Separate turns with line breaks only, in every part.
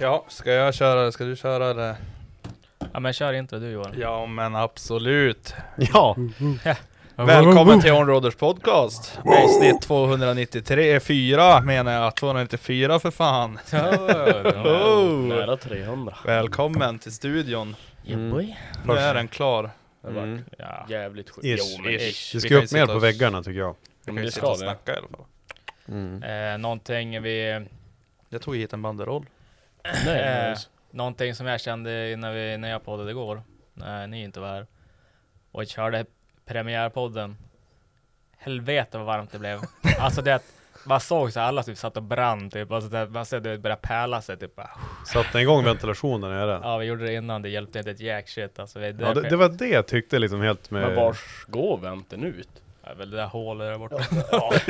Ja, ska jag köra? Ska du köra eller?
Ja men kör inte du Johan. Mm-hmm.
Ja men absolut!
Ja,
Välkommen till Onroaders podcast! Avsnitt 293, 4 menar jag, 294 för fan! Oh.
Nära 300.
Välkommen till studion!
Mm.
Nu är den klar.
Mm.
Ja. Jävligt sjukt.
Ish,
Jo men
ish.
ish.
det
Vi
ska
kan ju
upp
sitta
mer på
och-
väggarna tycker jag.
Vi
men
kan ju
det
sitta
ska
och
vi.
snacka i alla fall.
Eh, någonting vi...
Jag tog hit en banderoll.
Eh, någonting som jag kände när, vi, när jag poddade igår, när ni inte var här, och jag körde premiärpodden. Helvete vad varmt det blev. Alltså det att man såg så här, alla typ satt och brann typ, alltså det, man såg det började pärla sig typ. bara.
Satte igång ventilationen nere.
Ja vi gjorde det innan, det hjälpte inte ett jack shit alltså. Det,
Ja, det, det var det jag tyckte liksom helt med...
Men vars går vänten ut?
Ja, väl det där hålet där borta.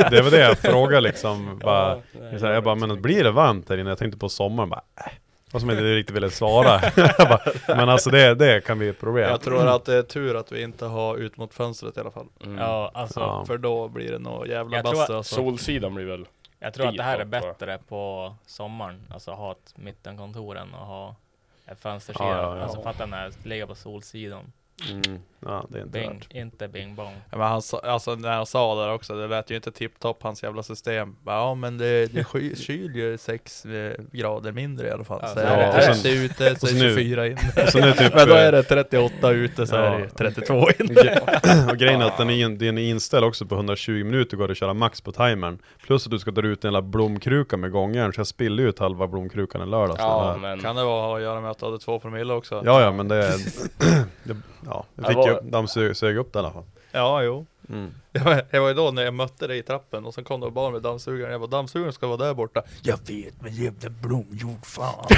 Det var det jag frågade liksom. Bara,
Ja, nej,
så här, jag bara,
vet
men
inte.
blir det varmt där inne? Jag tänkte på sommaren bara, äh. Och som inte riktigt ville svara. Jag bara, men alltså det, det kan bli ett problem.
Jag tror att det är tur att vi inte har ut mot fönstret i alla fall.
Ja alltså.
Ja.
För då blir det nog jävla
Jag tror
bastu
att-
alltså.
Solsidan blir väl...
Jag tror att det här är
Ditåt bara.
bättre på sommaren, alltså ha ett mittenkontor än att ha en fönstersida.
Ja, ja, ja.
Alltså fatta när jag ligger på solsidan.
Mm.
Ja, det är inte
Bing,
värt.
inte bing bong.
Ja, Men han, sa- alltså när han sa det där också, det lät ju inte tipptopp hans jävla system. Bara, Ja men det, det sky, kyl ju 6 grader mindre i alla fall. Så
Ja,
är det
och sen-
30 ute så är det
och så nu-
24 in.
Och så nu typ...
Men då är det 38 ute så
Ja.
är det 32 in.
eh, Och grejen är att den är, in- den är inställd också på 120 minuter går det att köra max på timern. Plus att du ska dra ut en jävla blomkruka med gångjärn, så jag spillde ut halva blomkrukan i lördags.
Ja,
Den här-
men...
Kan det vara att göra med att du hade två promille också?
ja, ja, men det... det ja, jag fick
Det
ju
var-
dammsög upp det i alla fall.
Ja, jo. Det, var, det var ju då när jag mötte dig i trappen och sen kom det barn med dammsugaren. Jag bara, dammsugaren ska vara där borta. Jag vet, men jävla blomjord fan.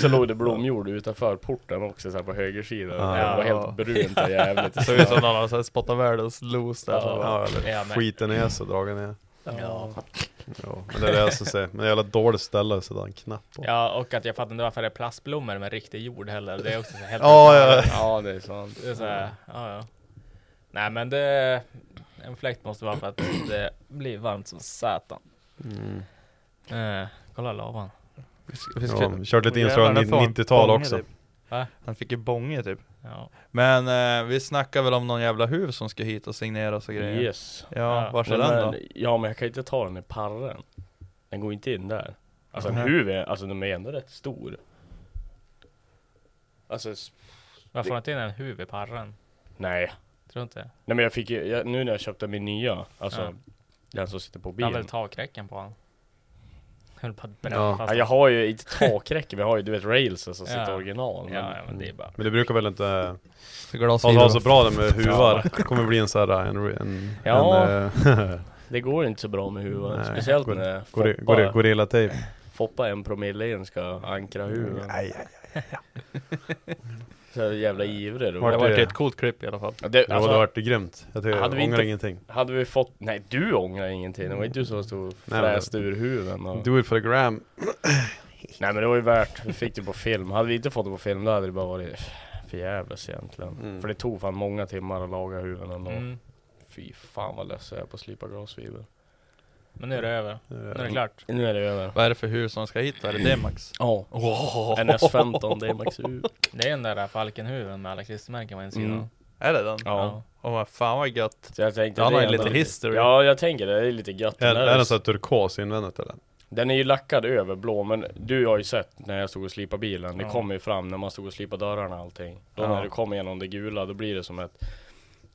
Så låg det blomjord utanför porten också så här på högersidan. Det var
Ja.
helt brunt och jävligt.
Det såg ut som någon hade så här spottat världens loose där. Så bara,
Ja, eller
Ja, men-
skiten är så dragen är.
Ja.
Jo, men det är det jag ska säga. Men det är jävla dåligt ställe så det är en knapp på.
ja, och att jag fattar inte varför det är plastblommor med riktig jord heller. Det är också så här helt...
Ja, ja.
Ja, det är sant.
Det är så här, ja, ja. Nej men det... En fläkt måste vara för att det blir varmt som satan.
Mm.
Eh, kolla lavan.
vi ska- vi ska-
Ja, kört lite
Jävlar,
inslag
där får han
90-tal
bånge
också.
typ.
Va?
Han fick ju bånge typ.
Ja.
Men eh, vi snackar väl om någon jävla huv som ska hit och signera och så grejer.
Yes.
Ja,
Ja.
vars är
Men, eh,
den då?
men- ja, men jag kan inte ta den i parren. Den går inte in där. Alltså en
Nej.
huvud, alltså den är ändå rätt stor. Alltså, s-
Varför har inte in en huv i parren?
nej.
Tror inte.
Nej men jag fick ju, jag, nu när jag köpte min nya, alltså
Ja.
den som sitter på
Jag har
bilen.
väl takräcken på han. Jag höll på att bränna
Ja.
fast
Ja, jag har ju inte takräcke, men jag har ju du vet railsen som
Ja.
sitter original. Men,
Ja, ja, men det är bara...
Men det brukar väl inte
Glasfiber.
ta ta så bra det med huvar. Det kommer bli en sån här, en, en,
Ja.
en eh,
Det går inte så bra med huvan.
Nej.
Speciellt
Går-
när
gori-
Foppa,
gori- gorillatejp.
Alltså,
Foppa en promille in ska ankra huvan.
Aj, aj, aj, aj.
Så jävla ivrig du
Vart
Det
var.
är-
var ett coolt klipp i alla fall.
Ja, det,
Ja, det
alltså,
vart grymt. Jag tycker,
Hade
ångrar
vi inte-
ingenting.
hade vi fått... Nej, du ångrar ingenting. Det var inte du som stod och
men-
fräste ur huven och...
Do it for the gram.
Nej men det var ju värt, vi fick det på film. Hade vi inte fått det på film då hade det bara varit för jävligt egentligen.
Mm.
För det tog fan många timmar att laga huvuden ändå.
Mm.
Fy fan vad less jag är på att slipa glasfiber. Mm.
Men nu är det över. Nu
Eh,
är det klart.
Nu är det över. Oh.
Vad är det för hus som ska hit? Är det D-Max?
Ja.
Åh.
NS15, det är max U.
Det är den där falkenhuven med alla klistermärken på insidan.
Mm.
Är det den?
Ja.
Åh men fan vad gött.
Så jag tänkte
Han
det
har
är
ju lite
ändå
history.
Ja jag tänker det, det är lite gött.
Är,
Den här-
är den så här turkos invändigt eller?
Den är ju lackad över blå, men du har ju sett när jag stod och slipade bilen, det
Ja.
kommer ju fram när man stod och slipade dörrarna och allting. Då
Ja.
när du kommer igenom det gula, då blir det som ett
Pena.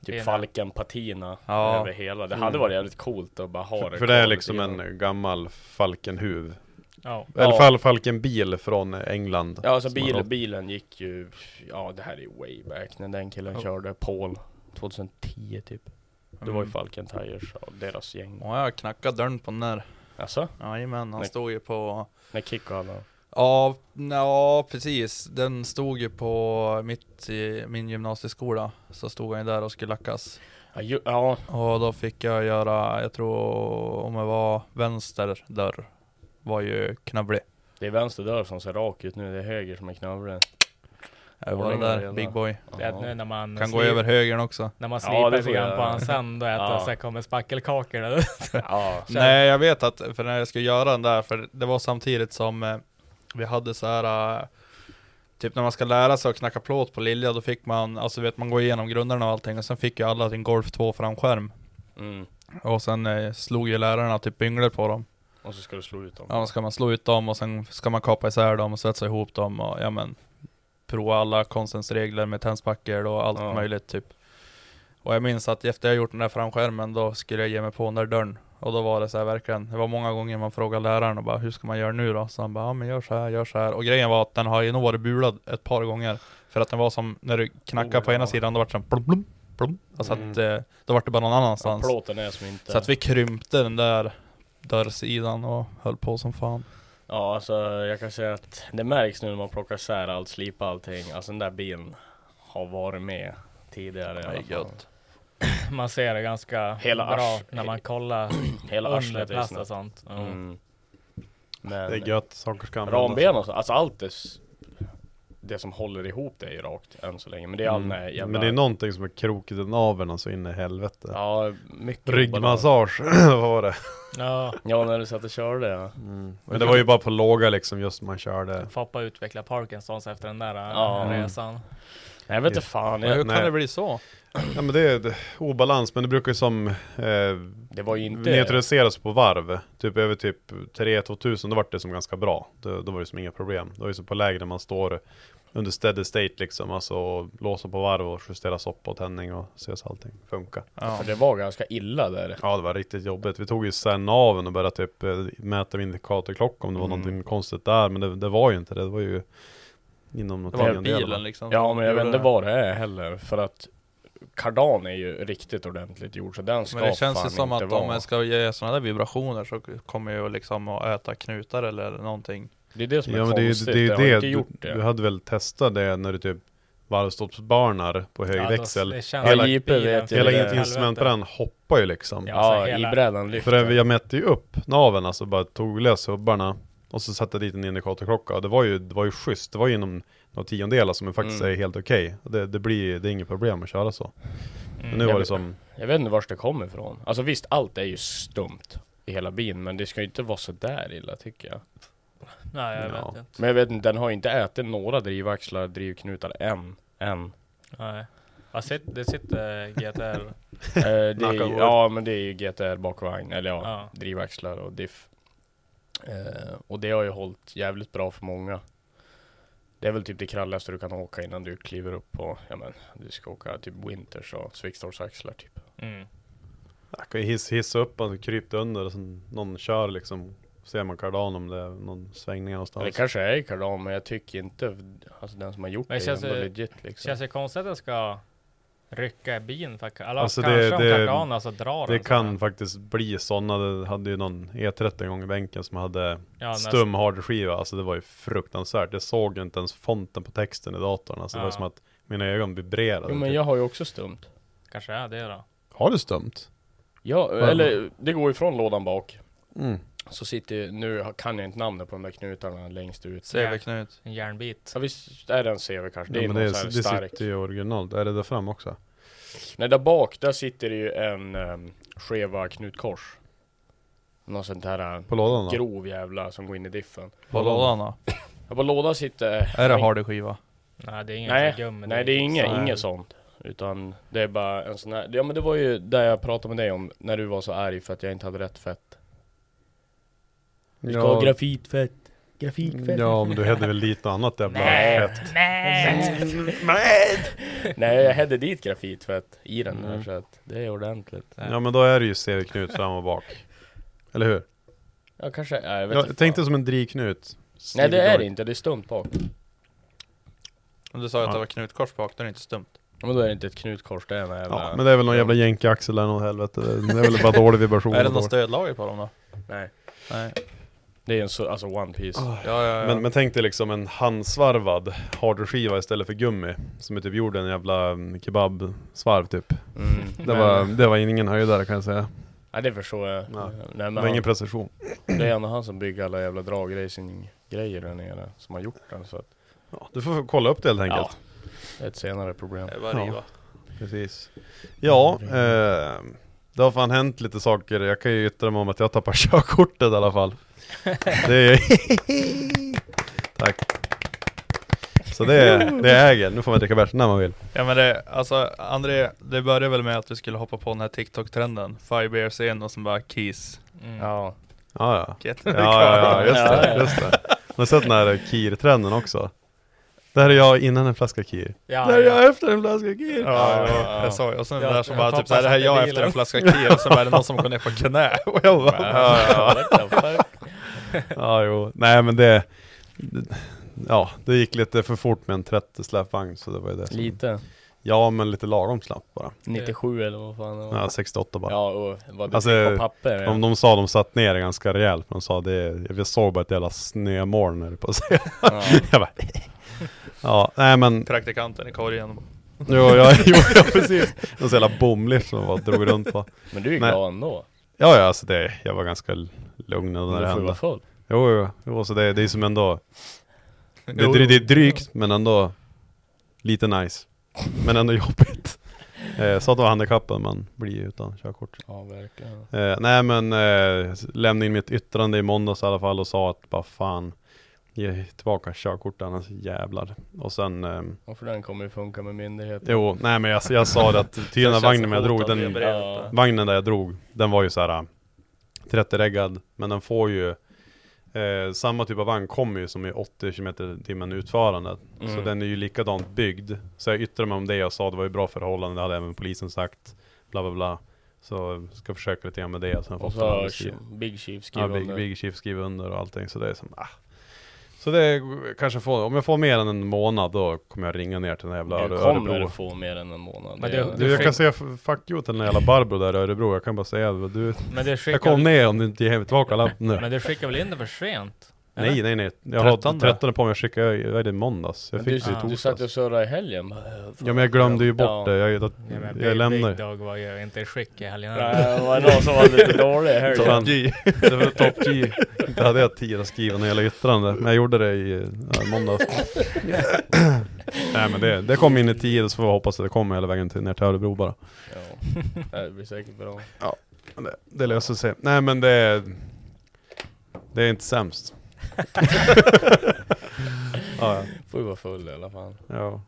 typ falkenpatina
Ja.
över hela. Det
Mm.
hade varit jävligt coolt att bara ha det
För, för det är
kvar
liksom
lite grann.
en gammal falkenhuv.
Ja.
I alla
Ja.
fall falkenbil från England.
Ja alltså
Som har
bil,
gått-
bilen gick ju, ja det här är way back när den killen körde, Paul 2010 typ. Det var ju
Mm.
Falken Tires och deras gäng.
Och jag knackade dörren på den där.
Alltså,
Jajamän, han
Nej.
stod ju på...
när Kikko hade
Ja, ja, precis. Den stod ju på mitt, i min gymnasieskola. Så stod han ju där och skulle lackas.
Ja, ju, ja.
Och då fick jag göra, jag tror om det var vänster dörr. Var ju knabblig.
det är vänster dörr som ser rak ut nu, det är höger som är knövlig.
Jag var det
Ordning och
där,
reda.
big boy.
Det är att nu när man
Kan gå
slip-
över högern också.
När man
Ja,
slipar
det
lite
får jag
grann på
göra.
hans sand och äter
Ja.
och sen kommer spackelkakor där.
Ja,
Nej jag vet att, för när jag skulle göra den där, för det var samtidigt som eh, vi hade så här eh, Typ när man ska lära sig att knacka plåt på Lilja, då fick man, alltså du vet man går igenom grunderna och allting och sen fick ju alla sin Golf 2 framskärm
mm.
Och sen eh, slog ju lärarna typ bynglor på dem
Och så ska du slå ut dem.
Ja då ska man slå ut dem och sen ska man kapa isär dem och svetsa ihop dem och ja men Prova alla konstens regler med tändspackor och allt
Ja.
möjligt typ Och jag minns att efter jag gjort den där framskärmen då skulle jag ge mig på den där dörren Och då var det så här verkligen, det var många gånger man frågade läraren och bara Hur ska man göra nu då? Så han bara, ja men gör så här, gör så här Och grejen var att den har ju nog varit bulad ett par gånger För att den var som, när du knackade
Oh,
på ena
ja.
sidan då vart det som plum, plum, plum. Alltså
Mm.
att eh, då vart det bara någon
Ja,
annanstans
plåten är som inte...
Så att vi krympte den där dörrsidan och höll på som fan
Ja alltså jag kan säga att det märks nu när man plockar isär allt, slipar allting. Alltså den där bilen har varit med tidigare i alla fall.
Man ser det ganska
Hela
bra
ars-
när man kollar
Hela
under
arslet är
plast
snett.
och sånt. Ja.
Mm.
Det
Men
är gött, saker ska användas.
ramben och så, alltså allt det, s- det som håller ihop det är ju rakt än så länge. Men det är all den här
Mm.
jävla...
Men det är någonting som är krokigt i naveln alltså in i helvete.
Ja, mycket
Ryggmassage, vad var det?
Ja.
Ja, när du satt och körde ja.
Men det var ju bara på låga liksom, just man körde.
Foppa utveckla Parkinsons efter den där eh,
Ja.
resan.
Nej, jag vet inte fan.
Men hur
Jag,
kan
Nej.
det bli så?
Ja men det är det- obalans, men det brukar ju som eh,
det var ju inte...
neutraliseras på varv. Typ över typ 3-2000, då var det som ganska bra. Då, då var det som inga problem. Då är det som på läge där man står under steady state liksom, alltså och låser på varv och justerar upp och tändning och ses allting funka.
För det var ganska illa där.
Ja det var riktigt jobbigt. Vi tog ju sen naven och började typ eh, mäta med indikatorklocka om det var
Mm.
någonting konstigt där, men det, det var ju inte det. Det var ju inom något
Det var
tiondel.
bilen liksom.
Ja, men jag vet
Gjorde
inte
det.
vad det är heller. För att kardan är ju riktigt ordentligt gjord, så den ska
Men det känns
fan
ju som
inte
att
vara.
om jag ska ge sådana där vibrationer så kommer jag liksom att äta knutar eller någonting.
Det är det som är
Ja men det är ju
konstigt.
det. Är ju
jag har
det.
inte gjort
du,
det.
du hade väl testat det när du typ varvstoppsbarnar på hög
Ja, då-
växel.
det känns
Hela-
att
JP vet
bilen
ju det
Hela
fyller
är-
instrumentbrädan hoppar ju liksom.
Ja.
ja,
alltså, hela-
i brädan lyfter.
För jag mätte ju upp naven, alltså bara tog lös hubbarna och så satte jag dit en indikatorklocka och det var ju, det var ju schysst. Det var ju inom några tiondelar som faktiskt
Mm.
är helt okej. Det, det blir, det är inget problem att köra så. Men nu
jag
var det
vet.
som,
Mm. Jag vet inte vars det kommer ifrån. Alltså visst, allt är ju stumt i hela bilen, men det ska ju inte vara så där illa tycker jag.
Nej, jag
Ja.
vet inte.
Men jag vet inte, den har ju inte ätit några drivaxlar, drivknutar än. Än.
Nej. Vad sit- det sitter GTR.
Eh, det är
Knock on
ju,
wood.
ja, men det är ju GTR bakvagn, eller ja,
Ja.
drivaxlar och diff. Eh, och det har ju hållit jävligt bra för många. Det är väl typ det kralligaste du kan åka innan du kliver upp på, ja men, du ska åka typ Winters och Svixtorps axlar typ.
Mm.
jag kan ju hiss, hissa upp och krypa under och sen någon kör liksom. Ser man kardan om det är någon svängning någonstans.
Det kanske är i kardan, men jag tycker inte, alltså den som har gjort
Men
det,
det
det
känns
är ändå
ju-
legit liksom.
Känns det konstigt att den ska rycka i bin? För, eller
Alltså, det-
kanske om
det-
kardan alltså drar
Det
den så
kan
här.
faktiskt bli sådana, det hade ju någon E30 en gång i bänken som hade
Ja,
stum hardskiva, alltså det var ju fruktansvärt. Jag såg inte ens fonten på texten i datorn, alltså det var
Ja.
som att Mina ögon vibrerade.
Jo, men
typ.
jag har ju också stumt.
Kanske är det då.
Har du stumt?
Ja,
Vad-
eller det går ifrån lådan bak.
Mm.
Så sitter ju- nu kan jag inte namnet på de där knutarna längst ut.
CV-knut.
En järnbit.
Ja visst är det en CV kanske, det
Ja,
är
men
någon
det,
så här
det
stark.
sitter ju originalt. Är det där fram också?
Nej där bak, där sitter det ju en um, skeva knutkors. Någon sånt här eh,
På lådan då?
grov jävla som går in i diffen.
På lådan då?
Ja, på lådan sitter...
Är det hardy skiva?
Nej det är inget
Nej,
gummi.
nej det är
så
inget,
här.
inget sånt. Utan det är bara en sån här, ja men det var ju där jag pratade med dig om, när du var så arg för att jag inte hade rätt fett. Du ska ha
ja,
grafitfett. Grafikfett.
ja, men du hade väl lite annat jävla
Nej.
fett.
Nej, jag hade dit grafitfett i den
Mm.
där så att det är ordentligt.
Ja, men då är det ju CV-knut fram och bak. Eller hur?
Ja, kanske, ja, jag vet
Jag
inte
tänkte
fan.
som en drivknut.
Nej, det är det
det
inte. Det är stumt bak.
Du sa ju att
Ja.
det var knutkors bak, det är inte stumt.
Ja, Men då är det inte ett knutkors, det är en jävla...
Ja, men det är väl någon jävla jänkaxel eller något helvete. Det är väl bara dålig vibration.
Är det
och
någon
dålig-
stödlager på dem då?
Nej.
Nej.
Det är en så, alltså One Piece.
Ja, ja, ja.
men, men tänk dig liksom en handsvarvad hardware-skiva istället för gummi. Som är typ gjord i en jävla mm, kebabsvarv typ.
Mm.
Det var, det var ingen höjdare kan jag säga.
Nej, det förstår jag.
Ja.
Nej, men
Det var
han,
ingen precision.
det är ändå han som bygger alla jävla dragracing-grejer där nere. Som har gjort den så att...
Ja, du får kolla upp det helt enkelt.
Det är ett senare problem.
Eh,
Det är bara att riva.
Precis. Ja, eh, det har fan hänt lite saker. Jag kan ju yttra mig om att jag tappar körkortet i alla fall. Det är Tack. Så det, är- det äger. Nu får man dricka bärs när man vill.
Ja men det, alltså André, det började väl med att du skulle hoppa på den här TikTok-trenden, Five years in och sen bara keys.
Mm.
Ja.
Ja, ja.
Get
Ja, ja, ja just
Ja,
det.
ja.
Just det. Man har sett den här Kir-trenden också. Där är jag innan en flaska Kir.
Ja,
Där är
ja.
jag efter en flaska Kir.
Ja,
ja,
ja,
ja.
jag sa ju. Och sen
Ja,
den där som
jag
bara typ
hoppas
såhär, det här är
att det
jag
blir
efter
den.
en flaska kir och sen bara är det någon som går ner på knä. Och jag bara,
ja, ja.
Ja, jo. Nej, men det... Ja, det gick lite för fort med en 30 släpvagn, så det var ju det som-
Lite.
Ja, men lite lagom snabbt bara.
97 eller vad fan det var.
Ja, 68 Alltså, bara.
Ja, och vad du
Alltså,
fick på papper.
De, de sa de satt ner ganska rejält, men de sa det, jag såg bara ett jävla snömoln när det på sig.
Ja.
Jag bara, ja, nej men,
praktikanten i korgen.
jo, ja, jo, ja precis. En sån jävla bomlift som jag bara drog runt på.
Men du är
Men-
glad ändå.
Ja, ja, alltså det, jag var ganska l- lugn
Du
när det
får ju
hände.
vara full.
Jo, jo, jo, så det, det är som ändå, det,
Jo,
det,
jo.
det är drygt, men ändå lite nice. Men ändå jobbigt. Eh, så att det var handikappen man blir ju utan körkort.
Ja, verkligen.
Eh, nej men eh, lämnade in mitt yttrande i måndags i alla fall och sa att bara fan Ge tillbaka körkortet annars jävlar. Och sen eh,
Och för den kommer ju funka med myndigheter.
Jo, nej men jag, jag sa det att tydligen den vagnen jag drog den
Ja.
Vagnen där jag drog Den var ju så här 30 reggad Men den får ju eh, Samma typ av vagn kommer ju som i 80 km timmen utförandet Så
Mm.
den är ju likadant byggd Så jag yttrade mig om det jag sa Det var ju bra förhållande Det hade även polisen sagt Bla bla bla Så ska försöka lite grann med det Sen
Och
fått
så
en
har
arbetsgivare.
Ch- Big Chief
Ja,
skrivit
Big,
under.
Big Chief skriver under och allting, så det är som ah. Så det är- kanske får, om jag får mer än en månad då kommer jag ringa ner till den här jävla
Du
Öre-
kommer
Örebro.
få mer än en månad.
Men
Det
det-
är-
Du, jag kan säga f- fuck you till den här jävla Barbro där i Örebro, jag kan bara säga det. Du,
Men det
jag kom
skickar,
ner om du inte ger mig tillbaka alla nu.
men det skickar väl in det för sent?
Nej, nej, nej. Jag har
Trettonde?
13 på mig, jag skickade, vad är det, i måndags? Jag
Men
fick det
du,
i
du satt ju och
torsdags.
surrade i helgen. bara, äh, fan.
Ja men jag glömde ju bort
Ja.
det, jag, jag,
Ja, men
jag,
Big-
lämnar
Big Dog var ju inte i skick i helgen.
Nej, Det var någon som var lite dålig i
Så
helgen.
fan, Det var top G. Inte hade jag tid att skriva något jävla yttrande, men jag gjorde det i ja, måndags. Nej men det, det kom in i tid, så får vi hoppas att det kommer hela vägen till, ner till Örebro bara.
Ja, det blir säkert bra.
Men det, det löser sig. Nej men det... Det är inte sämst. ja, ja.
Får ju vara full i alla fall.
ja.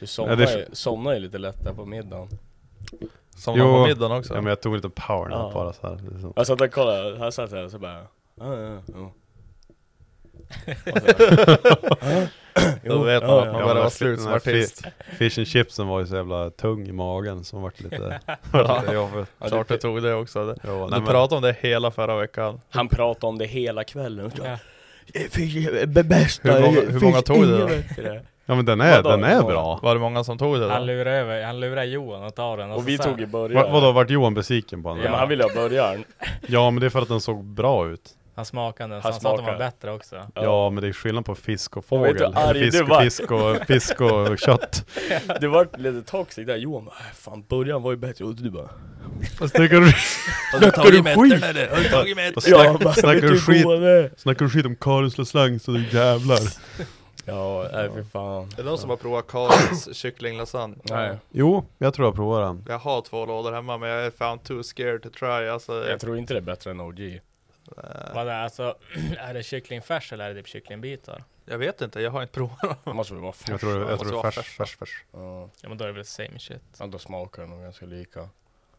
Du
Ja,
somnar,
det är
ju, somnar ju lite lätt där på middagen.
Som
Jo.
var på middagen också.
ja men jag tog lite power
Ja.
bara så här. Liksom.
Jag satt och kollade, han satt här och så bara... Ja, ja, ja.
Då vet man att man
Ja,
börjar
men
vara
fi-
slut som
den här fi-
artist.
Fish and chipsen var ju så jävla tung i magen som vart lite... vart lite jobbigt.
Klart du tog det också. Det-
Jo, nej,
Du
men-
pratade om det hela förra veckan.
Han pratade om det hela kvällen.
Ja. Eh,
Bästa
Hur många- hur många tog du då?
då?
Ja men den är,
Vadå?
den är bra.
Var det många som tog det
Han
då?
lurar över, han lurar Johan att ta den.
Och
så
vi
sen-
tog i
Va,
början.
vadå, vart Johan besviken på den?
Ja, men han ville ha början.
Ja men det är för att den såg bra ut.
Han smakade den, så
Han
han sa att de var
smakade.
bättre också.
Ja men det är skillnad på fisk och
Och vet
fågel.
du hur
Eller
arg
fisk,
du var?
fisk, och, fisk och kött.
Det vart lite toxic där, Johan bara "Äh, fan början var ju bättre, och du bara
Fast tycker du-
Snackar du skit?
eller? Har du tagit med
Fast
Ja,
snack-
bara,
Snackar
vet
du skit-
godare?
snackar du skit om Karlens slang så du jävlar.
Ja, nej fy fan
Det är någon som har provat Karins kycklinglasagne?
Nej,
Jo, jag tror jag provar den.
Jag har två lådor hemma men jag är fan too scared to try alltså,
jag tror inte det är bättre än OG
eh,
Vad det är, alltså, är det kycklingfärs eller är det typ kycklingbitar?
Jag vet inte, jag har inte provat dem.
Det måste väl vara färs?
Jag tror,
måste
jag tror det är
vara
färs, färs, färs.
Ja,
Ja men då är det väl same shit.
Ja, då smakar det nog ganska lika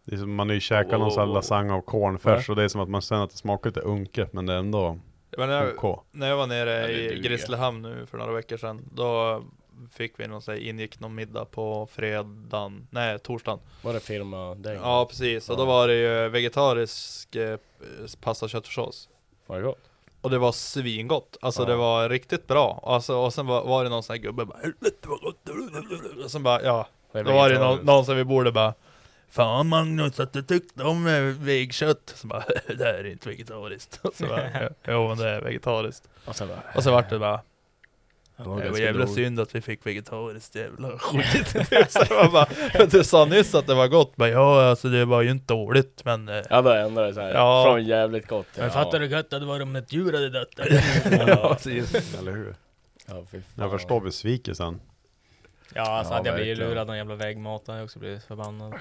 Det är som man har ju käkat någon sån här lasagne av kornfärs och det är som att man känner att det smakar lite unket men det är ändå
Men jag,
OK.
När jag var nere
Mm, det
i
duger.
Grisslehamn nu för några veckor sedan, då fick vi någon sån här, ingick någon middag på fredagen, nej torsdagen.
Var det firma däng?
Ja precis, och då
Ja.
var det ju vegetarisk eh, pasta och köttfärssås.
Var det gott?
Och det var svingott, alltså
Ja.
det var riktigt bra. Alltså, och sen var, var det någon sån här gubbe bara Helvete vad gott! Och sen bara ja,
är
då var det någon,
vegetariskt.
någon som vid bordet bara Fan Magnus att du tyckte om eh, vägkött! Så bara Det här är inte vegetariskt. Så bara, jo men det är vegetariskt.
Och sen bara,
Och så vart det bara
det var
Det var
ganska
jävla
dåligt.
synd att vi fick vegetariskt, jävla skit. Så jag bara, du sa nyss att det var gott, men ja alltså det var ju inte dåligt men... eh,
Ja då ändrade det såhär,
Ja.
från jävligt gott till-
Men
ja.
fattar du hur gött det hade varit om ett djur hade dött där?
Ja,
Eller hur?
ja fy fan
Jag förstår besvikelsen.
Ja alltså
Ja,
hade jag blivit
verkligen.
lurad av jävla väggmat hade jag också blivit förbannad.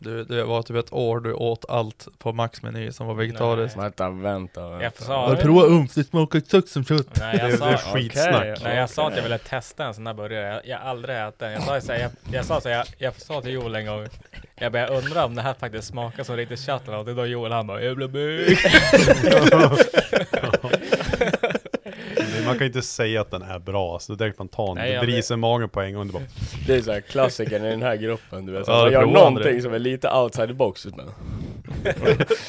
Du, det var typ ett år du åt allt på Max-meny som var vegetariskt.
Nej.
Vänta, vänta, vänta
Jag sa det.
provat umf? Det smakar exakt som kött.
Nej
Det,
jag
det är
sa,
skitsnack.
okej.
nej, jag sa att jag ville testa en sån där burgare, jag, jag har aldrig ätit den. Jag sa så här, jag, jag, sa så här, jag, jag sa till Joel en gång, jag började undra om det här faktiskt smakar som riktigt kött eller något. Det är då Joel han bara jävla bög.
Men Man kan inte säga att den är bra, så direkt man
Nej,
tar den, det
jag
briser magen på en gång. Det bara,
Det är såhär klassikern i den här gruppen du vet, så
Ja,
att man
jag
gör
provar
någonting
aldrig.
som är lite outside the box typ. men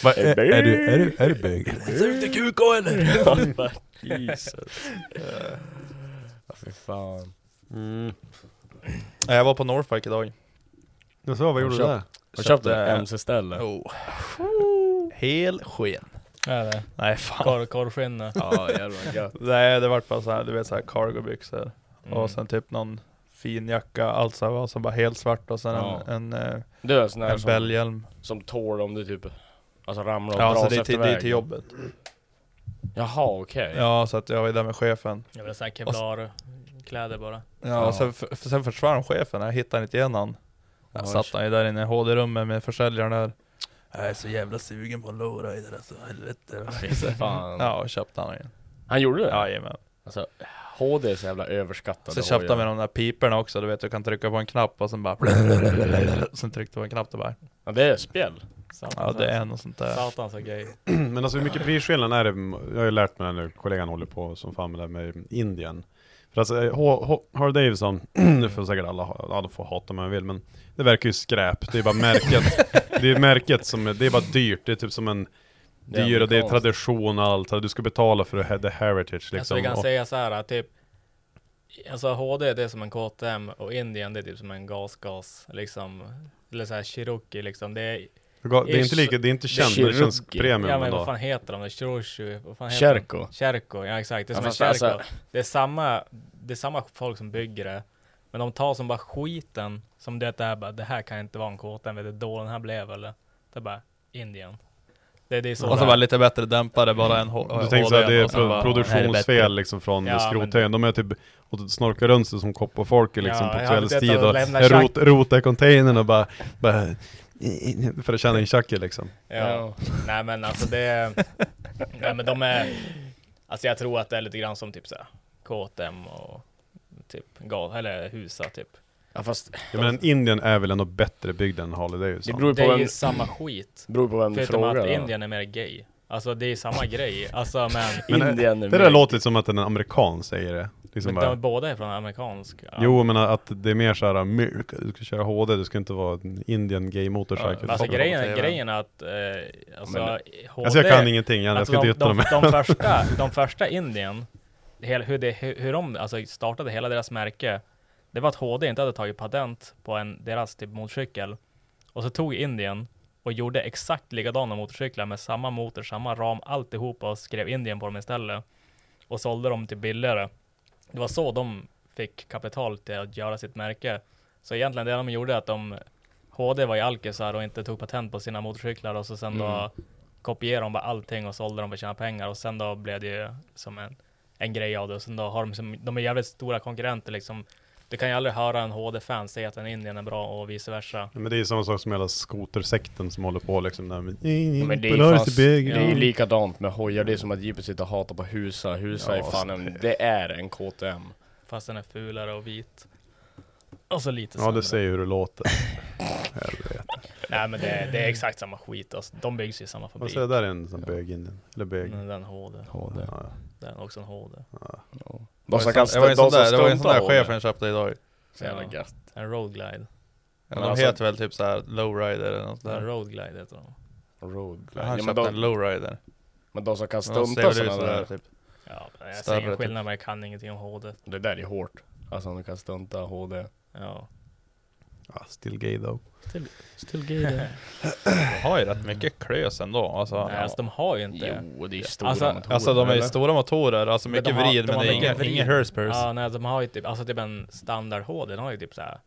"Va,
Är
är, är du, är du, är du bög?
Ser du inte QK eller?
Jesus Ja fy fan
Mm.
Nej, Jag var på Norfolk idag.
Jag sa, vad gjorde du
Köp.
där?
Har du köpt
Så att,
ett
eh,
MC-ställe?
Jo. Hel sken.
Är Oh. det?
Nej fan.
Korv, korvskinne.
Ja jävlar gött
Nej det vart bara såhär, du vet såhär cargobyxor.
Mm.
Och sen typ någon fin jacka, allt så här, var som bara helt svart och sen
Ja.
en, en, eh,
Mm. Du är en sån här
en
som,
bälghjälm.
som tål om du typ Alltså ramlar och
Ja, så
dras
det är,
efter
till, det är
vägen?
till jobbet.
Jaha okej
Ja, så att jag var där med chefen.
Jag vill säga Kevlar-kläder bara.
Ja,
Ja.
och Sen, för, sen försvann chefen, jag hittade inte igen han.
Oj.
Jag satt han ju där inne i HD-rummet med försäljaren där. Jag är så jävla sugen på en lowrider alltså, helvete.
fan.
Ja, och köpte han igen.
Han gjorde det?
Jajamän.
Alltså HD är så jävla överskattade
Sen köpte han med
hojar.
de där piperna också, du vet du kan trycka på en knapp och sen bara... Sen tryckte jag på en knapp och bara...
Ja det är spjäll
Satan,
Ja, det är något sånt där.
Satan så gay.
Men alltså hur mycket prisskillnad är det? Jag har ju lärt mig det nu, kollegan håller på som fan med det här med Indien. För alltså eh, H- H- Harley Davidson, det får säkert alla, ha- alla får hata om man vill, men det verkar ju skräp. Det är bara märket, det är märket som, är- det är bara dyrt, det är typ som en
Det är
dyr, det är
amerikanskt.
tradition och allt, Alltså, du ska betala för det här- the heritage
Alltså
liksom.
vi kan
Och-
säga så här att typ Alltså HD det är som en KTM och Indien det är typ som en gasgas liksom Eller såhär Cherokee liksom det är,
det är inte lika, det är inte känt, men det känns
Shiruki.
premium
Ja men
ändå.
vad fan heter de? Det är Chiroshu, vad fan heter de?
Kärko
Cherko, ja exakt, det är
Ja,
som en
fast
Cherko
alltså-
Det är samma, det är samma folk som bygger det Men de tar som bara skiten Som det är bara, det här kan inte vara en KTM, vet du då den här blev eller? Det är bara Indien Det, är- det är så
Och så
det
bara
är.
lite bättre dämpare bara än H-
Du tänker såhär, det är
och sen
pro-
bara,
produktionsfel liksom från
Ja,
ja,
men-
skrothögen. De är typ och snorkar runt sig som kopp och folk liksom
Ja,
på
jag
kvällstid
hade
och
detta att lämna
rot, rotar i containern och bara, bara för att tjäna in tjacket liksom.
Ja. Nej men alltså det... nej men de är... Alltså jag tror att det är lite grann som typ såhär KTM och typ gal, eller Husa typ.
Ja fast
Jag menar Indien är väl ändå bättre byggd än Harley
det
Davidson?
beror ju
Det
på
är
vem,
ju samma skit.
beror på vem du
Förutom
frågar
att
va?
Indien är mer gay. Alltså det är samma grej. Alltså men...
Men, eh,
Indien är
Det där
med.
låter som att en amerikan säger det. Liksom
men
bara,
de båda är från amerikansk. Ja.
Jo men att det är mer såhär, America, du ska köra HD, du ska inte vara en Indian gay motorcykel.
Men Alltså
Folk på
grejen,
TV.
grejen är att... Eh, alltså,
Men-
HD,
Alltså jag kan ingenting, jag, jag
Alltså
ska inte
de,
yttra
de, de
mig.
första, de första Indien, hela, hur, det, hur, hur de alltså startade hela deras märke, det var att HD inte hade tagit patent på en, deras typ motorcykel. Och så tog Indien och
och gjorde exakt likadana motorcyklar med samma motor, samma ram, alltihopa och skrev Indien på dem istället och sålde dem till billigare. Det var så de fick kapital till att göra sitt märke. Så egentligen det de gjorde är att de HD var ju alkisar och inte tog patent på sina motorcyklar och så sen då
Mm.
kopierade de bara allting och sålde dem för att tjäna pengar och sen då blev det ju som en, en grej av det och sen då har de som, de är jävligt stora konkurrenter liksom. Du kan ju aldrig höra en HD-fan säga att en Indien är bra och vice versa.
Men det är ju samma sak som hela skotersekten som håller på liksom där med...
Men det är,
But
ju
ours
fast,
the
det är
big-
ju likadant med hojar, det är som att jeepet sitter och hatar på Husa. Husa
Ja,
är fan en, det är en KTM.
Fast den är fulare och vit. Och så lite
Ja, du
sämre.
ser ju hur det låter. Helvete.
Nej men det, det är exakt samma skit alltså. De byggs ju i samma
Vad
fabrik.
säger där är en sån bög Indien. Eller bög.
Mm,
Men Den HD.
HD.
Ja, ja.
Den är också en HD.
Ja.
Det
De
var
som
ju
kan
sån- det var ju en sån
de som
där- det var ju en sån där
struntar i
chefen
det.
jag köpte idag.
Så jävla
Ja.
gött.
En Roadglide.
Ja,
Men
de
alltså-
heter väl typ såhär Lowrider eller något
En
där.
Roadglide heter de.
Road.
Han
Ja, men,
köpte en
de,
Lowrider.
men de som kan
Men de
stunta
ser väl ut
sådana
sådär
där.
typ.
Ja, men jag ser
Större
ingen
typ.
skillnad men jag kan ingenting om HD.
Det där är hårt. Alltså om du kan stunta HD.
Ja.
Ah, still gay though.
Still gay
De har ju rätt mycket klös ändå. Alltså,
Nej, alltså de har ju inte.
Jo, det är stora
Alltså-
motorer.
Alltså de är ju
eller?
stora motorer, alltså
Men
mycket
de har-
vrid
de
men
har
det är
mycket
ingen,
vrid.
ingen hurspurs.
Ja, nej, de har ju typ, alltså typ en standard HD, den har ju typ såhär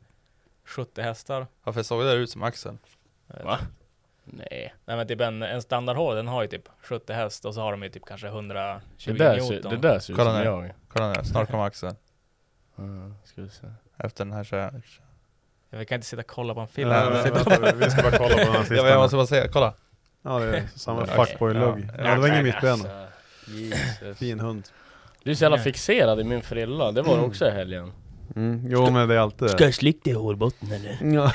70 hästar.
Varför såg det där ut som Axel?
Jag vet
Va?
inte.
Nej.
Nej men typ en, en standard HD, den har ju typ 70 häst och så har de ju typ kanske 120
Det där, ser,
Newton.
det där ser ut
Kolla
som
nu.
jag.
Kolla nu, snart kommer Axel.
Mm, ska vi se.
Efter den här så här.
Vi kan inte sitta och kolla på en film.
Nej,
Nej,
nej,
vänta, vi ska bara kolla på den här
Jag, jag måste
sista.
bara säga, kolla!
Ja, det är samma
Okej.
fuckboy-lugg.
Ja.
Ja, det var ingen mittben.
Jesus.
Fin hund.
Du är så jävla fixerad i min frilla, det var det också i helgen.
Mm, jo men det är alltid det.
jag slicka dig i hårbotten eller?
Ja.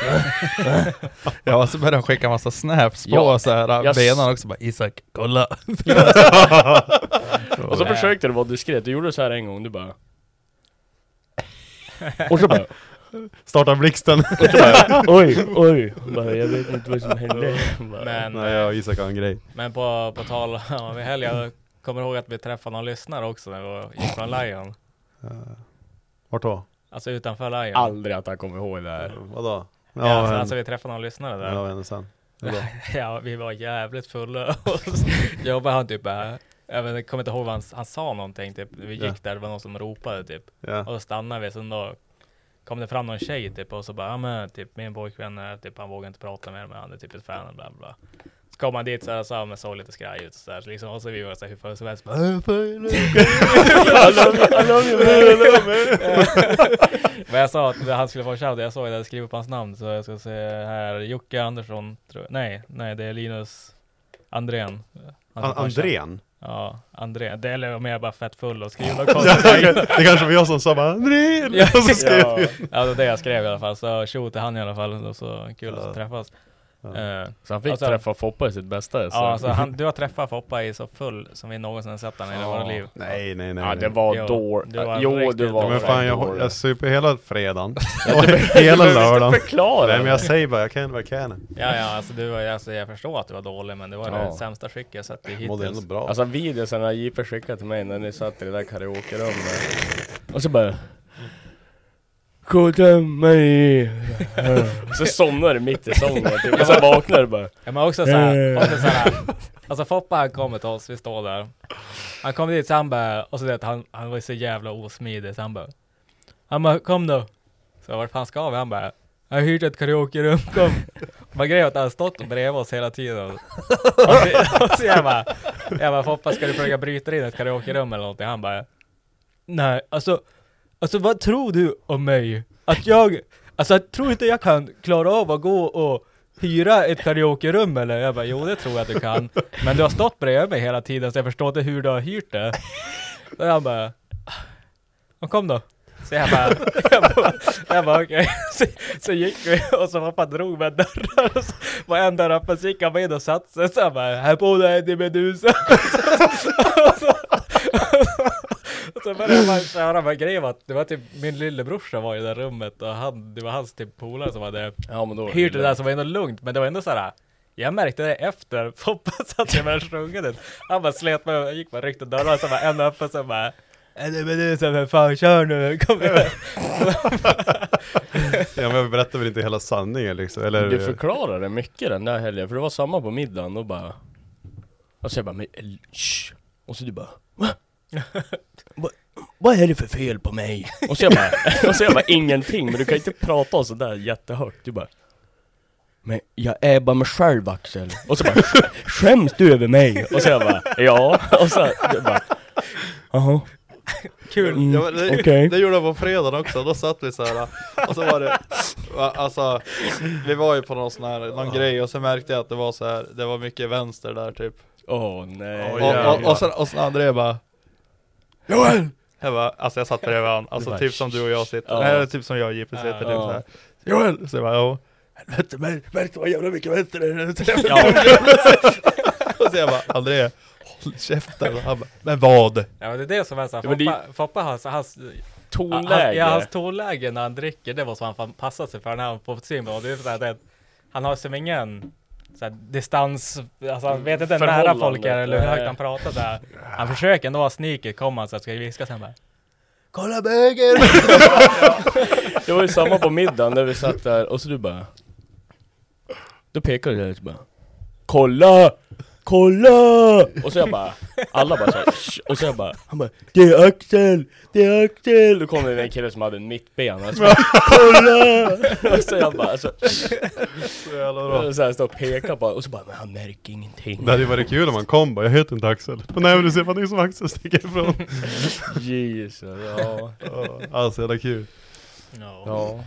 Ja och så började de skicka massa snaps på
Ja,
så här
jag s-
benen också bara Isak, kolla!
Och så försökte du vara diskret, du gjorde så här en gång, du bara... Och så bara,
Starta blixten!
och så bara oj, oj, bara, jag vet inte vad som hände. Bara,
Men,
Nej jag och Isak har en grej.
men på, på tal om i helg, jag kommer ihåg att vi träffade någon lyssnare också när vi var- gick från Lion.
Vart då?
Alltså utanför Lion.
Aldrig att han kommer ihåg det här.
Vadå? Ja,
Ja, alltså,
en-
alltså vi träffade någon lyssnare där.
ja, vad hände sen? Vadå?
Ja, vi var jävligt fulla. Och så- jag bara, han typ bara, jag vet- jag kommer inte ihåg vad han, han sa någonting typ. Vi gick
Ja.
där, det var någon som ropade typ.
Ja.
Och då stannade vi, sen då kom det fram någon tjej typ och så bara, ja men typ min pojkvän, är- typ, han vågar inte prata med mig, han är typ ett fan och bla bla. Så kom han dit så här, så han såg lite skraj ut och så här, så liksom, och så vi var så här, hur fan som helst. bara, "Äh, fan, jag love you." Men jag sa att han skulle få shout, jag såg det, jag skrev upp hans namn så jag ska se här, Jocke Andersson, tror jag. nej, nej det är Linus Andrén. Han
An-
ska få en shout.
Andrén?
Ja, Andrén. Det eller om jag är bara fett full och skriver något
Ja,
konstigt.
okej. det kanske var jag som sa bara Andrén!
Ja.
Och så skrev jag.
Ja det var det jag skrev i alla fall, så tjo till han i alla fall, och så kul
Ja.
att träffas.
Ja.
Eh,
Så han fick
Alltså-
träffa Foppa i sitt bästa. Så.
ja, alltså, han, du har träffat Foppa i så full som vi någonsin har sett han i hela
Ja.
våra liv.
Nej nej nej.
ja, det
nej.
Jo,
var då...
det var
Jo,
riktigt
du var
Ja, men fan
fan
jag,
dålig.
jag super hela fredagen. Och
typ-
hela
Du behöver inte
lördagen.
förklara.
Nej men jag säger bara, jag kan vad jag kan.
Ja, ja alltså, du, var- alltså, jag förstår att du var dålig, men det var det
Ja.
sämsta skick jag sett i
Mådde ändå
hittills.
bra.
Alltså videosarna har JP skickade till mig när ni satt i det där karaokerummet Och så bara Skjuta mig Så somnar du mitt i sången typ. och så vaknar du bara
Ja, men också såhär, också såhär, alltså Foppa han kommer till oss, vi står där. Han kommer dit så han bara, och så det, han, han var ju så jävla osmidig så han bara, han bara kom då. Så vart fan ska vi? Han bara, jag har hyrt ett karaokerum, kom. Men grejen var att han stått bredvid oss hela tiden. Och så, och så jag bara, jag bara Foppa ska du försöka bryta in ett karaokerum eller någonting? Han bara, nej alltså, alltså vad tror du om mig? Att jag, alltså jag tror inte jag kan klara av att gå och hyra ett karaokerum eller? Jag bara, jo det tror jag att du kan. Men du har stått bredvid mig hela tiden så jag förstår inte hur du har hyrt det. Så han bara, "Ja, kom då. Så jag bara, jag bara, jag bara okej. Så, så gick vi och så pappa drog med dörrar och så var en dörr öppen så gick han in och satte sig så han bara, här på dig det är Medusa. Och så- och så började man köra med grejen var att det var typ min lillebrorsa var i det där rummet och han, det var hans typ polare som hade
Ja men då
hyrt det där som var ändå lugnt, men det var ändå såhär jag märkte det efter Foppa satt sig mellan sjungandet. Han bara slet mig och gick bara ryckte dörrarna så bara en öppen så bara
"Äh, nej, men det är så här, "Men fan kör nu, kom igen."
Ja, men jag berättar väl inte hela sanningen liksom, eller?
Du förklarade mycket den där helgen, för det var samma på middagen och bara... Och så jag bara, men el- shh. Och så du bara, va? Vad- Vad är det för fel på mig? Och så jag bara, och så jag bara ingenting, men du kan inte prata sådär jättehögt. Du bara, men jag är bara mig själv Axel. Och så bara, "Sk- skäms du över mig? Och så jag bara, ja. Och så du bara, jaha.
Kul!
Mm,
ja, men det,
okej.
det gjorde jag på fredagen också, då satt vi så här och så var det, va, alltså, vi var ju på någon sån här, någon grej och så märkte jag att det var så här, det var mycket vänster där typ
Åh nej.
Och, och, och, och, sen, och sen André bara Joel! Jag bara, alltså jag satt bredvid honom, alltså
Du bara,
typ som du och jag sitter,
Ja.
nej typ som jag och Jippe sitter, typ
Ja.
såhär Joel! Så jag bara, ja Helvete, mär- märkte vad jävla mycket vänster det är Och så jag bara, André, håll käften! Och Han bara, men vad?
Ja men det är det som är såhär,
Ja, men det-
Foppa, Foppa hans, hans,
tonläge.
hans, ja, hans tonläge när han dricker, det var så han fan passade sig för när han på sin blå. Det är så här, det, han har som ingen så här, distans, alltså han vet inte nära
Förhållande.
folk är eller hur högt
Nej.
han pratar så här. Han försöker ändå vara sneaky, kommer så här, ska jag viska sen bara.
Kolla bögen!
Det var ju samma på middagen när vi satt där och så du bara Då pekade du där och så bara Kolla! Kolla! Och så jag bara Alla bara så här, "Shh." Och så jag bara Han bara Det är Axel! Det är Axel! Då kom det en kille som hade en mittben och så bara Kolla! Och så jag bara så,
Så jävla bra!
och så här står och pekar på och så bara Men han märker ingenting
Det hade ju varit kul om han kom bara, jag heter inte Axel. Men nej men du ser fan ut som Axel, sticker ifrån.
Jesus, ja
Ja, Alltså jävla kul.
No.
Ja.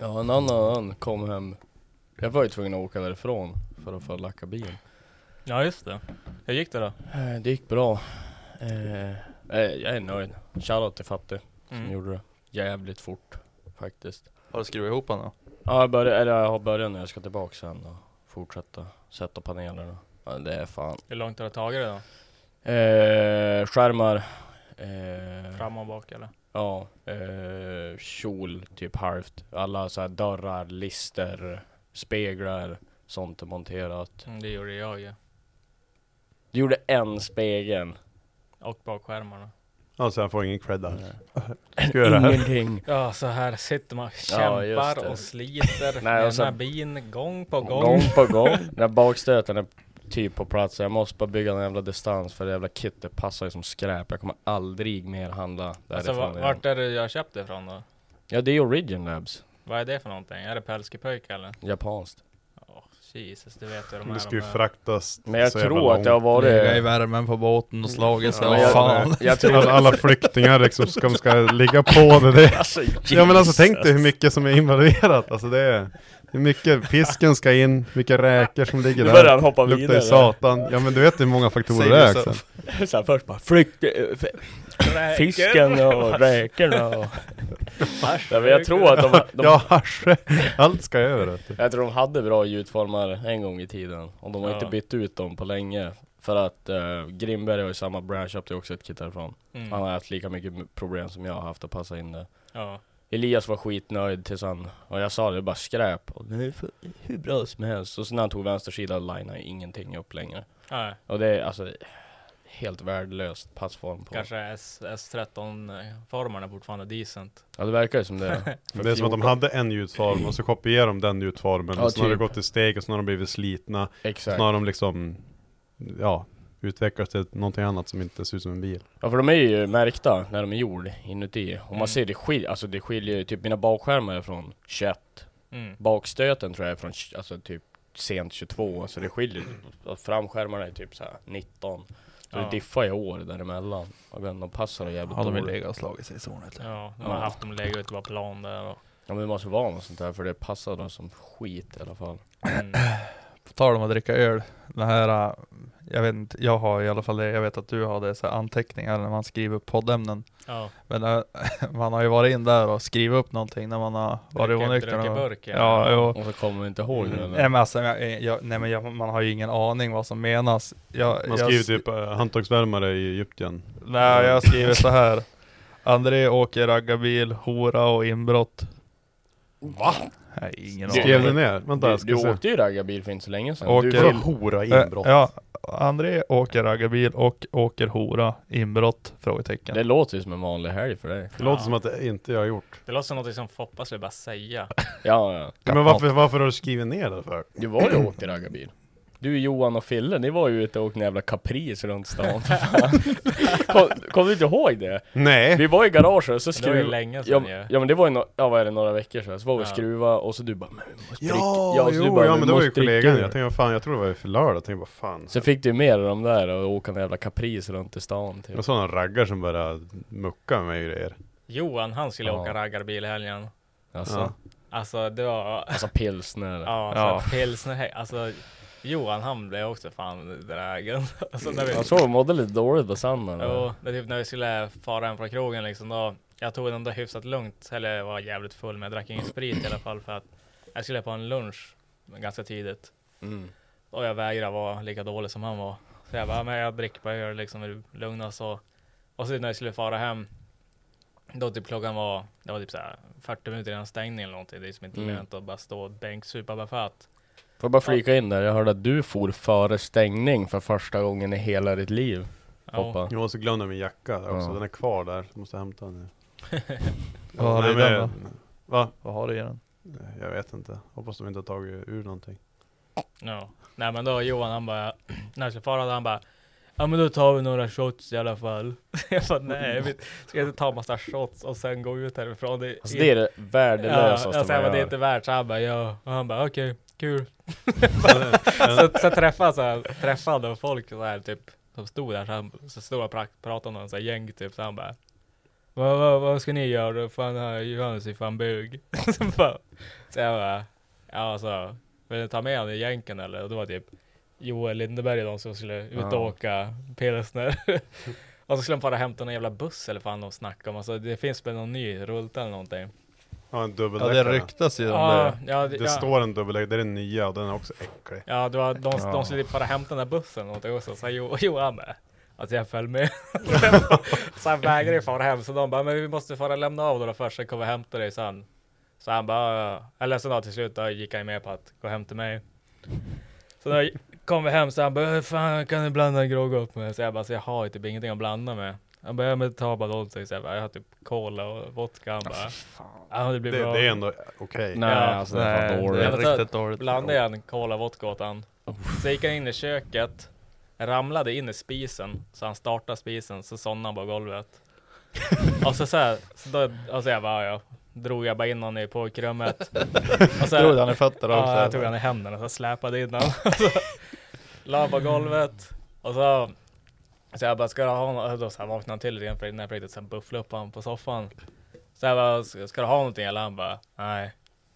ja, en annan kom hem. Jag var ju tvungen att åka därifrån för att få lacka bilen.
Ja just det. Hur gick det då?
Eh, Det gick bra. Eh, eh, jag är nöjd. Shoutout till Fatte som
Mm.
gjorde det. Jävligt fort faktiskt.
Har du skrivit ihop honom?
Ja, jag, börjar, eller jag har börjat nu. Jag ska tillbaka sen och fortsätta sätta panelerna. Ja, det är fan.
Hur långt har du tagit det då?
Eh, skärmar. Eh,
Fram och bak eller?
Ja, eh, kjol typ halvt. Alla så här dörrar, lister, speglar, sånt är monterat.
Mm, det gjorde jag ju.
Du gjorde en spegel.
Och bakskärmarna.
Alltså han får ingen cred där. Ska jag göra det här?
Ingenting.
Ja så här sitter man och
Ja, just
kämpar
det.
och sliter
Nej,
med
och sen-
den här bin gång på gång.
Gång på gång. Den här bakstöten är typ på plats. Jag måste bara bygga en jävla distans för det jävla kittet passar ju som skräp. Jag kommer aldrig mer handla
Alltså
därifrån
va-
igen.
vart är det jag köpt det ifrån då?
Ja, det är Origin Labs.
Vad är det för någonting? Är det Pälskepöjk eller?
Japanskt.
Åh, Jesus, du vet hur de är.
Det ska ju
de här.
fraktas
Men jag
så Alltså, jävla
tror att det har
långt.
varit...
Ligga i värmen på båten och slagit sig,
Ja,
ja,
jag-
fan.
Jag tror...
Alla, alla flyktingar liksom ska, ska ligga på det. det.
Alltså,
Ja men alltså tänk dig
Jesus.
hur mycket som är involverat. Alltså det är det är mycket, fisken ska in, mycket räkor som ligger
Nu börjar han
där.
hoppa
Luktar ju
vidare.
satan. Ja men du vet hur många faktorer
Säg
det är
det
Axel.
Så här, först bara flykt, eh, f- fisken och räkorna och... Nej, men jag tror att de, de,
Ja hasch. Allt ska över vet du.
jag tror de hade bra ljudformar en gång i tiden och de har inte
Ja.
bytt ut dem på länge. För att eh, Grimberg har ju samma branch, köpte ju också ett kit därifrån. Han
Mm.
har haft lika mycket m- problem som jag har haft att passa in det.
Ja.
Elias var skitnöjd tills han, och jag sa det, det är bara skräp. Och det är för, hur bra som helst. Och sen när han tog vänster sida linade ingenting upp längre.
Nej,
Och det är alltså helt värdelöst passform på.
kanske S- S13-formarna är fortfarande decent.
Ja det verkar ju som det. För
Det är som att de
14
hade en ljudform och så kopierar de den ljudformen.
Ja,
och sen har det
typ.
gått i steg och sen har de blivit slitna.
Exakt.
Sen har de liksom, ja, utvecklats till någonting annat som inte ser ut som en bil.
Ja för de är ju märkta när de är gjord inuti. Och
Mm.
man ser det skiljer, alltså det skiljer ju, typ mina bakskärmar är från 21.
Mm.
Bakstöten tror jag är från, tj- alltså typ sent 22. Så det skiljer, typ- och framskärmarna är typ så här 19. Så
Ja.
det diffar ju år däremellan. Och men de passar ju jävligt
Har de
dåligt.
legat och slagit sig i zonet?
Ja, de har
Ja.
haft dem lägga ut bara plan där och...
Ja men det måste vara något sånt där för det passar dem som skit i alla fall.
Mm.
På tal om att dricka öl, den här, äh, jag vet inte, jag har i alla fall det, jag vet att du har det, så här anteckningar när man skriver upp poddämnen.
Ja,
Men äh, man har ju varit in där och skrivit upp någonting när man har varit
Druckit-
onykter.
druckit
och-
burk, ja.
Ja, jo.
Och så kommer vi inte ihåg nu
Mm.
eller?
Nej men, alltså, jag, jag, nej, men jag, man har ju ingen aning vad som menas. Jag,
Man
jag,
skriver typ eh, handtagsvärmare i Egypten.
Nej, jag skriver så här. André åker raggarbil, hora och inbrott.
Va?
Nej, ingen
Du-
aning.
Skrev du ner? Vänta
Du,
jag ska
du
se.
åkte ju raggarbil för inte så länge sedan.
Åker-
Du,
Vadå hora inbrott?
Eh, Ja, André åker raggarbil och åker hora. Inbrott? Frågetecken.
Det låter ju som en vanlig helg för dig.
Det låter som att det inte jag har gjort.
Det låter som något som Foppa skulle bara säga.
Ja, ja.
Men varför, varför har du skrivit ner det för?
Du var ju åkt i raggarbil. Du, Johan och Fille, ni var ju ute och åkte en jävla Caprice runt stan. för fan. kom, kom du inte ihåg det?
Nej!
Vi var i garaget och så
Det var ju
skruv...
länge
Ja,
sedan ju.
men- ja men det var ju, no... ja, vad är det, några veckor sedan. Så var vi och
Ja.
skruva och så du bara men, vi måste dricka.
Ja,
så du
jo,
bara,
ja
"Vi
men det var ju
måste dricka
kollegan.
ur."
Jag tänkte, vad fan, jag tror det var för lördag. Jag tänkte, vad fan.
Sen fick du ju med dig de där och åka en jävla Caprice runt i stan typ.
Jag såg någon raggar som började mucka med mig och grejer.
Johan, han skulle
Ja.
åka raggarbil i helgen.
Alltså,
Ja.
Alltså det var...
alltså pilsner.
Ja,
Ja.
alltså, pilsner, alltså Johan han blev också fan drägen. Alltså när vi...
Jag såg hon mådde lite dåligt på Sanna.
Jo, det är typ när vi skulle fara hem från krogen liksom då. Jag tog det ändå hyfsat lugnt, eller jag var jävligt full men jag drack ingen sprit i alla fall för att jag skulle på en lunch ganska tidigt.
Mm.
Och jag vägrade vara lika dålig som han var. Så jag bara, men jag dricker bara öl liksom, är du lugn och så. Och så när jag skulle fara hem, då typ klockan var, det var typ såhär 40 minuter innan stängning eller någonting. Det är liksom inte
Mm.
lönt att bara stå och bänksupa bara för att.
Får jag bara flika in där, jag hörde att du for före stängning för första gången i hela ditt liv.
Ja.
Hoppa.
Jo, och så glömde jag min jacka där också.
Ja.
Den är kvar där. Jag måste hämta den. nu.
Vad har du i
men-
den
Va?
Vad har du i den?
Jag vet inte. Hoppas de inte har tagit ur någonting.
Ja. Nej men då Johan han bara, när jag skulle fara då han bara Ja men då tar vi några shots i alla fall. jag bara nej, vi ska inte ta massa shots och sen gå ut härifrån. Det,
Alltså det är det värdelösaste
ja, alltså, jag
man
bara, det är
gör.
inte värt. Så han bara ja. Och han bara okej, kul.
Men-
Så, så träffade så här, träffade han folk så här typ som stod där så, han, så stod och pra- pratade om någon så här gäng typ så han bara vad, vad, vad ska ni göra? Fan här, Johannes är fan bög. så, bara, så jag bara ja så vill ni ta med honom i jänken eller? Och då var typ Joel Lindeberg och de som skulle ut och
Ja.
åka pilsner. och så skulle de bara hämta någon jävla buss eller fan de snackade om. Alltså det finns väl någon ny rulta eller någonting.
Ja, en
Ja
dubbeldäckare.
det ryktas ju om
Ja,
det.
ja,
det
ja.
står en dubbeldäckare. Det är den nya och den är också äcklig.
Ja, det var, de,
Ja.
de skulle typ bara hämta den där bussen eller någonting också. Så här, jo, jo, han bara, alltså jag föll med. så han vägrade ju fara hem. Så de bara, men vi måste fara lämna av dig då först, sen kommer vi hämta dig sen. Så han bara, "Ja, ja." eller så då till slut då gick han ju med på att gå hem till mig. Så då kom vi hem så han bara, "Hur fan kan du blanda en grogg upp med? Så jag bara, så jag har ju typ ingenting att blanda med. Han bara, "Ja, men ta bara någonting. Så jag bara, jag har typ cola och vodka. Han bara, ja det
Det,
blir bra.
det är ändå okej.
Nej,
Ja.
alltså det är fan
Nej,
dåligt.
det är
Jag tar-
riktigt dåligt.
Blandade jag en cola vodka åt han. Så gick han in i köket, ramlade in i spisen, så han startade spisen, så somnade han på golvet. Och så såhär, så då, alltså jag bara, ja, drog jag bara in honom i pojkrummet. Och så
Drog han i fötterna också?
ja, jag tog han i händerna och så släpade in honom. Och så la han på golvet. Och så, så jag bara, ska du ha något? Då så här vaknade han till lite grann för när jag försökte så här buffla upp honom på soffan. Så jag bara, ska ska du ha någonting? Eller han bara, nej.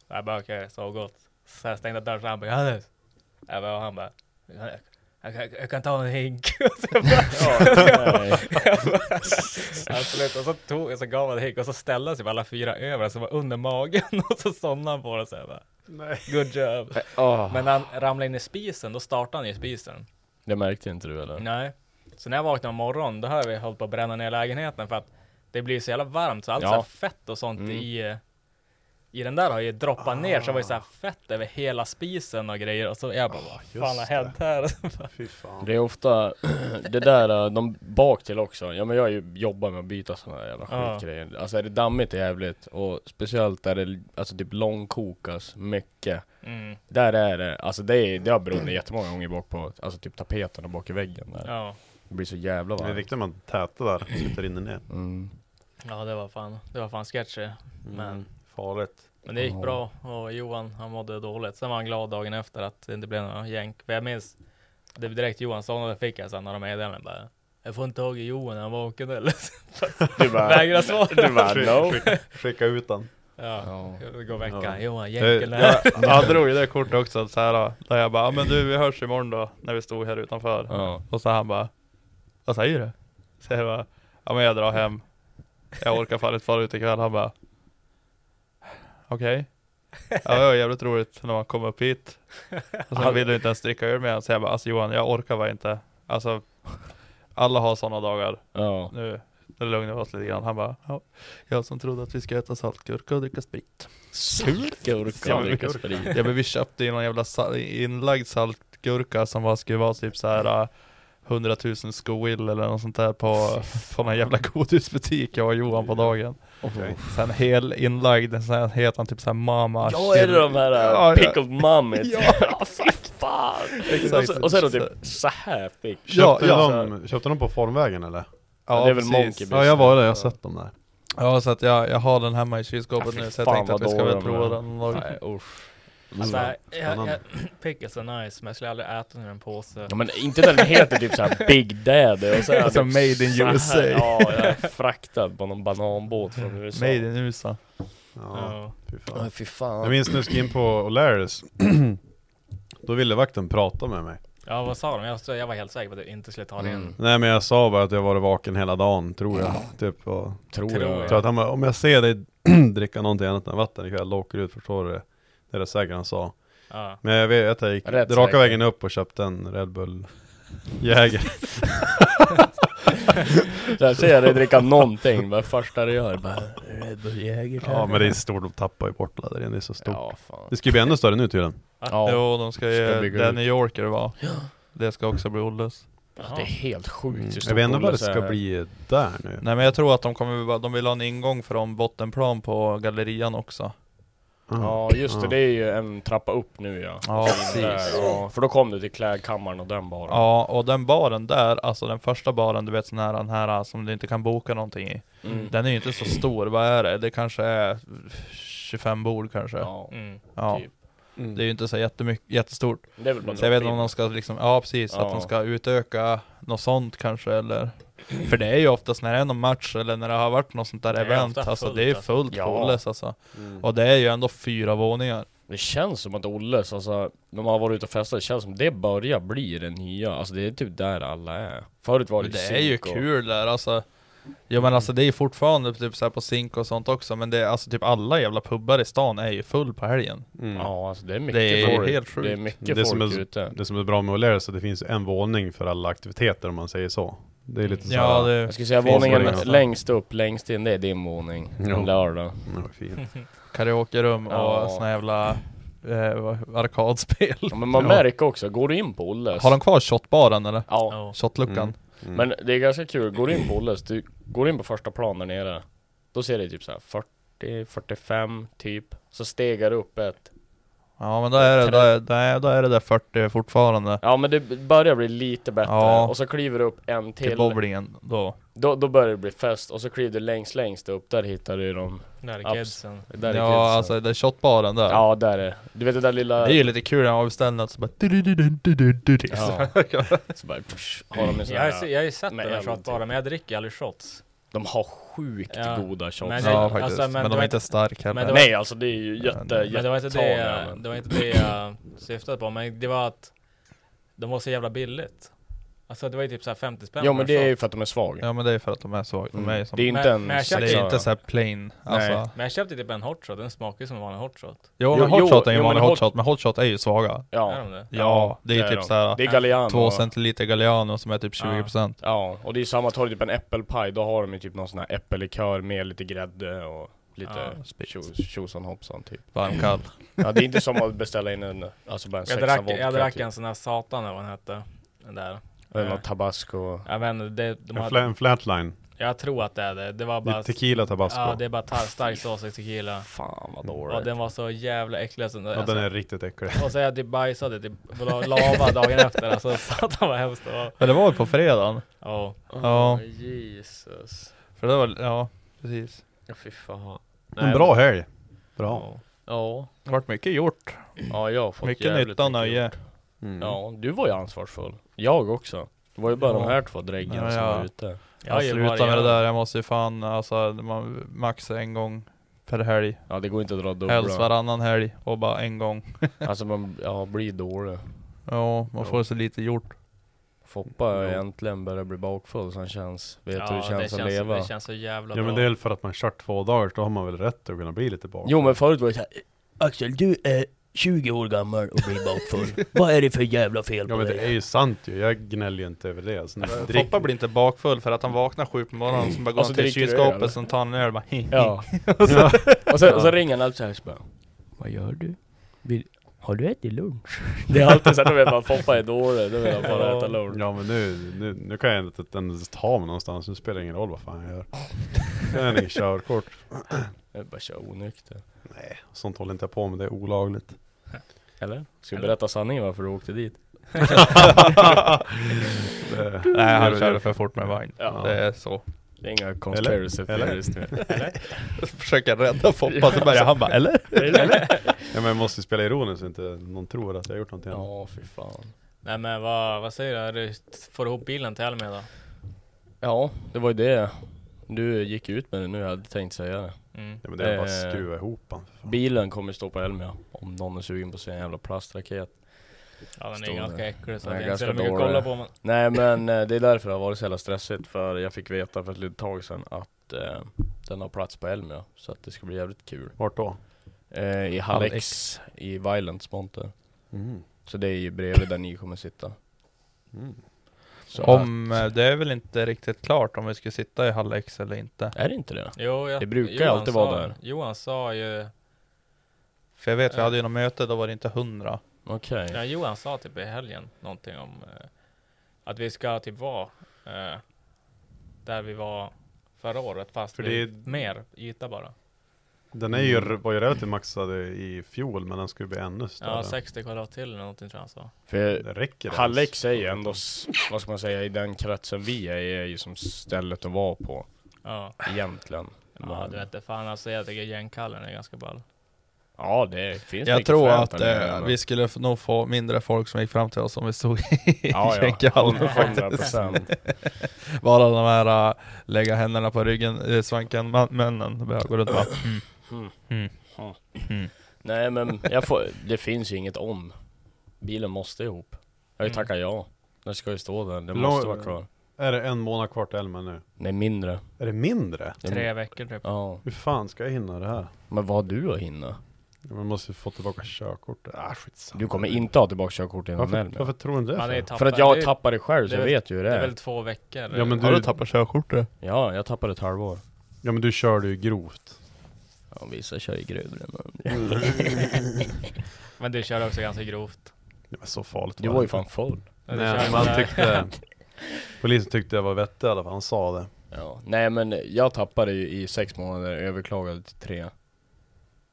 Så jag bara, okej, så gott. Så jag stängde dörren så han bara, Johannes. Jag bara, och han bara, jag, jag, jag, jag kan ta en hink. Så jag bara,
Ja,
Absolut, och så, tog, så gav han en hink och så ställde han sig på alla fyra över, så var under magen och så somnade han på det så jag bara,
Nej.
good job.
oh,
Men när han ramlade in i spisen, då startade han i spisen.
det märkte inte du eller?
Nej. Så när jag vaknade om morgonen, då hade vi hållit på att bränna ner lägenheten för att det blir så jävla varmt, så allt
Ja. Mm.
så här fett och sånt i, i den där har ju droppat
Ah.
ner, så det var ju så här fett över hela spisen och grejer. Och så jag bara, vad fan har hänt här?
Fy fan.
Det är ofta, det där, eh, de bak till också. Ja men jag är ju- jobbar med att byta sådana här jävla
Ja.
skitgrejer. Alltså är det dammigt är jävligt. Och speciellt där det, alltså typ långkokas mycket.
Mm,
Där är det, alltså det, är, det har brunnit jättemånga gånger bak på, alltså typ tapeterna bak i väggen där.
ja.
Det blir så jävla
Det är
varmt.
riktigt man täta där. Så det rinner ner.
Mm.
ja, det var fan, det var fan sketchy. Men,
Farligt.
men det gick
Ja.
bra och Johan, han mådde dåligt. Sen var han glad dagen efter att det inte blev några jänk. För jag minns, det var direkt Johan sa, och det fick jag sen några meddelanden bara, jag får inte tag i Johan, han vaken eller?
Du bara,
Vägrar svara.
du bara no.
Skicka, skicka ut den.
Ja,
Ja.
det går vecka.
Ja.
Johan,
Jag,
jänken
jag,
här.
jag drog ju det kortet också, så här, där jag bara, "Ja, men du vi hörs imorgon då, när vi stod här utanför.
Ja.
Och så han bara, vad säger du? Så jag bara, ja men jag drar hem. Jag orkar fan inte fara ut ikväll. Han bara, okej. Ja det var jävligt roligt när man kom upp hit. Och sen ville du inte ens dricka öl med honom. Så jag bara, alltså Johan jag orkar bara inte. Alltså, alla har sådana dagar.
Ja.
Nu, nu lugnar vi oss lite grann. Han bara, ja, jag som trodde att vi ska äta saltgurka och dricka sprit.
Surt gurka och dricka sprit.
Ja men vi köpte ju någon jävla sal- inlagd salt gurka som var, skulle vara typ såhär 100 000 skoill eller något sånt där på, på någon jävla godisbutik jag och Johan på dagen.
Okej.
Sen hel inlagd, sen heter han typ såhär Mama
Ja är det de här
Ja,
äh, pickled mummies?
Ja.
ja fy fan!
Exakt.
Och så, och så är de typ så här pick.
Ja,
Köpte,
ja.
de, köpte de på Formvägen eller?
det är väl Monkey
Ja,
Business.
Ja jag var där, jag har sett dem där.
ja, så att jag, jag har den hemma i kylskåpet
Ja, fy
nu så jag
fan,
tänkte att
vad
vi ska väl
dåliga de
prova
är.
den någon dag.
Nej usch.
Alltså, jag, jag,
spännande.
jag, pickles är nice, men jag skulle aldrig äta den ur en påse.
Ja, men inte när den heter typ såhär Big Daddy och så är
Alltså,
den
made in
så här,
USA.
Ja, jag är fraktad på någon bananbåt från USA.
Made in USA.
Ja.
Ja, fy fan.
Ja, fy fan.
Jag minns när jag skulle in på O'Larrys Då ville vakten prata med mig
ja, vad sa de? Jag, jag var helt säker på att jag inte skulle ta det in.
Mm.
Nej men jag sa bara att jag varit vaken hela dagen, tror jag Typ och
Tror,
Tror
jag.
jag.
så att han bara, om jag ser dig dricka någonting annat än vatten ikväll, då åker du ut, förstår du det? Det är det säkert han sa
Ja.
Men jag vet att jag gick
Rätt
raka
säker.
vägen upp och köpte en Red Bull Jäger
Så här ser jag dig dricka någonting, vad första du gör bara Red Bull Jäger
Ja men det är stort, de tappar ju bort det där, det är så stort
Ja, fan.
Det ska ju bli ännu större nu tydligen
Ja,
Jo, de ska
Ska
ju,
bygga
den
ut.
New Yorker var. Det ska också bli Olles.
det är helt sjukt
Mm.
hur
Jag
stort
vet ändå vad det
Olles
ska
är.
bli där nu
Nej men jag tror att de kommer, bara- de vill ha en ingång från bottenplan på gallerian också.
Ah.
Ja just det, det är ju en trappa upp nu ja.
Ja, precis.
Ja, för då kom du till klädkammaren och den bara.
Ja, och den baren där, alltså den första baren, du vet sån här, den här som du inte kan boka någonting i.
Mm.
Den är ju inte så stor, vad är det? Det kanske är 25 bord kanske. Ja,
Ja,
Mm.
typ.
Det är ju inte så jättemycket, jättestort.
Det är väl bara
Så jag vet
drop
inte om
in.
de ska liksom, ja precis, att
Ja.
de ska utöka något sånt kanske eller För det är ju oftast när det är någon match eller när det har varit något sånt där
Det är
event,
ofta
alltså
fullt,
det är
alltså.
fullt på
Ja.
Olles alltså. Och det är ju ändå fyra våningar.
Det känns som att Olles, alltså när man har varit ute och festat, det känns som det börjar bli det nya. Alltså det är typ där alla är. Förut var det,
Det är ju
Zinco.
kul där alltså. Jo men alltså det är ju fortfarande typ så här på Zink och sånt också, men det är alltså typ alla jävla pubbar i stan är ju full på helgen.
Ja alltså det är mycket
Det är
folk.
helt
det är
sjukt.
mycket
mm. Det som
folk
är-
ute.
Det som är bra med O'Learys är att det finns en våning för alla aktiviteter om man säger så Det är lite så
Ja,
här-
det
Jag skulle säga
finns
våningen
det.
längst upp, längst in, det är din våning.
Ja.
En lördag.
Ja, vad Mm, fint.
karaokerum och
Ja.
såna jävla eh, vad- arkadspel.
Ja, men man
Ja.
märker också, går du in på Olles?
Har de kvar shotbaren eller?
Ja.
Ja.
Shotluckan?
Mm.
Men det är ganska kul, går du in på Olles, du går in på första plan där nere Då ser det typ såhär 40, 45 typ Så stegar det upp ett
Ja men då är det, då är, då är, då är det där 40 fortfarande.
Ja men det börjar bli lite bättre
Ja.
och så kliver du upp en
Till
till
bowlingen då.
då, då börjar det bli fest och så kliver du längst längst upp, där hittar du dem
Där
Abs-
är kidsen.
där är kidsen.
ja alltså det är shotbaren där.
Ja där är Du vet det där lilla...
Det är ju lite kul när man beställer något så bara... du-du-du-du-du-du.
Ja. så bara, psh, har de en sån
Jag har ju
här,
se- jag har ju sett
Med
den där
en
shotbaren,
typ.
men jag dricker aldrig shots.
De har sjukt
Ja.
goda shots
Men-
Ja
alltså,
faktiskt, men,
men det
de
var
är inte starka
men det
heller.
var-
Nej alltså det är ju jätte,
Men
Men det var inte det,
jättetaliga,
jag-
men-
det var inte det jag syftade på, men det var att de var så jävla billigt. Alltså det var ju typ såhär 50 spänn
Jo
per
men det är ju
shot.
för att de är svaga Mm.
Ja men det är Mm. för att de är så. De är ju som,
Det är
Men-
inte en
men jag
det
känner-
är
sexa.
inte såhär plain. Alltså.
Men jag köpte typ en hot shot, den smakar ju som en vanlig hot shot.
Jo
Jo,
men hot shot är ju en
jo, men
vanlig
hot-
hot shot, men hot shot är ju svaga.
Ja.
Är de det?
Ja, det är ju typ
de.
såhär
Det är Galliano.
två centiliter Galliano som är typ 20%.
Ja, och det är samma, tar du typ en äppelpaj, då har de ju typ någon sån här äppellikör med lite grädde och lite
Ja, sprit.
tjo- tjosan hoppsan typ.
Varm kall.
Ja, det är inte som att beställa in en, alltså bara en
Jag
sexa
drack,
vodka
jag drack
typ.
en sån här satan eller vad den hette. Den där.
Eller någon tabasco.
Jag vet inte, det, de
En, fla
hade,
en flatline,
jag tror att det är det. Det var bara...
tequila tabasco
Ja, det är bara tar, stark sås och tequila.
Fan vad
Och
dåligt.
den var så jävla äcklig. Alltså,
Ja, den är riktigt äcklig
Och så jag typ bajsade typ la- lava dagen efter. Alltså satan vad hemskt det var.
Men det var ju på fredagen.
Ja.
Ja.
Jesus.
För det var, ja precis.
Ja, fy fan.
En bra helg! Bra
Ja.
Det vart mycket gjort.
Ja, jag har fått
Mycket
jävligt
nytta och nöje.
gjort. Ja, du var ju ansvarsfull. Jag också. Det var ju bara
Ja.
de här två dräggarna
Ja,
som
ja.
var ute.
Jag har
Jag
ju
slutar
varit-
med det där, jag måste ju fan alltså, man, max en gång per helg.
Ja, det går inte att dra
Helst
dubbla.
varannan helg och bara en gång.
Alltså man, ja, blir dålig.
Ja, man får så lite gjort.
Foppa har
Jo.
egentligen börjat bli bakfull så han känns, vet
Ja,
hur det känns att leva.
Det känns så jävla
Ja men
bra.
det är väl för att man kört två dagar, då har man väl rätt att kunna bli lite bak
Jo men förut var det såhär,
Axel, du är 20 år gammal och blir bakfull. Vad är det för jävla fel
Ja
på
men
dig?
det är ju sant ju, jag gnäller ju inte över det alltså, när jag dricker-
Foppa blir inte bakfull för att han vaknar sju på morgonen, sen bara går
Och så
han till
dricker du öl.
kylskåpet, sen tar han en öl och bara hi, hi.
ja. och, så, och så ringer han upp såhär så bara, Vad gör du? Vill,
Har du ätit lunch?
Det är alltid såhär, då vill man Foppa är dålig, då vill jag bara äta lunch.
Ja men nu, nu, nu kan jag inte ens ta mig någonstans, nu spelar det ingen roll vad fan jag gör. Jag har inget körkort.
Jag bara kör onykter.
Nej, sånt håller inte jag på med, det är olagligt.
Eller? Ska vi berätta sanningen varför du åkte dit?
Det-
Nej han
det-
körde för fort med vagn.
Ja.
Det är så.
Det är inga conspiracy
Eller?
theories nu.
Försöker rädda Foppa så börjar han bara eller?
Ja men jag måste ju spela ironiskt så inte någon tror att jag har gjort någonting. annat.
Ja, fy fan.
Nej men vad, vad säger du? Är det- Får du ihop bilen till Almeda?
Ja, det var ju det. Du gick ut med det nu, jag hade tänkt säga det.
Mm.
Ja, men det är bara
Eh.
att skruva ihop han.
Bilen kommer stå på Elmia om någon är sugen på sin jävla plastraket.
Ja den är
Står
ganska
det.
äcklig så
Den är
det är inte så
ganska
mycket att
dålig.
kolla på men
Nej men eh, det är därför det har varit så jävla stressigt för jag fick veta för ett litet tag sedan att eh, den har plats på Elmia så att det ska bli jävligt kul.
Vart då?
Eh, I
Hall
Hall
X.
X i Violents monter.
Mm.
Så det är ju bredvid där ni kommer sitta.
Mm.
Så
Om, eh, det är väl inte riktigt klart om vi ska sitta i Hall X eller inte.
att- Är det inte det?
jo, jag,
Det brukar
Johan
alltid vara
sa-
där.
Johan sa ju
För jag vet vi
Eh.
hade ju något möte, då var det inte hundra.
Okej.
Ja, Johan sa typ i helgen någonting om eh, att vi ska typ vara eh, där vi var förra året fast
För
För
det är-
mer yta bara.
Den är ju, var ju relativt maxad i i fjol men den skulle bli ännu större.
Ja, 60 kvadrat till eller någonting tror jag han sa.
För
Det räcker det
Hall
ens?
X är ju ändå, s- vad ska man säga, i den kretsen vi är i är ju som stället att vara på
Ja,
egentligen.
ja
Men-
du vet det fan alltså jag tycker gängkallen är ganska ball.
Ja det finns
Jag
mycket
tror
fränt
att
där nere,
eh,
men-
vi skulle f- nog få mindre folk som gick fram till oss om vi stod i
Ja, ja.
Jänkehallen.
100%.
Bara de här äh, lägga händerna på ryggen, äh, svanken, man, männen börjar gå runt och bara mm.
Nej men jag får, det finns ju inget om. Bilen måste ihop. Jag har ju tackat ja. Den ska ju stå där, den
Lång-
måste vara kvar.
Är det en månad kvar till Elmen nu?
Nej mindre.
Är det mindre?
Den-
Tre veckor typ.
Ja.
Hur fan ska jag hinna det här?
Men vad har du att hinna?
Man måste ju få tillbaka körkortet. Ah skitsamma.
Du kommer inte ha tillbaka körkortet innan
Varför,
Elmia.
varför tror du inte det?
Man är
för?
ju tappad.
För att
Det
jag
är-
tappade det själv så
det är
jag
väl-
vet ju hur det
Det är
är.
väl två veckor.
Ja men,
Har du
du,
tappat körkortet?
Ja, jag tappade ett halvår.
ja men du körde ju grovt.
Ja, vissa kör ju grövre men...
men du körde också ganska grovt.
Det var så farligt.
Du var ju fan full.
Du
Nej,
körde
man
där.
tyckte... Polisen tyckte jag var vettig i alla fall, han sa det.
Ja. Nej men jag tappade ju i sex månader, överklagade till tre.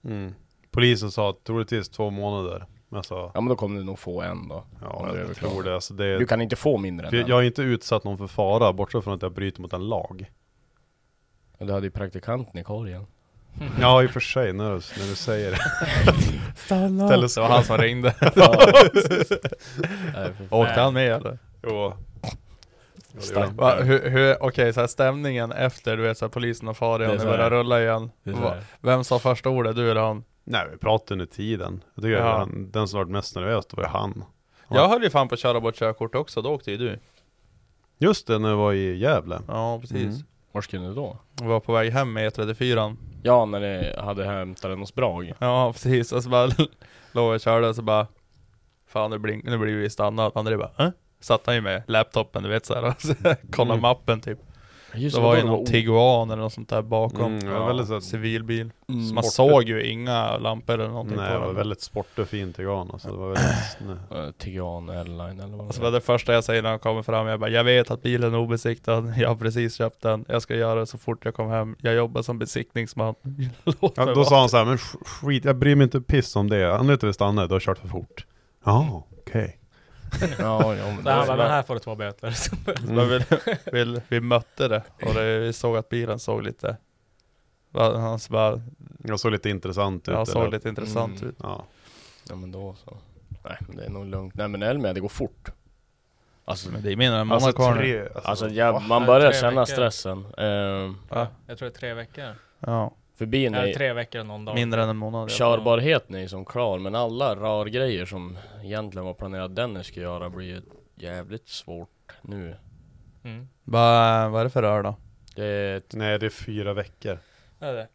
Mm.
Polisen sa att troligtvis två månader. Men jag sa,
Ja men då kommer du nog få en då.
ja
om du
jag
överklagar.
tror det. Alltså det
Du kan inte få mindre än
för jag,
en.
jag har inte utsatt någon för fara, bortsett från att jag bryter mot en lag.
Ja, Du hade ju praktikanten i korgen.
Mhm.
Ja i och för sig, när du, när du säger det.
Ställer sig, det var han som ringde.
Nej, för
Åkte han med eller?
Jo.
Va, hur, hur, okej, så här stämningen efter du vet så här, polisen har farit
Det är
och ni
så här.
börjar rulla igen.
Det är så
Va,
här.
vem sa första ordet? Du eller han?
Nej vi pratade under tiden. Jag tycker
Ja.
att han, den som varit mest nervös, det var ju han. Ja.
Jag höll ju fan på att köra bort körkortet också, då åkte ju du.
Just det, när jag var i Gävle.
Ja precis.
Mm.
Var skulle du då?
Mm. Var på väg hem med E34.
Ja, när ni hade hämtat den hos Brag.
Ja precis, och så bara låg jag och körde och så bara Fan nu, blink, nu blir vi stannade, André bara äh? Satt han ju med laptopen du vet såhär och så kollade
Mm.
mappen typ
Just
Det var ju någon Tiguan eller något sånt där bakom
Mm, det var väldigt så här-
Civilbil
Mm.
Så man
Sportigt.
såg ju inga lampor eller någonting
Nej,
på
det var
den
väldigt sportig och fin Tiguan alltså. Det var väldigt... nej.
Uh, Tigan Airline eller vad
Alltså det
det
var
var.
det första jag säger när han kommer fram, jag bara Jag vet att bilen är obesiktad, jag har precis köpt den Jag ska göra det så fort jag kommer hem Jag jobbar som besiktningsman Låt
Ja,
mig
då
vara.
sa han så här, men sk- skit, jag bryr mig inte piss om det. Anledningen till att vi stannade, du har kört för fort. Ja, okej.
Ja, ja, men
Så han
det
bara,
var-
men här får du två böter.
Så bara, vi, vi, vi mötte det och det, vi såg att bilen såg lite va- Han så bara,
Mm. Jag såg lite intressant ut.
ja, såg
eller?
lite intressant
Mm.
ut
Ja.
Ja, men då så. Nej, men det är nog lugnt. Nej, men Elmia, det går fort. Alltså,
Men det är mindre än månad
Alltså
kvar nu
tre...
alltså
Alltså,
jag, man
Ja,
börjar
tre
känna
veckor.
stressen. Uh,
Ja.
Jag tror det är tre veckor.
Ja,
för bilen
Eller
är,
tre veckor och någon dag.
mindre än en månad
körbarheten är ju som klar, men alla rörgrejer som egentligen var planerat Dennis skulle göra blir ju jävligt svårt nu.
Mm.
Vad vad är det för rör då?
Det är ett-
nej, det är fyra veckor.
Det är det.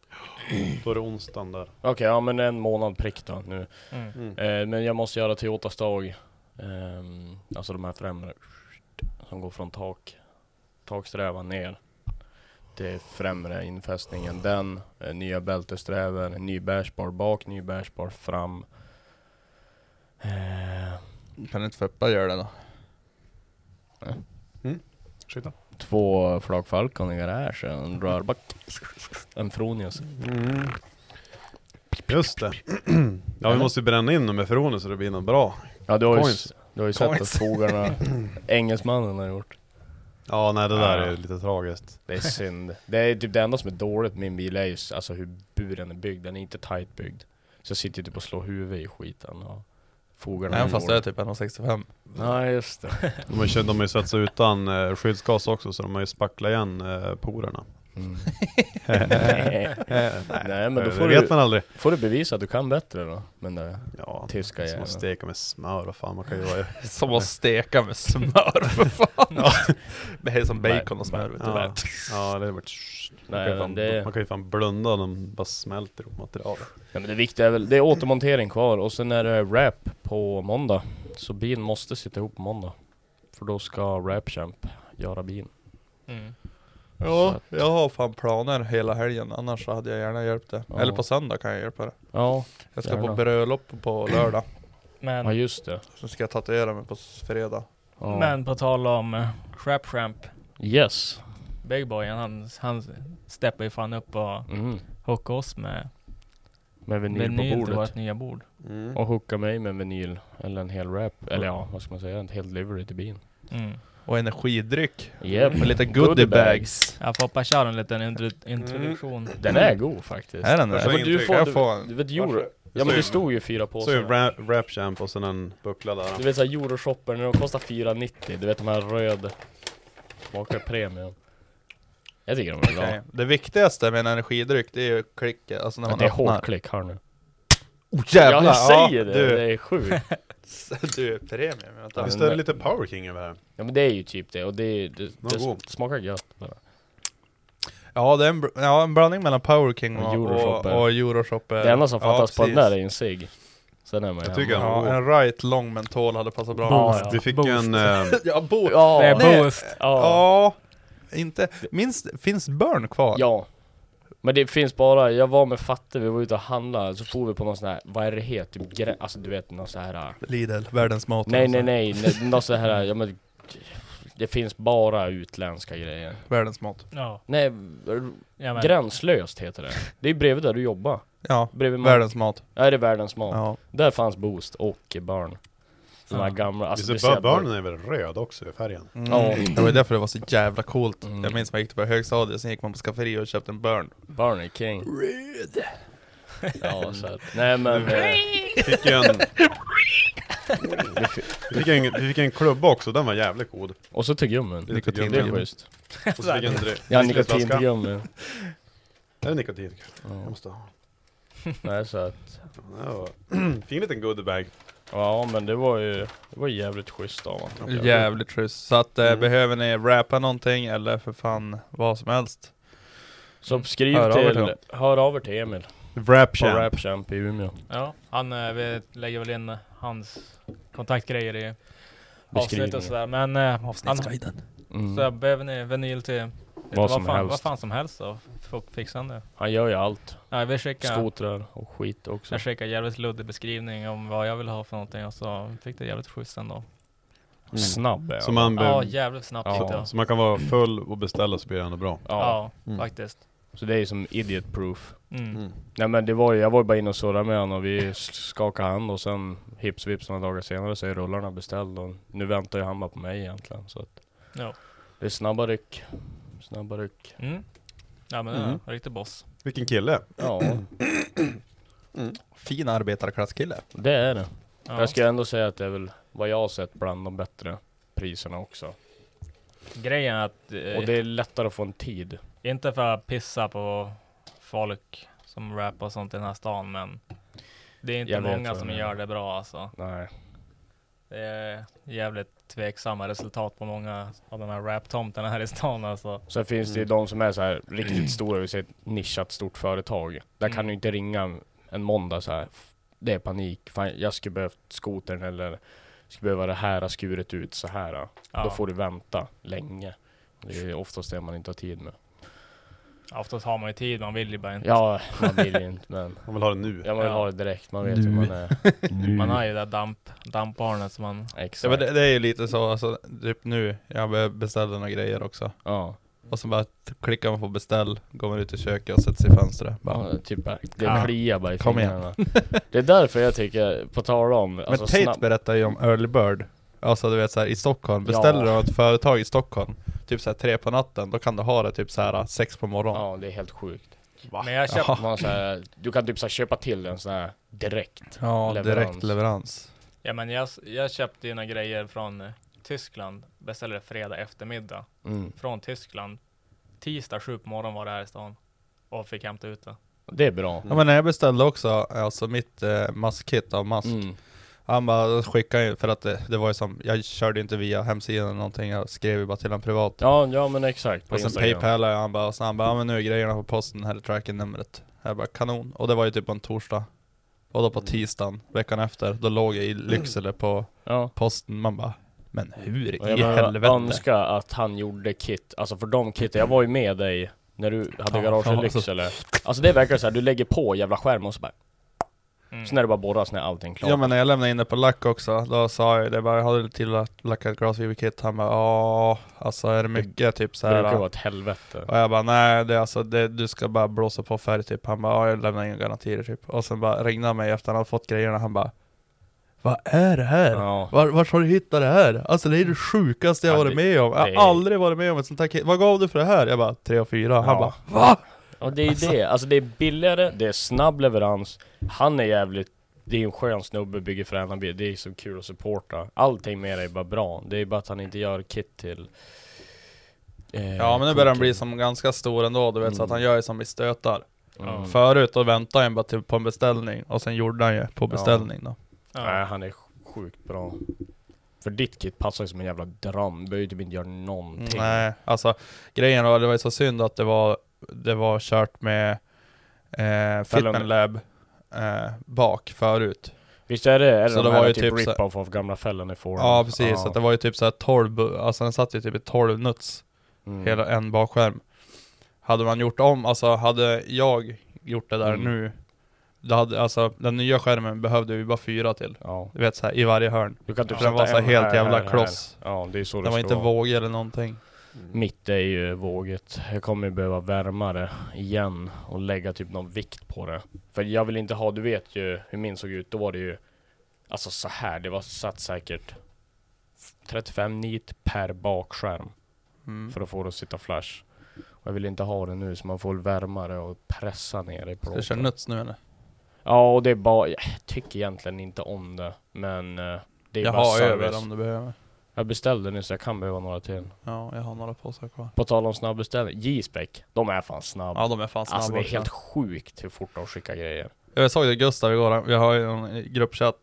Då är det onsdagen där.
Okej, ja men en månad prick då nu.
Mm.
Eh, men jag måste göra Toyota Stag. Ehm, alltså de här främre. Som går från tak. Taksträvan ner. Till främre infästningen. Den. Eh, nya bältessträvor. Ny bärsbar bak. Ny bärsbar fram. Eh,
Kan inte Feppa göra det då?
Ursäkta.
två flakfalkon i garage, en rörback, en fronius.
Mm. Just det. ja, vi måste ju bränna in dem med förhållande så det blir något bra.
Ja du har ju,
Coins.
du har ju sett att
Coins.
skogarna, engelsmannen har gjort.
Ja, nej det där
Ja.
är lite tragiskt.
Det är synd. Det är typ det enda som är dåligt med min bil är just alltså hur buren är byggd. Den är inte tight byggd. Så jag sitter ju typ och slår huvudet i skiten och fogarna
Även fast
hårda.
jag är typ 1,65.
Nej just det.
De har ju, de har ju svetsat utan eh, skyddsgas också så de har ju spacklat igen eh, porerna.
Mm.
Eh,
Nej men
det
då får
vet
du,
man aldrig.
får du bevisa att du kan bättre då. Men det,
Ja,
Tyska
som
jävlar.
att steka med smör, vad fan man kan göra.
Som att steka med smör för fan! Det är som bacon och smör vet du.
Ja, ja det är varit...
Nej,
man, kan ju
men
fan,
det-
man kan ju fan blunda om de bara smälter ihop materialet.
nej, men det viktiga är väl, det är återmontering kvar och sen är det wrap på måndag. Så bilen måste sitta ihop på måndag. För då ska wrapchamp göra bilen.
Mm.
Ja,
jag har fan planer hela helgen annars hade jag gärna hjälpt dig.
Ja.
Eller på söndag kan jag hjälpa dig.
Ja,
Jag ska på
Gärna.
bröllop på lördag.
ja
Men,
just det.
Sen ska jag tatuera mig på s- fredag.
Ja.
men på tal om eh, Crap Shramp,
Yes.
Big Boy, han, han steppar ju fan upp och
Mm.
hookade oss med
Med vinyl på
menyn till
bordet.
vårt nya bord.
Mm.
Och hooka mig med en vinyl, eller en hel rap, eller ja, vad ska man säga, en hel livery till bin.
Mm.
Och energidryck.
Mm.
Yep.
Med lite goodiebags.
Jag får hoppa köra en liten intro- introduktion.
Den Mm. är god faktiskt.
Är den
Varsågod.
det?
men du
intryck.
får,
Jag
du,
får en.
du vet euro,
Varsågod.
ja men
Så-
det stod ju fyra
Så är
påsar.
wrap, wrap champ och sen en buckla där.
Du vet såhär euroshopper, när de kostar 4,90, du vet de här röd Smakar premium. Jag tycker de är bra.
Okej. Det viktigaste med en energidryck det är ju klicket, alltså när man
Att det är
öppnar.
hårt klick, hör nu.
Oh,
Ja,
jävlar!
jag säger det,
Du,
det är sjukt.
du är premium. Vänta.
Visst är det lite power king över här?
Ja men det är ju typ det, och det, är- det, det
god.
smakar gött
Eh,
bara.
Ja, det är en, br- ja, en blandning mellan Power King och,
Och
och,
Euroshopper.
och Euroshopper.
Det enda som
ja,
fattas på den
precis.
där är ju en cigg. Sen är man
Jag
hemma.
tycker han
Ja,
var
en right long mentol hade passat bra.
Ja, ja.
god. Vi fick
Boost.
ju en...
Alltså,
eh,
ja, bo- ja.
Eh, Ja,
Det är
Nej.
boost.
inte... Minns, finns Burn kvar?
Ja. Men det finns bara, jag var med Fatte, vi var ute och handlade, så for vi på någon sån här, vad är det het? Typ grä, alltså du vet någon sån här,
Lidl, världens mat.
nej
alltså.
nej nej, nej någon sån här, ja men det finns bara utländska grejer.
Världens mat.
Ja,
Nej,
jajamän.
gränslöst heter det. Det är ju bredvid där du jobbar.
Ja,
Bredvid mat.
världens mat.
Nej det är världens mat.
Ja.
Där fanns Boost och Barn. De här
Ja.
gamla, alltså
Visst
du
är
ser-
barnen är väl röd också i färgen?
Mm.
Ja.
Det var ju därför det var så jävla coolt.
Mm.
Jag minns man gick på högstadiet, sen gick man på skafferi och köpte en Burn.
Barn är king. Ja så att, nej men. eh,
Vi fick ju en... Vi fick, en, vi fick en klubba också, den var jävligt god.
Och så tuggummin.
Lite
Det är
tuggummi.
schysst.
Och så fick jag en dry-
Ja
dryckesflaska.
nikotintuggummi.
Är det nikotin? Jag
Ja.
måste ha.
Nej så att.
Ja, det var- Fin liten goodiebag.
Ja men det var ju, det var jävligt schysst av honom.
Jävligt schysst. Så att eh,
Mm.
behöver ni rappa någonting eller för fan vad som helst.
Så skriv
Hör av er till
till,
honom.
hör av er till Emil
Wrap
på Rapchamp i Umeå.
Ja, han, eh, vi lägger väl in hans kontaktgrejer i avsnittet
Beskrivningen.
och sådär. Men eh, han,
Mm.
så behöver ni vinyl till lite vad,
som
fan,
helst.
vad fan som helst då. F- Fixar han det?
Han gör ju allt.
Nej, vi skickar,
Skotrar och skit också.
jag skickade jävligt luddig beskrivning om vad jag vill ha för någonting och så fick det jävligt schysst ändå.
Snabb är
Så
han.
man, be-
Mm. Ja, jävligt snabbt
Ja.
tyckte jag.
så man kan vara full och beställa så blir det ändå bra.
Ja.
Ja,
Mm.
faktiskt.
Så det är ju som idiot proof.
Mm.
Nej men det var ju, jag var ju bara inne och surrade med honom och vi skakade hand och sen hips vips några dagar senare så är rullarna beställd och nu väntar ju han bara på mig egentligen. Så att
Ja.
det är snabba ryck. Snabba ryck.
Mm. Ja men det är
Mm.
en riktig boss.
Vilken kille!
Ja,
Fin arbetarklasskille.
det är det.
Ja.
Jag ska ändå säga att det är väl vad jag har sett bland de bättre priserna också.
Grejen är att, eh,
Och det är lättare att få en tid.
inte för att pissa på folk som rappar och sånt i den här stan men det är inte
Jag vet
många
vad du
som
menar.
gör det bra alltså.
Nej.
Det är jävligt tveksamma resultat på många av de här raptomterna här i stan alltså.
Sen finns
Mm.
det ju de som är så här riktigt stora, vi säger ett nischat stort företag. Där kan
Mm.
du inte ringa en- en måndag så här. "F- Det är panik, fan, jag skulle behövt skotern eller skulle behöva det här har skuret ut så här.
Ja.
Då får du vänta länge. Det är oftast det man inte har tid med.
Ja, Oftast har man ju tid, man vill ju bara inte.
Ja, man vill ju inte men...
Man vill ha det nu.
Ja, man vill
Ja.
ha det direkt, man vet
Nu.
hur man är. Mm.
Man har ju det där damp, dampbarnet som man...
Ja, men
Exakt.
det, det är ju lite så, alltså, typ nu, jag beställde några grejer också.
Ja,
Och så bara t- klickar man på beställ, går man ut i köket och sätter sig i fönstret. Bara.
ja typ bara- det
Ja.
kliar bara i
Kom igen.
fingrarna. Det är därför jag tycker, på tal om... alltså,
Men Tate
snabb-
berättade ju om Early Bird. Alltså du vet såhär i Stockholm, beställer
Ja.
du av ett företag i Stockholm, typ såhär tre på natten, då kan du ha det typ såhär sex på morgonen.
Ja, det är helt sjukt.
Men jag köpte...
Jaha.
Man, så här, du kan typ så här, köpa till en sån här direkt.
Ja,
Leverans.
direkt leverans.
Ja men jag, jag köpte ju några grejer från eh, Tyskland. Beställde fredag eftermiddag.
Mm.
Från Tyskland. Tisdag sju på morgonen var det här i stan. Och fick hämta ut det.
Det är bra.
Ja men när jag beställde också, alltså mitt eh, maskkit av mask,
Mm.
han bara skickade ju, för att det, det var ju som, jag körde ju inte via hemsidan eller någonting, jag skrev ju bara till honom privat.
Ja, ja men exakt. På
Och sen
Instagram.
paypalade jag han bara, och sen han bara, ja men nu är grejerna på posten, här är tracking-numret. Jag bara, kanon. Och det var ju typ på en torsdag. Och då på
Mm.
tisdagen, veckan efter, då låg jag i Lycksele på
Ja.
posten. Man bara, men hur
Och
i
jag bara
helvete?
önskar att han gjorde kit, alltså för de kitten, jag var ju med dig när du hade
Ja,
garage i
ja,
Lycksele. Alltså det verkar så här, du lägger på jävla skärm och så bara...
Mm.
Sen är det bara borras när allting är klart.
Ja men när jag lämnade in det på lack också, då sa jag det bara, jag hade till att lacka ett glas kit Han bara, ja alltså är det mycket typ så
det brukar
här.
vara ett helvete.
Och jag bara nej, det, är alltså, det, du ska bara blåsa på färg typ. Han bara ja, jag lämnar in garantier typ. Och sen bara ringde han mig efter han hade fått grejerna. Han bara vad är det här?
Ja.
Var, vart har du hittat det här? Alltså det är det sjukaste jag
Ja,
varit
det-
med om. Jag har
det-
aldrig varit med om ett sånt här kit. Vad gav du för det här? Jag bara tre och fyra. Han
Ja.
bara va?
Och det är ju det, alltså det är billigare, det är snabb leverans, han är jävligt det är ju en skön snubbe, bygger fräna bil, det är så kul att supporta. Allting med det är bara bra. Det är bara att han inte gör kit till... eh,
Ja men nu börjar han
koken.
bli som ganska stor ändå. Du vet så att han gör ju som i stötar.
Mm.
Förut då väntade han bara typ på en beställning. Och sen gjorde han ju på beställning då.
Nej,
Ja.
han är sjukt bra. För ditt kit passar ju som en jävla dröm. Du behöver ju typ inte göra någonting.
Nej, alltså grejen var, det var ju så synd att det var, det var kört med eh, Fitman Lab eh, bak förut.
Visst är det? Är det,
Så
de
det
här
var ju
typ
typ så-
rip-off av gamla fällen i Ford?
Ja precis, så att det var ju typ såhär 12, bu- alltså den satt ju typ i 12 nuts,
Mm.
hela en bakskärm. Hade man gjort om, alltså hade jag gjort det där
Mm.
nu, då hade, alltså den nya skärmen behövde vi bara fyra till.
Ja.
Du vet såhär i varje hörn.
Du kan typ
För den var så
en
helt
här,
jävla
här, här.
kloss.
Ja, det är ju så det,
Den var
ska
inte
vara.
vågig eller någonting.
Mitt är ju våget. Jag kommer ju behöva värma det igen och lägga typ någon vikt på det. För jag vill inte ha, du vet ju hur min såg ut. Då var det ju, alltså så här. Det var satt säkert 35 nit per bakskärm.
Mm.
för att få det att sitta flash. Och jag vill inte ha det nu så man får väl värma det och pressa ner det i
Ska du köra
plåten.
nuts nu eller?
Ja, och det är bara... Jag tycker egentligen inte om det, men eh, det är
Jag
bara
har
service.
över om du behöver.
Jag beställde nu så jag kan behöva några till.
Ja, jag har några påsar kvar.
På tal om snabbeställning, J-spec, de är fan snabba.
Ja de är fan snabba
alltså det är
också.
helt sjukt hur fort de skickar grejer.
Jag såg det Gustav igår, vi har ju en gruppchatt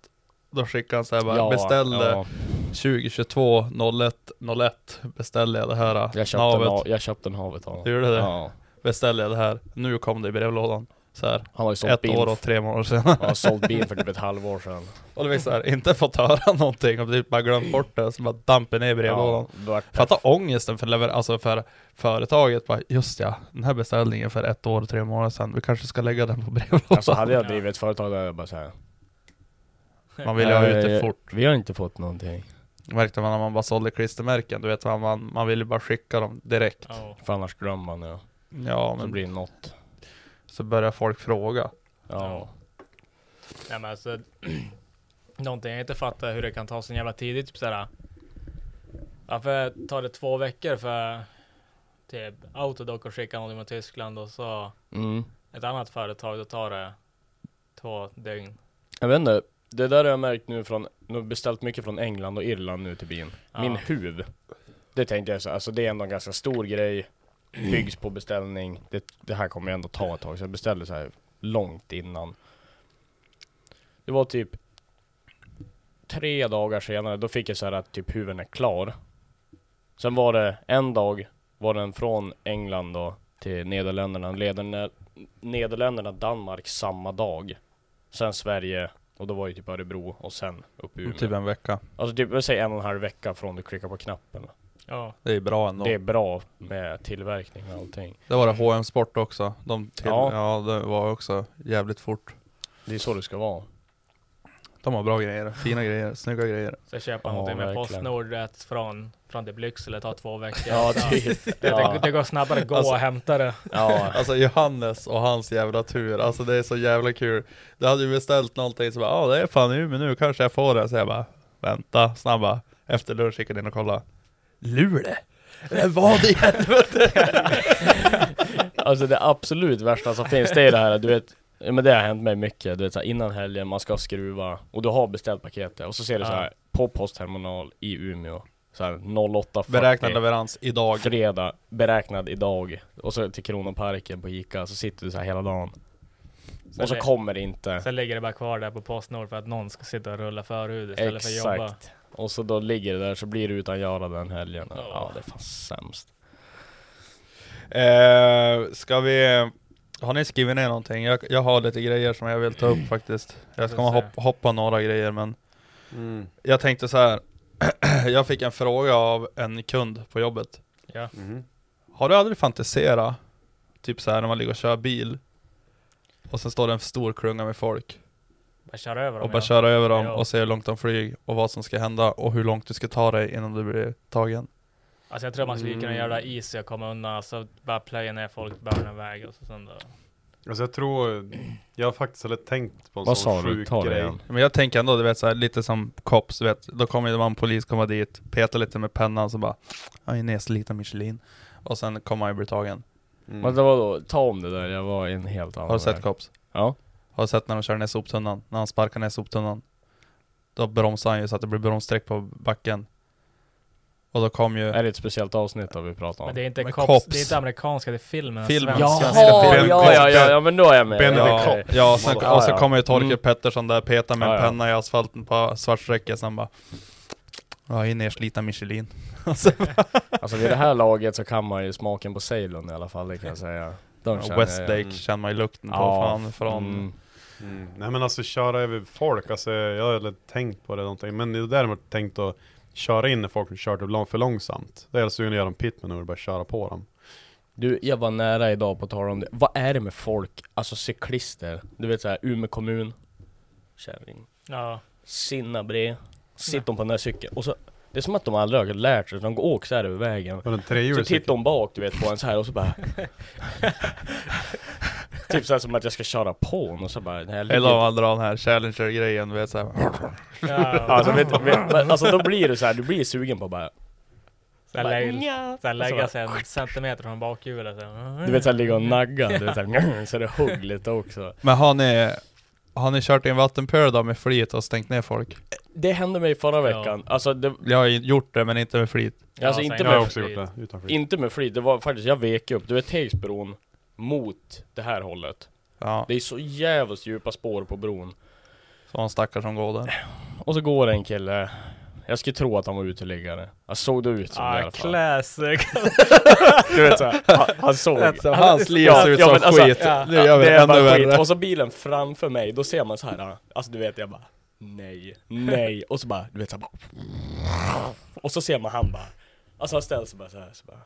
Då skickade han såhär bara beställde
ja.
2022 01 01 Beställde jag det här
jag, köpte en,
navet
ha- jag köpte en havet av
Du
honom.
gjorde det?
Ja.
Beställde jag det här Nu kom det i brevlådan Såhär
Han har ju sålt
Ett
bin,
år och tre månader senare
ja, sålt bin för typ ett halvår sedan.
Och det var såhär, inte fått höra någonting och typ bara glömt bort det Så bara dampen ner i brevlådan
vart det
Fatta ångesten för, lever- alltså för företaget bara Just ja, den här beställningen för ett år och tre månader sedan Vi kanske ska lägga den på brevlådan
Alltså hade jag drivit ett företag där jag bara såhär
Man vill ju ha ut det
eh,
fort
Vi har inte fått någonting
Märkte man när man bara sålde klistermärken, du vet man, man, man ville bara skicka dem direkt. Ja,
Ja.
För annars glömmer man det Så
men
blir det något
så börjar folk fråga.
Ja,
Nej men alltså, någonting jag inte fattar hur det kan ta så jävla tidigt. Typ såhär. Varför tar det två veckor för typ Autodoc att skicka någonting med Tyskland och så
mm.
ett annat företag, då tar det två dygn.
Jag vet inte Det där har jag märkt nu från Nu har jag beställt mycket från England och Irland nu till bin Min
Ja.
huv Det tänkte jag så alltså det är ändå en ganska stor grej Byggs på beställning Det, det här kommer jag ändå ta ett tag så jag beställde så här långt innan Det var typ Tre dagar senare, då fick jag så här att typ huven är klar Sen var det en dag var den från England då till Nederländerna, Lederne- Nederländerna, Danmark samma dag. Sen Sverige och då var ju typ Örebro och sen upp i Umeå.
Typ en vecka.
Alltså typ, jag säger en och en halv vecka från du klickar på knappen.
Ja.
Det är bra ändå.
Det är bra med tillverkning och allting.
Det var det H&M Sport också. De till, ja.
Ja.
det var också jävligt fort.
Det är så det ska vara.
De har bra grejer, fina grejer, snygga grejer.
Så jag köper
Ja,
någonting med
verkligen.
Postnord rätt från, från till Lycksele, tar två veckor.
Ja,
Så
typ.
det,
Ja.
det, det går snabbare att gå
Alltså-
och hämta det.
Ja.
Alltså Johannes och hans jävla tur, alltså det är så jävla kul. Du hade ju beställt någonting så bara, ja ah, det är fan nu, men nu kanske jag får det. Så jag bara, vänta, snabba. Efter lunch gick jag in och kollade. Luleå? Det var det i helvete!
Alltså det absolut värsta som finns, det är det här du vet ja, men det har hänt mig mycket, du vet så här, innan helgen, man ska skruva och du har beställt paketet och så ser du så här på postterminal i Umeå så här 08.40
Beräknad leverans idag.
fredag, beräknad idag och så till Kronoparken på Ica, så sitter du så här hela dagen
Sen
och så
lä-
kommer det inte
Sen ligger det bara kvar där på Postnord för att någon ska sitta och rulla förhud istället för att jobba.
Exakt Och så då ligger det där, så blir du utan göra den helgen
Ja.
Ja det är fan sämst
Eh, ska vi... Har ni skrivit ner någonting? Jag, jag har lite grejer som jag vill ta upp faktiskt. Jag ska
Jag får se.
hoppa, hoppa några grejer men...
Mm,
Jag tänkte så här. jag fick en fråga av en kund på jobbet.
Ja.
mhm.
Har du aldrig fantiserat? Typ så här när man ligger och kör bil. Och sen står det en stor klunga med folk.
Bara köra över dem.
Och bara
ja.
köra över dem
Ja.
och se hur långt de flyger. Och vad som ska hända och hur långt du ska ta dig innan du blir tagen.
Alltså jag tror man skulle kunna
Mm.
göra is och komma undan, alltså bara plöja ner folk, börna iväg och så sen
Mm.
då.
Alltså jag tror, jag har faktiskt aldrig tänkt på en
Vad
sån
sa du?
sjuk
Ta det
grej.
igen
Men jag tänker ändå, du vet så här, lite som cops, du vet. Då kommer ju man polis komma dit, peta lite med pennan så bara Jag är nedsliten Michelin. Och sen kommer man ju bli tagen.
Mm.
Men det var då, ta om det där, jag var i en helt annan
Har du sett
värld.
cops?
Ja
Har du sett när de kör ner soptunnan? När han sparkar ner soptunnan. Då bromsar han ju så att det blir bromssträck på backen. Och då kom ju...
Är det ett speciellt avsnitt då vi pratar om?
Men det är inte
Men
cops,
cops.
det är inte amerikanska, det är filmen.
Filmen.
svenska.
Jaha!
Jaha,
Ben-
ja, ja, ja, ja, men då är jag med.
Ben-
ja,
Ben-
ja,
okej.
ja, och sen,
Ja,
och så
ja.
kommer ju Torkel
Mm.
Pettersson där, peta med en
Ja, ja.
penna i asfalten på svartstrecket, sen bara... Jag är nerslitna Michelin. Och så
Alltså vid det här laget så kan man ju smaken på Ceylon i alla fall, det kan jag säga. De känner jag.
Westlake känner man ju lukten på fan från...
mm.
Mm. Nej men alltså köra över folk, alltså jag har aldrig tänkt på det någonting. Men jag har däremot tänkt att köra in när folk som kör typ lång- för långsamt. Det är alltså, jag sugen att göra en pitmanöver och bara köra på dem.
Du, jag var nära idag på tal om det. Vad är det med folk, alltså cyklister? Du vet såhär, Umeå kommun, kärring,
Ja.
sinnabre, sitter de på den där cykeln och så Det är som att de aldrig har lärt sig, de går och åker såhär över vägen.
Och en
Så
trehjulig
tittar
cykel.
de bak du vet på en så här och så bara Typ såhär som att jag ska köra på en och så bara, nej, jag ligger
Eller om man drar den här Challenger-grejen, du vet såhär...
ja.
Alltså, vet, vet, men alltså då blir du så här, du blir sugen på bara...
Så här lägg-
nja.
Sen lägga sig en centimeter från bakhjulet. så-
Du vet såhär ligga och nagga, du vet, så, här, nja, så det hugg lite också.
Men har ni... Har ni kört i en vattenpöl då med flit och stängt ner folk?
Det hände mig förra veckan, alltså, det,
Jag har ju gjort det, men inte med flit.
alltså
sen
inte,
Jag har
med,
också gjort det, utan skit.
inte med flit, det var faktiskt, jag vek upp, du vet Tegsbron mot det här hållet.
Ja,
Det är så jävligt djupa spår på bron.
så en stackare som går där.
Och så går en kille, jag skulle tro att han var uteliggare. Jag såg det ut som det i
Ah,
alla fall.
classic!
Du vet såhär, han, han såg.
Så hans liv
Ja,
ser ut
ja,
som
men alltså,
skit.
ja,
nu gör vi
det
det
är
ännu
bara skit.
värre.
Och så bilen framför mig, då ser man så här. alltså du vet jag bara Nej, nej, och så bara, du vet så här, bara Och så ser man han bara Alltså han ställer sig bara så här, så bara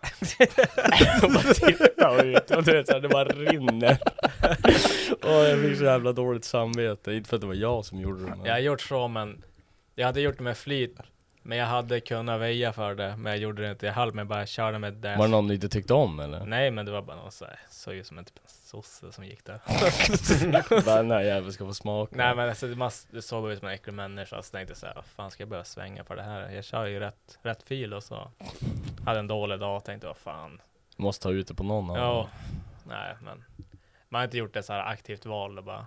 Och bara tittar ut, och du vet så här, det bara rinner Och jag fick så jävla dåligt samvete, inte för att det var jag som gjorde det men...
Jag har gjort så men Jag hade gjort det med flit Men jag hade kunnat väja för det Men jag gjorde det inte, jag höll mig bara, körde med dash
Var det någon du inte tyckte om eller?
Nej men det var bara någon såhär, såg ut som en typ en sosse som gick där
Bara den här jäveln ska få smaka
Nej men alltså det, mast, det såg ut som en äcklig människa Så tänkte jag såhär, vad fan ska jag börja svänga för det här? Jag kör ju rätt, rätt fil och så Hade en dålig dag, tänkte vad fan
Måste ta ut det på någon av
Ja,
dem.
nej men Man har inte gjort ett såhär aktivt val och bara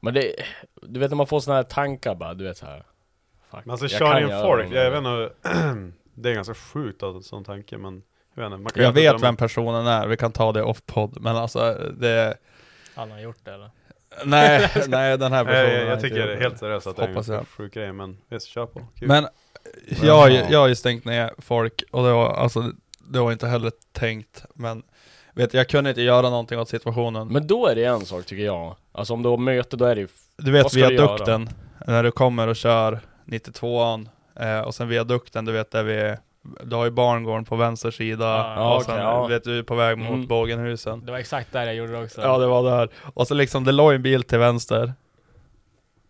Men det, du vet när man får såna här tankar bara, du vet så här. Fuck,
Men alltså
jag
köra
kan
in
göra
folk,
det.
jag vet inte, det är ganska sjukt att en sån tanke men jag vet inte. Man
Jag
kan ju inte
vet
döma-
vem personen är, vi kan ta det off-podd. Men alltså, det...
Alla har gjort det eller?
Nej, nej den här
Nej,
personen
jag, jag,
har inte
tycker
gjort
helt seriöst att det är en
Hoppas
ganska
jag.
sjuk grej men visst, kör på. Kul.
Men jag, har ju-
Ja.
jag har ju stängt ner folk och det var, alltså, det var inte heller tänkt. Men vet du, jag kunde inte göra någonting åt situationen.
Men då är det en sak tycker jag. Alltså om du har möte då är det ju... f-
Du
Vad
vet
ska du göra?
viadukten, när du kommer och kör 92an eh, och sen viadukten, du vet där vi Du har ju barngården på vänster sida,
Ja,
och
Ah, okej,
sen
ja.
vet du, på väg mot
Mm.
bågenhusen.
Det var exakt där jag gjorde det också.
Ja det var där. Och så liksom, det låg en bil till vänster.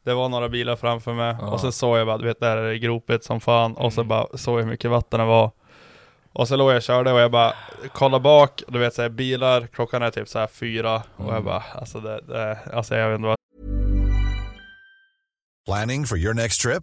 Det var några bilar framför mig,
Ja.
och så såg jag bara, du vet där är det gropigt som fan, och
Mm.
så bara såg jag hur mycket vatten det var. Och så låg jag och körde och jag bara kollade bak, du vet såhär bilar, klockan är typ såhär fyra, och jag
Mm.
bara alltså det, det, alltså jag vet inte vad
Planning for your next trip?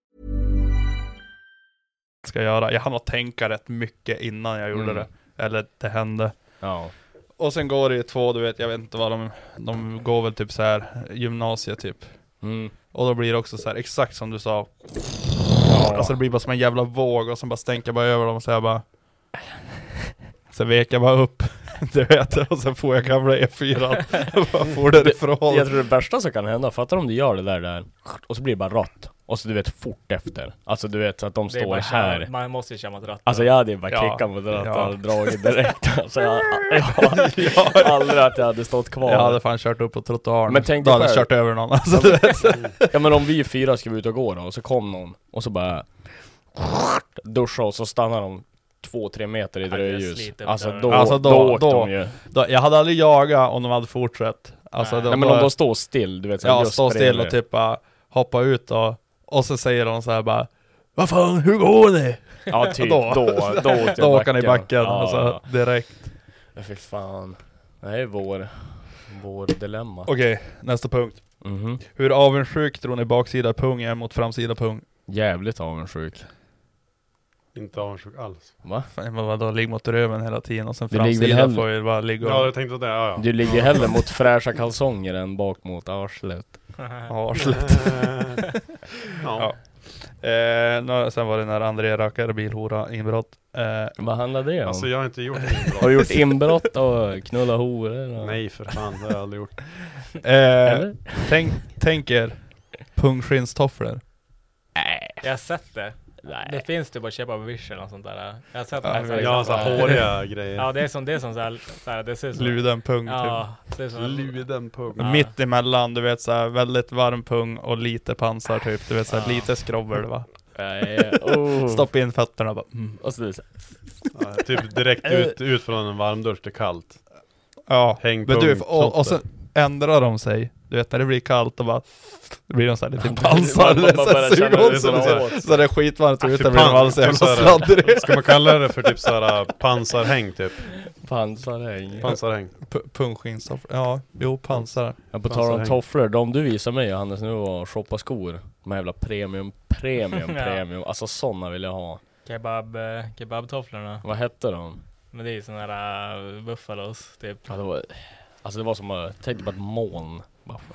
jag ska göra. Jag hann att tänka rätt mycket innan jag gjorde
Mm.
det. Eller det hände.
Ja.
Och sen går det ju två, du vet, jag vet inte vad de, de går väl typ så här gymnasiet typ.
Mm.
Och då blir det också så här exakt som du sa.
Ja.
Alltså det blir bara som en jävla våg och sen bara stänker jag bara över dem och så jag bara... Sen vek jag bara upp, du vet, och sen får jag gamla E4 och bara får därifrån.
Jag tror det värsta som kan hända, fattar om du gör det där, där och så blir det bara rått. Och så du vet fort efter. Alltså du vet så att de
Det är
står
bara
här.
Köra, man måste ju köra mot ratten.
Alltså jag hade ju bara
Ja,
kickat mot ratten
ja.
och dragit direkt. Alltså jag, jag, jag aldrig att jag hade stått kvar.
Jag hade fan kört upp på trottoaren.
Men tänk
då
dig
hade jag
själv.
kört över någon. Alltså, du vet.
Ja men om vi fyra ska ut och gå då, och så kom någon och så bara duscha och så stannar de två, tre meter i
Ja, det
dröjljus.
sliter på
Alltså
dörren.
då,
Alltså,
då,
då-
åkte
då-
de ju.
Då- jag hade aldrig jagat om de hade fortsatt. Alltså,
Nej.
då-
Nej men
då-
om de står still, du vet så här
Ja,
just
stå still
bredvid.
och typ bara hoppa ut och, och så säger de så här bara Vad fan, hur går det?
Ja typ,
Då-
då, då, åkte jag
Då åker han i backen,
Ja,
alltså
ja.
direkt
Men fy fan. Det här är vår, vår dilemma.
Okej, nästa punkt
Mhm.
Hur avundsjuk tror ni baksida pung är mot framsida pung?
Jävligt avundsjuk.
Inte avundsjuk alls.
Va?
Fan, men vadå, ligg mot röven hela tiden och sen
Det ligger väl
framsida
hellre-
får ju bara ligga
Ja,
och
jag tänkte att det, ja ja.
Du ligger hellre mot fräscha kalsonger än bak mot arslet.
ja, arslet
ja.
Ja. eh, nå- Sen var det när André rackade bilhora inbrott eh,
Vad handlar det om?
Alltså jag har inte gjort något
Har
bra.
du gjort inbrott och knulla horor? och-
Nej för fan, det har jag aldrig gjort.
eh,
Eller?
tänk, tänk er pungskinnstofflor
Jag har sett det. Det
Nej.
finns typ att köpa på Wish eller något sånt där. Jag har sett
Ja,
det.
men
Jag har såhär håriga
Ja
grejer.
det är som det är som såhär, såhär det ser ut som...
Luden pung typ
Ja, det ser ut som...
Luden pung.
Ja.
Mitt emellan, du vet såhär väldigt varm pung och lite pansar typ, du vet såhär
Ja.
lite skrovel va?
Nej. Oh.
Stoppa in fötterna bara mm.
Och så är det så här.
Ja, Typ direkt ut, ut från en varmdusch till kallt.
Ja,
Häng
men du,
pung,
och, och sen
knotte.
ändrar de sig, du vet när det blir kallt och bara då blir de såhär lite pansar,
Man
det är
bara
så här
börjar känna
suger
det
åt sig
som
så här.
åt.
så det är skitvarmt
Ja,
ute,
Äh, fy
blir de
fan,
alldeles jävla
så här-
sladdriga
Ah, Ska man kalla det för typ såhär pansarhäng typ?
pansarhäng.
Pansarhäng.
P- Pungskinnstofflor, ja, jo pansar
Jag på tal om
Pansarhäng.
tofflor, de du visar mig Johannes nu och shoppa skor. De här jävla premium, premium,
Ja.
premium. Alltså sådana vill jag ha.
Kebab, eh, kebabtofflorna.
Vad hette de?
Men det är ju såna där eh, buffalos typ.
Ja, det var, alltså det var som, att- tänk på ett moln.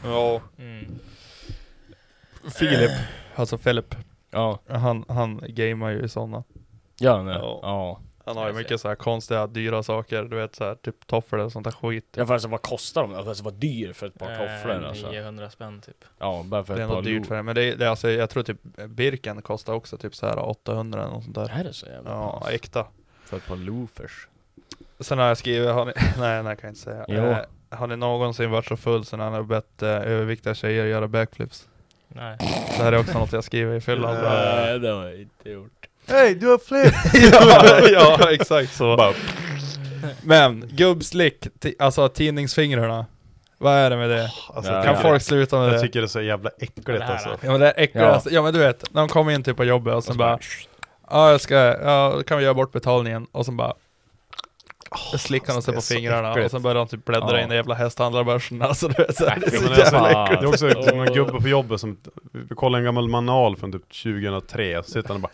Ja,
Mm.
Filip, alltså Filip,
Ja,
han, han gamear ju i sådana
gör den det?
Ja.
Ja.
Han har ju mycket så här konstiga, dyra saker, du vet såhär typ tofflor och sånt där skit
Ja för alltså vad kostar de? Alltså vad dyr för ett par
Eh,
tofflor alltså.
900 spänn typ.
Ja, bara för
Det är
ett par
nog dyrt
dyrt
för det, men det är, det är alltså, jag tror typ Birken kostar också typ så här 800 eller något sånt där
Är det så jävla
Ja,
pass?
äkta
För ett par loafers.
Sen har jag skrivit, har ni, nej nej kan jag inte säga.
Jo.
Eh, har ni någonsin varit så full sen han har bett eh, överviktiga tjejer göra backflips?
Nej.
Det här är också något jag skriver i fyllan.
Nej, det har jag inte gjort.
Hej, du har flip!
ja, ja, exakt så. Men, gubbslick, ti- alltså tidningsfingrarna. Vad är det med det?
Alltså,
kan
jag tycker-
folk sluta med
jag
det?
tycker det är så jävla äckligt alltså.
Ja men det är äckligaste, ja. men du vet, när de kommer in typ på jobbet och sen bara Ja jag ska, ja då kan vi göra bort betalningen och sen bara Slickar de sig på
det är så
fingrarna
äckligt.
och sen börjar de typ bläddra
Ja.
in i jävla hästhandlarbörsen alltså du vet så här,
Ja,
det är så
men det är så
jävla
äckligt. Det är
äckligt.
också
Oh.
en gubbe på jobbet som, vi kollar en gammal manual från typ 2003, så sitter han och bara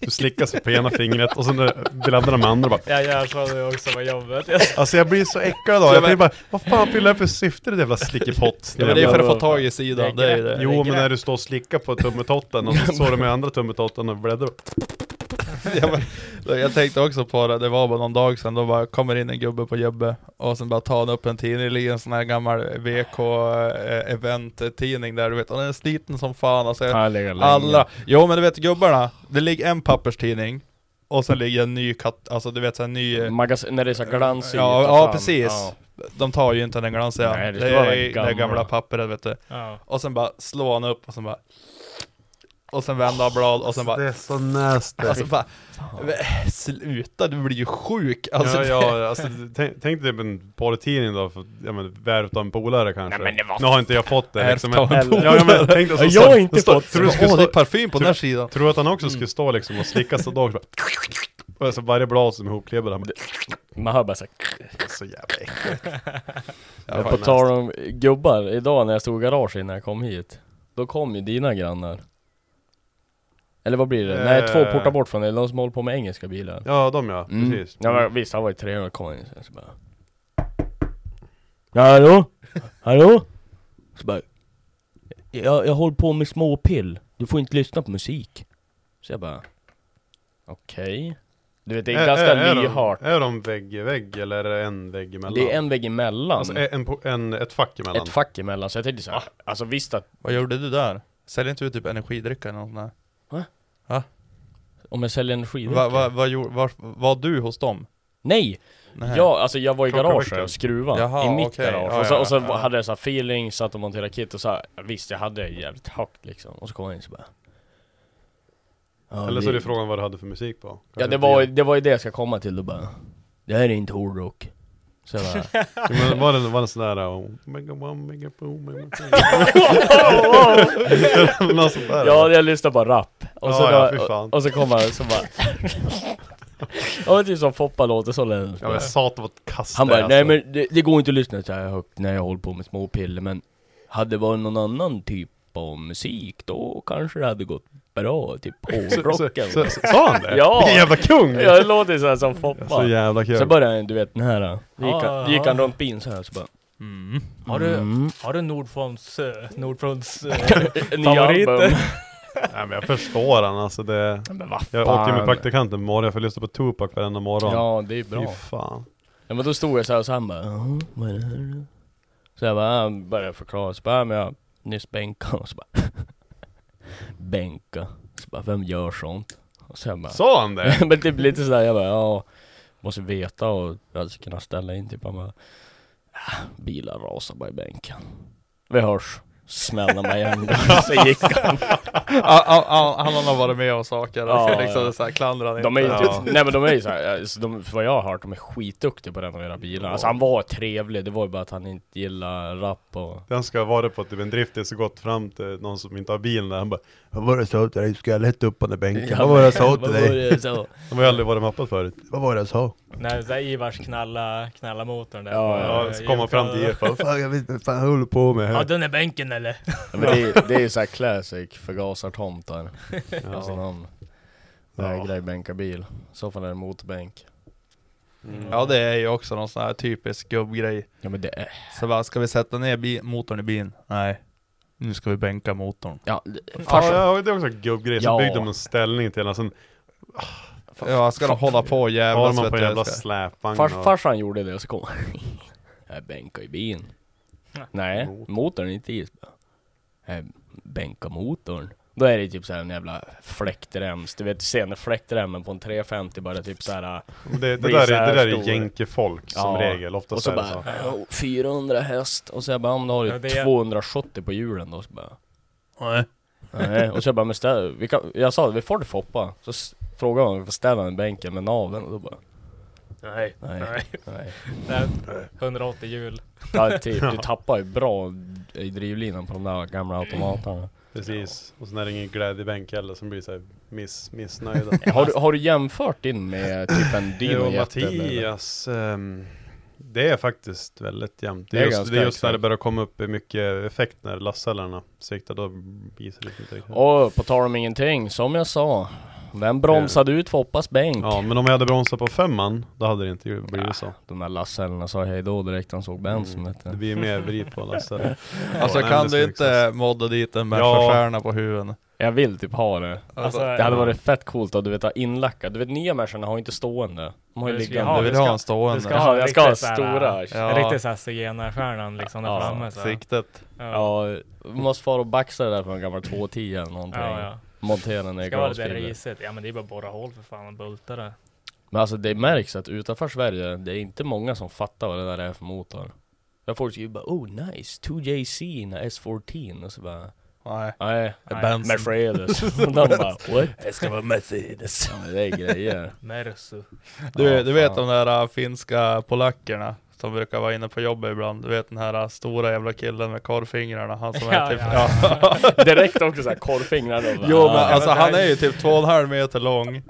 du slickar sig på ena fingret och sen bläddrar de andra och bara
Jag gör så det också på jobbet.
Alltså jag blir så äcklad
Ja,
av
men-
Jag tänker bara, vad fan fyller det för syfte det jävla slickepott?
Ja, men det är för att få tag i sidan, det är ju det.
Jo
Det är
men
grepp.
när du står och slickar på tummetotten och så står du med andra tummetotten och bläddrar
Ja, men, jag tänkte också på det, det var bara någon dag sedan, då bara kommer in en gubbe på jobbet och sen bara tar han upp en tidning, det ligger en sån här gammal VK eh, event-tidning där du vet, och den är sliten som fan alltså,
Ja, det ligger länge.
alla, jo men du vet gubbarna, det ligger en papperstidning och sen ligger en ny katt, alltså du vet så här ny...
Magasin, när det är så här glansigt
Ja,
och
ja
fan,
precis! De tar ju inte den glansiga,
Nej, det
det,
ska
är
vara
i
den
det gamla
gamla.
pappret vet du
Ja.
Och sen bara slår han upp och sen bara och sen vänder han blad och sen bara...
Alltså, Det är så nasty.
Alltså bara, sluta du blir ju sjuk! Alltså,
ja, ja, alltså, tänk, tänk dig typ en porrtidning då, för, ja men värv utav en polare kanske.
Nej, men det var-
Nu har inte jag fått det
Värv
liksom.
utav en
Ja, ja, men, tänk dig så,
polare.
så-
Jag har inte
så står-
fått det.
tror du skulle
Åh, det är
stå-
parfym på den
tror-
här sidan. Mm.
Tror du att han också skulle stå liksom och slicka sig då och så bara, och så varje blad som är ihopklebbat, han bara...
Man hör bara så
Så jävla äckligt.
Men på tal om gubbar, idag när jag stod i garaget innan jag kom hit Då kom ju dina grannar Eller vad blir det? Nej,
Eh.
två portar bort från dig, de som håller på med engelska bilar
Ja, de ja,
Mm.
precis.
Ja men visst, han var ju 300 kom in sen så bara Ja, hallå? Hallå? Så bara, jag, jag håller på med småpill, du får inte lyssna på musik Så jag bara Okej Du vet det är, ganska lyhört
Är, de- är de vägg i vägg eller är det en vägg emellan?
Det är en vägg emellan
Alltså en, po- en, ett fack emellan? Ah.
Ett fack emellan, så jag tänkte såhär, alltså visst att
Vad gjorde du där? Säljer inte du typ energidrycker eller något sånt där?
Va?
Va?
Om jag säljer energidrycker?
Va, va, vad gjorde- var, var du hos dem?
Nej!
Nej.
Jag, alltså jag var i
Klockan
garaget
väckte.
och skruvade,
Jaha,
i mitt
okej.
garage.
Ja,
och så,
ja,
och så
ja.
hade jag så här feeling, satt och monterade kit och så här, visst jag hade jävligt högt liksom. Och så kom jag in så bara... Ja,
eller så
vi-
är det frågan vad du hade för musik på?
Ja
Kanske
det var, ju-
inte-
det var ju det jag ska komma till, då bara... Det här är inte hårdrock. Så jag bara...
Jo, men var det, var det sån där... oh, mega one, mega two, mega three. Något sånt där?
Ja, jag lyssnade på rap. Och,
Ja,
så
ja,
då,
fy fan.
och, och så kom han så bara... Ja men typ som Foppa låter, så lät det.
Ja men satan vad kast
Han
det är,
bara, nej
alltså.
men det, det går inte att lyssna så här högt när jag håller på med småpiller men Hade det varit någon annan typ av musik då kanske det hade gått bra, typ hårdrocken
så- så- sa han det?
Ja!
Vilken jävla kung! liksom.
Ja det låter så här som Foppa
Så jävla kul.
Så började han, du vet den här, då gick,
Ja,
han, då gick han
Ah.
ja.
runt bin så här så bara
Mm.
Har du,
Mm.
har du Nordfronts, eh, Nordfronts eh,
Nya
eh,
album.
favoriter?
Nej men jag förstår han alltså det...
Men vad
Jag åkte ju med
fan.
praktikanten på morgonen för jag lyssnade på Tupac varenda morgon.
Ja det är bra
Fy fan.
Ja men då stod jag så här och så han bara "Jaha, vad är det här då?" Så jag bara, han började förklara, så bara, "Ja, men jag nyss bänkade och så bara Bänka, så bara, vem gör sånt? Och så jag bara
Sa han det?
men typ lite sådär, jag bara ja Måste veta och jag hade kunnat ställa in typ, han bara "Ah, Bilar rasar bara i bänken Vi hörs Smällde mig igen, så gick han
Ah, ah, ah, han har varit med om saker, alltså,
Ja,
liksom
ja.
så här, klandrar han
De är ju
inte.
typ,
Ja.
nej men de är ju såhär, alltså, de, för vad jag har hört, de är skitduktiga på att renovera bilar Alltså han var trevlig, det var ju bara att han inte gillar rap och
Den ska vara på typ en driftis och gått fram till någon som inte har bilen där. Han bara Vad var det jag sa till dig? Du ska lätt upp under bänken. Vad var det jag sa till
Vad var det
dig?
jag sa?
De har ju aldrig varit mappade förut. Vad var det jag sa?
Nej, det är Ivars knalla, knalla motorn där.
Ja,
Bara,
Ja, så kom han fram till er. Vad fan, jag vet inte fan jag håller på med
Har
här.
du den i bänken eller?
Ja, men det, är- det är ju såhär classic förgasartomtar.
Ja.
Alltså någon
Ja.
vägrar bänka bil. I så fall är det motorbänk.
ja det är ju också någon sån här typisk gubbgrej.
Ja men det är...
Så bara, ska vi sätta ner bi- motorn i bilen? Nej. Nu ska vi bänka motorn.
Ja, det- farsan.
Ja, ja, det är också en gubbgrej. Så
Ja.
byggde de en ställning till den. Sen
Ja, ska de hålla på och
har
jävlas
man
vet
på en
du,
jävla
ska-
släpvagn.
Fars,
och-
farsan gjorde det och så kom han. Jag bänkar i bilen. Nej, motorn inte i. Jag bänkar motorn. Då är det typ såhär en jävla fläktrems, du vet senefläktremmen på en 350 bara typ såhär
Det- det
blir
där är-
så här
det där är
stor.
jänkefolk som regel, oftast
och så
är det
bara,
så.
"Ja, 400 häst, och så jag bara om du har
Ja,
ju
det är-
270 på hjulen då så bara
Nej.
Nej, och så jag bara, men ställ, vi kan, jag sa vi får det Foppa, så s- frågade han om vi får ställa den i bänken med naveln och då bara
Nej.
Nej. Nej.
Det är 180 hjul.
Ja, typ, du tappar ju bra i drivlinan på de där gamla automaterna.
Precis, och sen är det ingen glädjebänk heller som blir så här miss, missnöjda.
Har du, har du jämfört din med typ en
Jo,
Dino
Mattias, ehm, det är faktiskt väldigt jämnt. Det
Det
är
är
just,
ganska
det är just när det
exakt.
börjar komma upp mycket effekt när lastcellerna siktar, då visar det sig inte riktigt.
Och på tal om ingenting, som jag sa. Den bromsade ut Foppas bänk.
Ja, men om jag hade bromsat på femman, då hade det inte blivit så.
Ah, De där lastcellerna sa hej då direkt han såg Benson.
Mm.
vet du.
Det blir mer vrid på lastcellerna.
Alltså
Ja, nej, men
kan
det ska
du
vi
inte modda dit en människostjärna på Alltså, huven?
Jag vill typ ha det.
Alltså,
det hade varit fett coolt att du vet ha inlackat. Du vet nya människorna har ju inte stående. De har ju
Du ska
liggande.
ha- du ska- Du ska ha,
jag ska ha
riktigt äh, såhär,
stora.
En riktig såhär zigenarstjärnan liksom där framme. Så.
siktet.
Ja, vi måste fara och baxa det där på en gammal 210 eller någonting.
Ja, ja.
Montera den i
Ska vara lite
glasfiber.
risigt. Ja men det är bara att borra hål för fan och bulta det.
Men alltså det märks att utanför Sverige, det är inte många som fattar vad det där är för motor. Jag folk skriver bara oh nice, 2JC in a S14 och så bara
Nej.
Nej,
Nej.
Benson. Mercedes. och de bara what?
Det ska vara Mercedes.
Ja, men det är grejer.
Mersu.
Du,
Ja,
du vet
fan.
de där äh, finska polackerna som brukar vara inne på jobbet ibland. Du vet den här äh, stora jävla killen med korvfingrarna. Han som
Ja,
är typ...
ja, ja. Direkt också så här korvfingrar "Ah." då, va?
Jo men
Ja,
alltså
men det
han
här-
är ju typ två och en halv meter lång.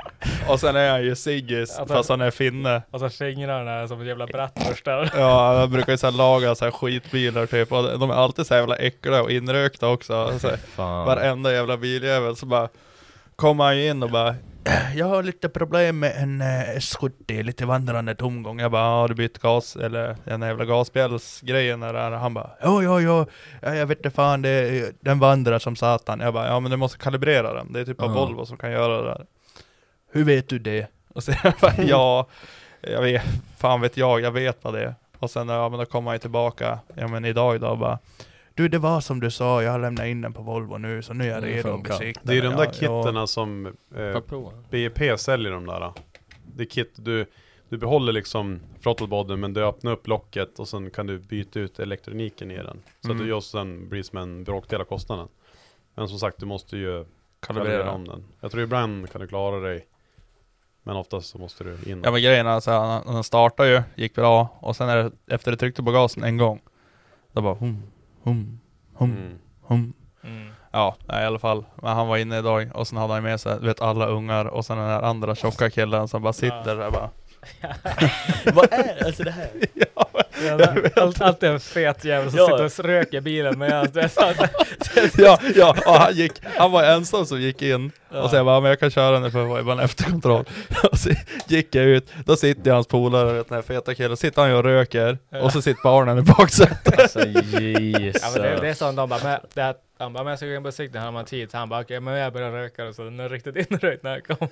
Och sen är han ju siggis
Att han-
fast han är finne.
Alltså- Och så fingrarna är som jävla brattborstar.
Ja, han brukar ju så här laga så här skitbilar typ. Och de är alltid så här jävla äckliga och inrökta också. Alltså,
Fan.
varenda jävla biljävel så bara kommer han ju in och bara "Äh, jag har lite problem med en eh, S70, lite vandrande tomgång. Jag bara, har du bytt gas? Eller den jävla gasbjälsgrejen där. är." Han bara, jo, jo, jo, ja, jag vet inte fan, det, den vandrar som satan. Jag bara, ja men du måste kalibrera den. Det är typ bara
Ja.
Volvo som kan göra det där. Hur vet du det? Och så jag bara, ja, jag vet, fan vet jag, jag vet vad det är. Och sen, ja men då kommer han ju tillbaka, ja men idag idag och bara, du det var som du sa, jag har lämnat in den på Volvo nu, så nu är jag
Det
redo att
funkar.
besikta
Det är de
den."
där
Ja, ja.
kitterna som eh,
jag prova?
BEP säljer de där. Det är kit, du, du behåller liksom throttlebodyn men du öppnar upp locket och sen kan du byta ut elektroniken i den. Så
Mm.
att du just sen blir som en bråkdel av kostnaden. Men som sagt, du måste ju kalibrera, om den. Jag tror ibland kan du klara dig, men oftast så måste du in.
Ja men grejen är alltså, han, han startar ju, gick bra, och sen är det, efter det tryckte på gasen en gång, då bara hum, hum, hum,
Mm.
hum.
Mm.
Ja, nej, i alla fall. Men han var inne idag, och sen hade han med sig, du vet alla ungar, och sen den här andra tjocka killen som bara sitter där bara.
Vad är alltså det här?
Allt, alltid en fet jävel som
Ja.
sitter och röker i bilen med oss. Det är så
ja, ja, och han gick, han var ensam som gick in, och så jag bara, "Ja, men jag kan köra nu för det var ju bara en efterkontroll. och så gick jag ut, då sitter ju hans polare, vet, den här feta killen, sitter han ju och röker, och så sitter barnen i baksätet.
Alltså
Ja,
Jesus.
men det, det är sånt de bara, men, det, här- han bara, men jag ska gå in på besiktning, han bara tid, han bara, okej, men jag börjar röka då, så den är riktigt inrökt när jag kom.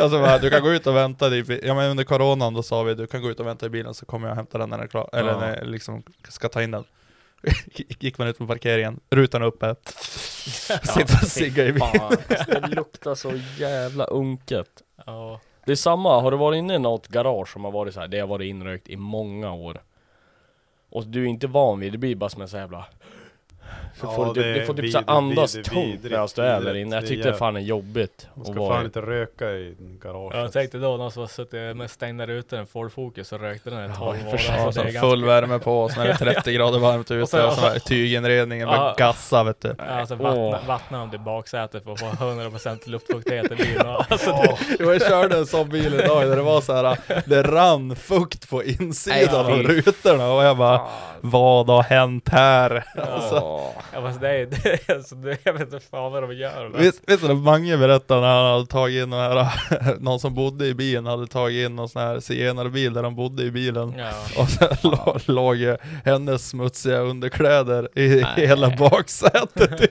Alltså bara, du kan gå ut och vänta i bi- ja, men under coronan då sa vi du kan gå ut och vänta i bilen så kommer jag hämta den när den är klar, eller
Ja.
när jag liksom ska ta in den. Gick man ut på parkeringen, rutan uppe, sitter och ciggar i bilen.
Fan, alltså, det luktar så jävla unket.
Ja.
Det är samma, har du varit inne i något garage som har varit så här, det har varit inrökt i många år. Och du är inte van vid det, blir bara som en så jävla... Så
Ja,
får du,
det
typ- du får
är
typ så
vidrigt,
andas
vidrigt,
tungt
vidrigt,
medan du är där
vidrigt.
inne. Jag
Det
tyckte
är-
det fan är jobbigt.
Man
att
ska
vara
fan
i.
inte röka i garaget.
Jag tänkte då, någon som har suttit med stängda rutor, en Ford Focus, och rökte den i 12 år.
i och
alltså,
för
Ja, så
det är
full
ganska-
värme på och sen är det 30 grader varmt
Och
ute
sen-
och så här tyginredningen
Ja.
bara gassa vet du.
Ja, Alltså
Åh.
vattna, vattna om det baksätet för att få 100% luftfuktighet i bilen. Alltså,
Jo, jag körde en sån bil idag där det var så här, det rann fukt på insidan
Nej,
av
fy
rutorna och jag bara Vad har hänt här? Alltså,
Ja.
Ja, fast det är, det är, alltså, det, jag vet inte fan vad de gör. men-
Visst, visst är det Mange berättade när han hade tagit in den här, någon som bodde i bilen hade tagit in någon sån här zigenarbil där de bodde i bilen.
Ja.
Och sen lå- låg ju hennes smutsiga underkläder i hela baksätet typ.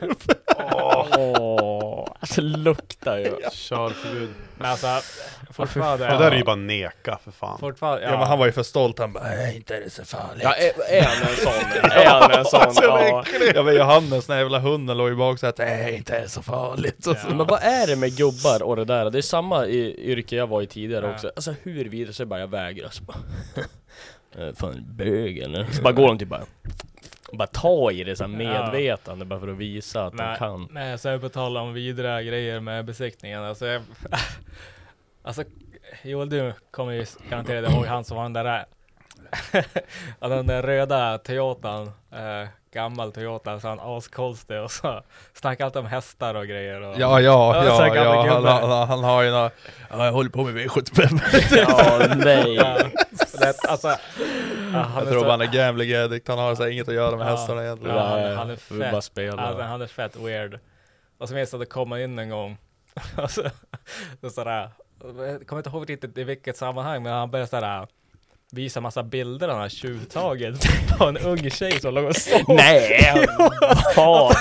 Åh, alltså det luktar ju.
Körförbud.
Men alltså, fortfarande.
Det där är ju bara neka för fan.
Fortfarande, ja.
Ja. men han var ju för stolt, han bara "Nej."
inte är det så farligt.
alltså,
Ja, är, är han en sån? Är han en sån?
ja, men jag Johannes, när jävla hunden låg i baksätet. Nej, inte är det så farligt. Och så.
Men vad är det med gubbar och det där? Det är samma i yrke jag var i tidigare också. Alltså hur vidare så bara jag vägrar. Så bara, eh, fan bög eller? Så bara går de typ bara bara ta i det så här medvetande bara för att visa att de
Nej,
kan.
Nej, så jag på tal om vidriga grejer med besiktningen. Alltså, jag, alltså Joel, du kommer ju garanterat ihåg han som var den där, ja, den där röda Toyotan, eh, gammal Toyota, så han askonstig och så snackade alltid om hästar och grejer. Och,
Ja, ja,
så
ja,
här gamla
ja, han,
gubbar.
han, han har ju några, ja, jag håller på med V75.
Ja, nej.
Det, alltså, ja, han
jag
är
tror
så-
bara han är gambling addict, han har så här inget att göra med hästarna egentligen.
Ja, han, han är
vill bara
fett,
spela.
alltså, han är fett weird. Och så minns jag att det kom in en gång, och så, så sådär, jag kommer inte ihåg riktigt i vilket sammanhang, men han började sådär visa massa bilder han har tjuvtagit på en ung tjej som låg och sov.
Nej,
Jo.
fan.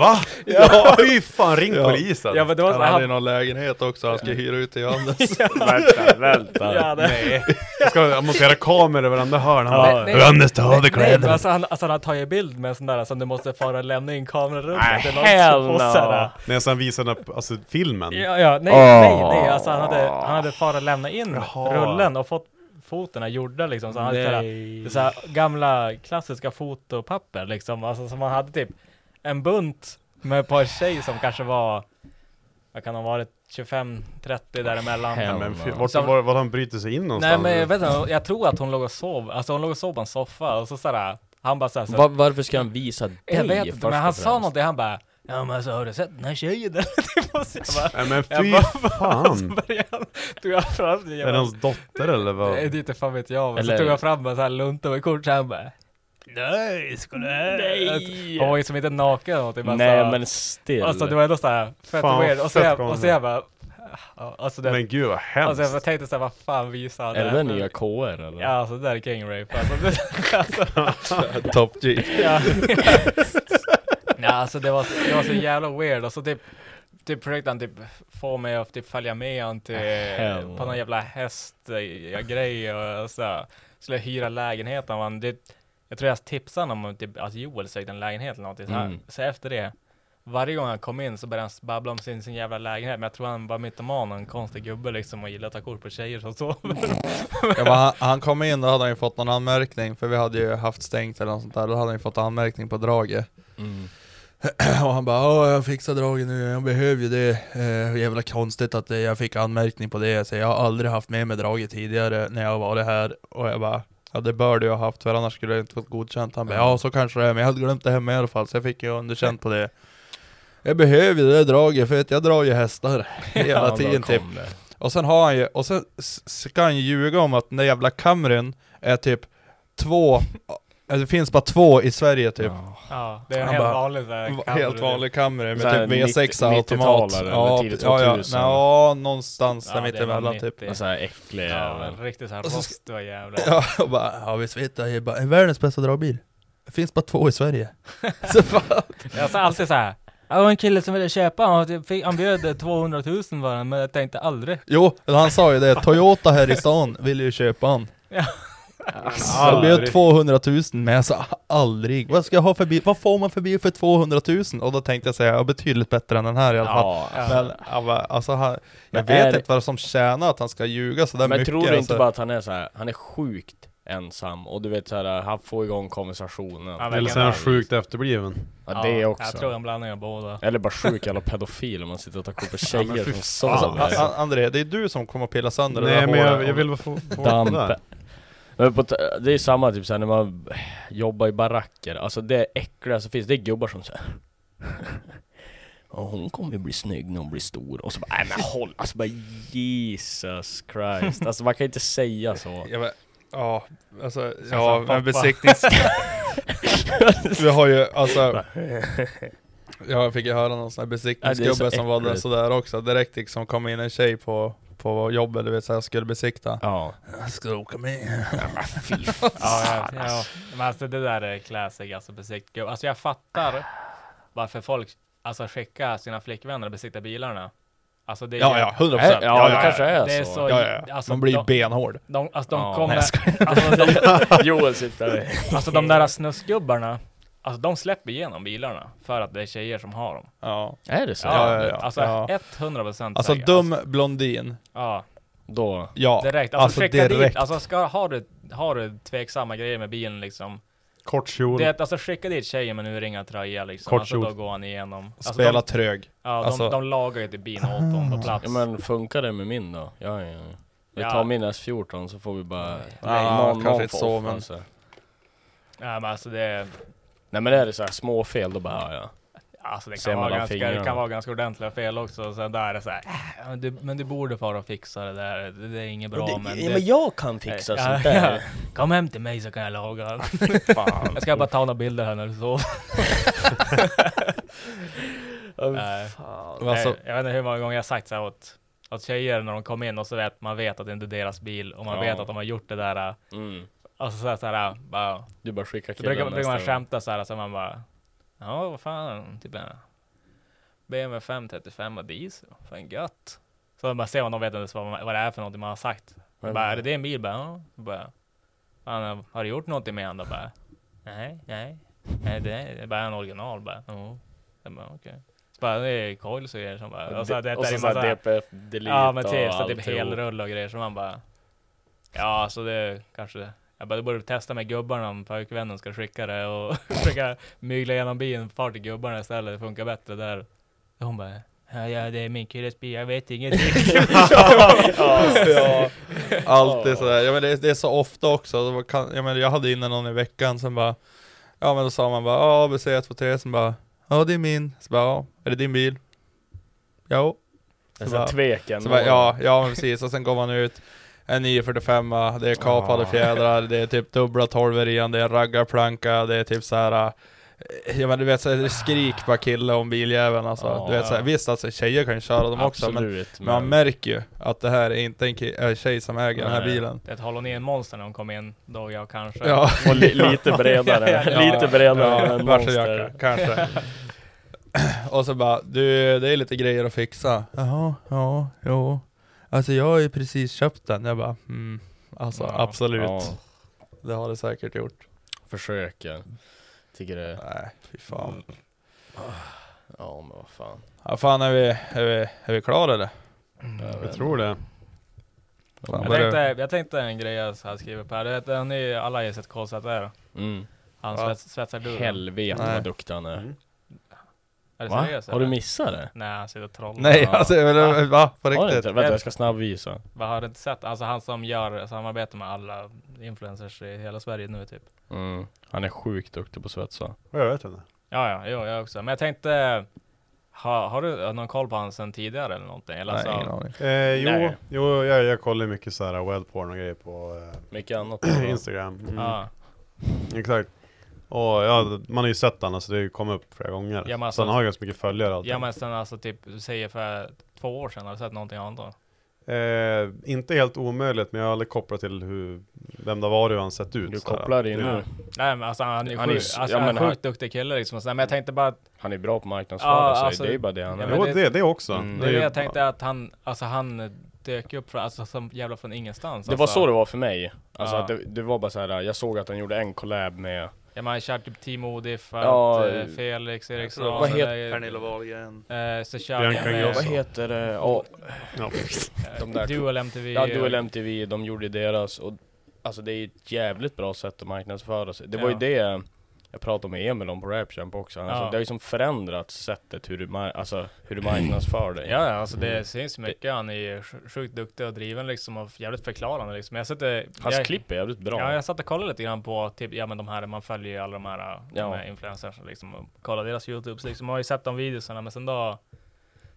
Va?
Ja.
Fy fan, ring polisen!
Ja, men det var så
han
här-
hade ju någon lägenhet också, alltså. han ska hyra ut till Johannes.
Vänta, vänta.
Ja, det-
Nej. Jag, ska, jag måste göra kameror i varenda hörn. Han
Nej,
bara,
nej.
Johannes, ta av dig
Nej, men
kläderna.
Alltså han, alltså han har tagit bild med en sån där som du måste fara och lämna in kamerarummet.
Nej,
Det är någon
hell
som- och
no.
sådär.
När han visade den här, alltså filmen.
Ja, ja, nej,
Åh.
nej, nej, alltså han hade, han hade fara lämna in rullen och fått fotorna gjorda liksom. Så han hade sådär,
Nej.
det är såhär gamla klassiska fotopapper liksom, alltså som man hade typ en bunt med ett par tjej som kanske var, vad kan de ha varit, 25-30 däremellan.
Nej, men fy, vart,
Som-
var, var han bryter sig in
Nej
någonstans?
men jag vet inte, jag tror att hon låg och sov, alltså hon låg och sov på en soffa och så sådär, han bara såhär, så,
Va- varför ska han visa dig
jag vet
först
inte, men
och
han sa
främst?
någonting, han bara Ja men alltså har du sett den här tjejen eller? Typ, och så jag bara-
Nej, men
jag
fy
bara-
fan.
Så började han- tog jag fram den
Är det hans dotter eller vad?
Nej det är inte fan vet jag, men
Eller-
så tog jag fram en sån här lunta med kort så han bara Nej, skulle
Nej.
Hon var ju som inte naken eller någonting bara
Nej
så-
men still.
Alltså det var ändå såhär fett
Fan,
weird, och så
fett
jag, och
konstigt.
så jag bara ja, Alltså det,
Men gud vad hemskt!
alltså jag bara tänkte såhär vad fan visar han
är det
här
den
för-
nya KR eller?
Ja alltså det där är king rape alltså, det, alltså,
Top G.
ja. Nej alltså det var, det var så jävla weird och så typ Typ försökte han typ få mig att typ följa med han till,
Hell.
på någon jävla hästgrej och så Skulle jag hyra lägenheten och han, det, jag tror jag tipsade honom om typ, att Joel sökte en lägenhet eller någonting så, här.
Mm.
så efter det varje gång han kom in så började han babbla om sin, sin jävla lägenhet Men jag tror han var mytoman och en konstig gubbe liksom och gillade att ta kort på tjejer som sover
Ja, men han, han kom in, då hade han ju fått någon anmärkning, för vi hade ju haft stängt eller något sånt där, då hade han ju fått anmärkning på draget.
Mm.
Och han bara "Ja, jag fixar draget nu, jag behöver ju det. Eh, jävla konstigt att eh, jag fick anmärkning på det, så jag har aldrig haft med mig draget tidigare när jag har varit här. Och jag bara, ja det bör du ha haft för annars skulle jag inte fått godkänt. Han bara, ja så kanske det är, men jag hade glömt det hemma i alla fall, så jag fick ju underkänt på det. Jag behöver ju det där draget, för att jag drar ju hästar hela
Ja, då
tiden typ.
kom det.
Och sen har han ju, och sen s- ska han ju ljuga om att den där jävla Camryn är typ två, alltså det finns bara två i Sverige typ.
Ja, det är en
Han
helt
bara,
vanlig så här
Va-
kamera,
Helt
typ.
vanlig Camry med
Så här
typ V6 automat.
90-talare eller tidigt
ja, ja,
2000.
ja, någonstans där
Ja, det är
mittemellan
någon
typ.
90.
En sån här äcklig
Ja,
jävel.
en riktigt såhär
Och så sk-
rostiga jävlar.
Ja, och bara, ja visst vet jag, jag bara, är världens bästa dragbil. Det finns bara två i Sverige. Så fan.
Jag sa alltid såhär, "Ja, det var en kille som ville köpa, han, fick, han bjöd 200 000 var han, men jag tänkte aldrig.
Jo, eller han sa ju det, Toyota här i stan ville ju köpa han.
Ja.
Jag bjöd 200 000 men jag sa aldrig, vad ska jag ha för bil? Vad får man för bil för 200 000? Och då tänkte jag säga, ja betydligt bättre än den här i alla fall.
Ja,
Men han bara, alltså han, jag
Men
vet
är-
inte vad som tjänar att han ska ljuga sådär
Men
mycket.
tror du inte
alltså.
bara att han är så här, han är sjukt ensam och du vet så här, han får igång konversationen.
Ja,
Eller så är han sjukt efterbliven.
Ja, det också.
Jag tror en blandning av båda.
Eller bara sjuk jävla pedofil om man sitter och tar kort på
men
tjejer
fy
som
Alltså,
sover.
A- A- André, det är du som kommer att pilla sönder det
Nej
där
men
håret.
jag, jag vill bara få, få det
Damp.
där.
Men på, t- det är samma typ såhär när man jobbar i baracker, alltså det äckligaste som finns, det är gubbar som såhär Ja hon kommer ju bli snygg när hon blir stor och så bara nej men håll, alltså bara Jesus Christ Alltså man kan inte säga så
Jag vet- Ja, alltså,
Som
ja,
pappa.
men besiktnings... Vi har ju, alltså... Jag fick ju höra någon sån här
Ja, det är
besiktningsgubbe
så
som var där
äckligt.
sådär också, direkt liksom kom in en tjej på, på jobbet, du vet såhär, jag skulle besikta.
Ja
Ska du åka med?
Ja, ja, ja. Men alltså det där är classic, alltså besikt. Alltså jag fattar varför folk, alltså skickar sina flickvänner och besiktar bilarna. Alltså det är
Ja, ja, 100%.
Ja, ja, det kanske
Det
är,
är,
så,
så,
Ja, ja, ja.
alltså
Man blir ju
de-
benhård.
De, alltså de
Ja,
kommer,
nej, jag
alltså de,
Joel sitter där
Alltså de där snuskgubbarna
Alltså de släpper igenom bilarna för att det är tjejer som har dem.
Ja.
Är det så?
Ja,
Ja, ja, ja.
alltså
Ja.
100% säkert.
Alltså dum blondin.
Ja.
Då.
Ja,
Direkt, alltså,
alltså
skicka
direkt.
dit, alltså ska, har, du, har du tveksamma grejer med bilen liksom.
Kort kjol.
Det, är att, alltså skicka dit tjejen med en urringad tröja liksom.
Kort
alltså, då
kjol.
går han igenom. Alltså,
Spela trög.
Ja, de,
Alltså-
de lagar ju inte bilen åt dem på plats.
Ja, men funkar det med min då? Ja, ja, ja. Vi
Ja.
tar min S14 så får vi bara...
Ja, kanske inte
får
så,
offra
men-
sig.
Ja, men alltså det,
Nej men är det så här små fel då bara, ja, ja.
alltså, det,
Ser
kan vara
mellan
ganska, det
fingrarna.
kan vara ganska ordentliga fel också. Sen där är det så här, "Äh, men du, men du borde fara och fixa det där. Det, det är inget bra.
Ja, det-
men,
ja,
det,
men jag kan fixa sånt där.
Kom hem till mig så kan jag laga.
fan.
Jag ska bara ta några bilder här när du sover.
Ja,
Nej.
fan.
Nej,
Alltså-
jag vet inte hur många gånger jag har sagt så här åt, åt tjejer när de kom in och så vet man vet att det inte är deras bil och man
Ja.
vet att de har gjort det där. äh,
Mm.
Alltså så här, så här bara,
Du bara skickar
Då brukar,
killen
brukar man
nästa gång.
skämta så här, så man bara, ja vad fan, typ en BMW 535 och diesel, fan gött. Så man ser om de vet inte ens vad, man- vad det är för någonting man har sagt.
Men-
bara, är det din bil? Bara, ja. Bara, fan, har du gjort någonting med den då? Bara, nej, nej. nej det är bara en original bara. Ja. Jag bara, okej. Så bara, det är coils och grejer som bara...
Och
Och så, här,
det-
det,
och
där
så
är
så här
massa-
DPF, delete
Ja men
och
typ, så typ
alltihop.
helrulle och grejer som man bara... Ja, så det kanske... Jag bara, du borde testa med gubbarna om pojkvännen ska skicka det och försöka mygla igenom bilen, far till gubbarna istället, det funkar bättre där. Och Hon bara, ja, ja det är min killes bil, jag vet ingenting.
ja. Alltid sådär, ja, men det, det är så ofta också, det var, kan, jag, menar, jag hade inne någon i veckan som bara Ja men då sa man bara ja ABC 123 som bara Ja det är min, så bara ja, är det din bil? Jo
Det är så här tvekan.
så bara, ja, ja men precis, och sen går man ut En 945 det är kapade
Ja.
fjädrar, det är typ dubbla tolvor i den, det är raggarplanka, det är typ såhär Ja men du vet såhär, skrik bara kille om biljäveln alltså.
Ja.
du vet, såhär, visst alltså tjejer kan ju köra dem också men,
Absolut,
men
men-
man märker ju att det här är inte en ki- äh, tjej som äger den här
Nej.
bilen.
Det håller ni en monster när de kom in, då jag kanske.
Ja.
Och li- lite bredare, lite bredare
ja,
än
varseljacka,
Monster.
kanske. Och så bara, du det är lite grejer att fixa. Jaha, ja, jo. Alltså jag har ju precis köpt den. Jag bara, mm, alltså
Ja.
absolut.
Ja.
Det har det säkert gjort.
Försöker. Tycker det...
Nej, fy fan.
Ja men vad fan.
Ja, fan är vi, är vi, är vi klara eller?
Jag tror det.
Fan,
Jag
vad är det-
tänkte, jag tänkte en grej jag så här skriver på här, du vet, han är ju- alla har ju sett KZR.
Mm.
Han
Ja.
svets, svetsar du.
Helvete
Nej.
vad duktig han är.
Är det
Va?
seriöst?
Har du
Mm. eller?
missat det?
Nej, han sitter och trollar.
Nej,
Ja.
alltså eller, va? På
Har du
riktigt?
inte? Vänta jag ska snabbvisa.
Vad har du inte sett? Alltså han som gör samarbete med alla influencers i hela Sverige nu typ.
Mm. Han är sjukt duktig på att svetsa.
Jag vet inte.
Ja, ja, jo, jag också. Men jag tänkte, ha, har du någon koll på han sen tidigare eller någonting? Eller
Nej,
alltså,
ingen aning.
Eh, jo,
Nej.
jo jag, jag kollar ju mycket så här wellporn och grejer på
Mycket annat.
eh, Instagram. Mm.
Ja,
Exakt. Och ja, man har ju sett den, alltså det har ju kommit upp flera gånger.
Ja, men alltså-
så han har ju ganska mycket följare och allting.
ja men sen alltså typ, du säger för två år sedan, har du sett någonting annat
Eh, inte helt omöjligt, men jag har aldrig kopplat till hur, vem det har varit och hur han sett ut.
Du
så här.
kopplar in
Det-
nu.
Nej men alltså han är ju
Han är
sjuk,
s-
alltså,
ja,
han är
men
sjukt duktig kille liksom. Och sådär. Men jag tänkte bara att
Han är bra på att marknadsföra
Ja,
sig.
alltså-
det är ju bara det han
Ja,
är.
men
Jo,
det-
det, det, också.
Mm.
det är det
ju-
jag tänkte att han, alltså han dök upp från, alltså som jävla från ingenstans.
Det
alltså.
var så det var för mig. Alltså
Ja.
att det, det var bara så här. jag såg att han gjorde en collab med
Ja man kör typ Timo Odif,
Ja,
att, eh, Felix Eriksson.
Vad heter-
eh,
Pernilla Wahlgren.
eh, så kör
Bianca
han med- eh,
Ingrosso.
Vad heter det? Ja,
Ja.
Alltså. de där
Dual MTV.
Ja, Duel MTV, de gjorde deras och Alltså det är ett jävligt bra sätt att marknadsföra sig. Det var ju
Ja.
det jag pratade med Emil om på Rapchamp också. Alltså,
Ja.
Det har ju som förändrat sättet hur du, mar- alltså, hur du marknadsför dig.
Ja, alltså det syns mycket. Han är ju sj- sjukt duktig och driven liksom och jävligt förklarande liksom. Jag sitter,
Hans
jag,
klipp är jävligt bra.
Ja, jag satt och kollade lite grann på typ, ja men de här, man följer ju alla de här, eh, de
Ja.
här influencers liksom och kollar deras Youtubes liksom. Man har ju sett de videorna men sen då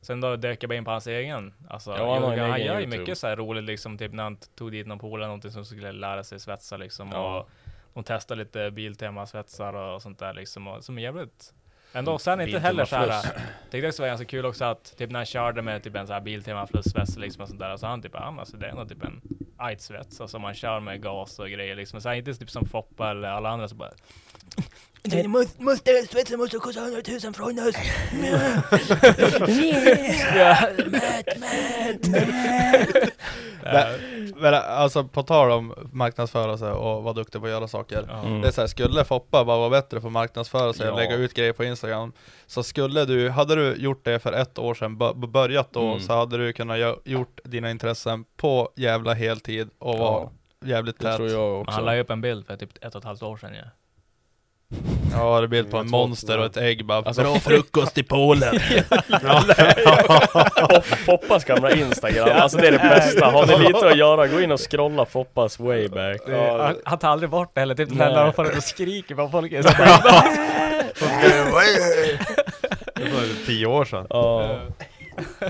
Sen då dök jag bara in på hans egen. Alltså,
Ja, han har en
Jörgen, han,
egen
gör ju
YouTube.
mycket så här roligt liksom, typ när han tog dit någon polare någonting som skulle lära sig svetsa liksom.
Ja.
Och de testar lite Biltema-svetsar och, sånt där liksom. Och, som är jävligt... Ändå, sen inte
Mm.
heller
Biltema
så här. äh,
Plus.
Tyckte också det var ganska kul också att typ när han körde med typ en så här Biltema Plus-svets liksom och sånt där. Så han typ, ja men alltså det är ändå typ en AIDS-svets. Alltså man kör med gas och grejer liksom. Så han är inte typ som Foppa eller alla andra så bara...
Det måste, måste, svetsen måste kosta 100 000 från oss.
Ja.
Mät, mät,
Men- Men alltså på tal om marknadsföra sig och vara duktig på att göra saker
Mm.
Det är så här, skulle Foppa bara vara bättre på att marknadsföra sig och
Ja.
lägga ut grejer på Instagram Så skulle du, hade du gjort det för ett år sedan, bör- börjat då
Mm.
Så hade du kunnat gö- gjort dina intressen på jävla heltid och vara jävligt tät
Men Han la ju upp en bild för typ ett och ett halvt år sedan ja.
Ja, det är bild på
Jag
en
tror-
monster och ett ägg bara
Alltså,
"Bra
fru-
frukost typ. i Polen!
Ja. Foppas gamla Instagram, alltså det är det bästa. Har ni lite att göra, gå in och scrolla Foppas wayback.
Det är-
Ja.
han, han tar aldrig bort det heller, typ
Nej.
när han får och skriker på folk i
Det var tio år sedan.
Ja. Nej,
Ja,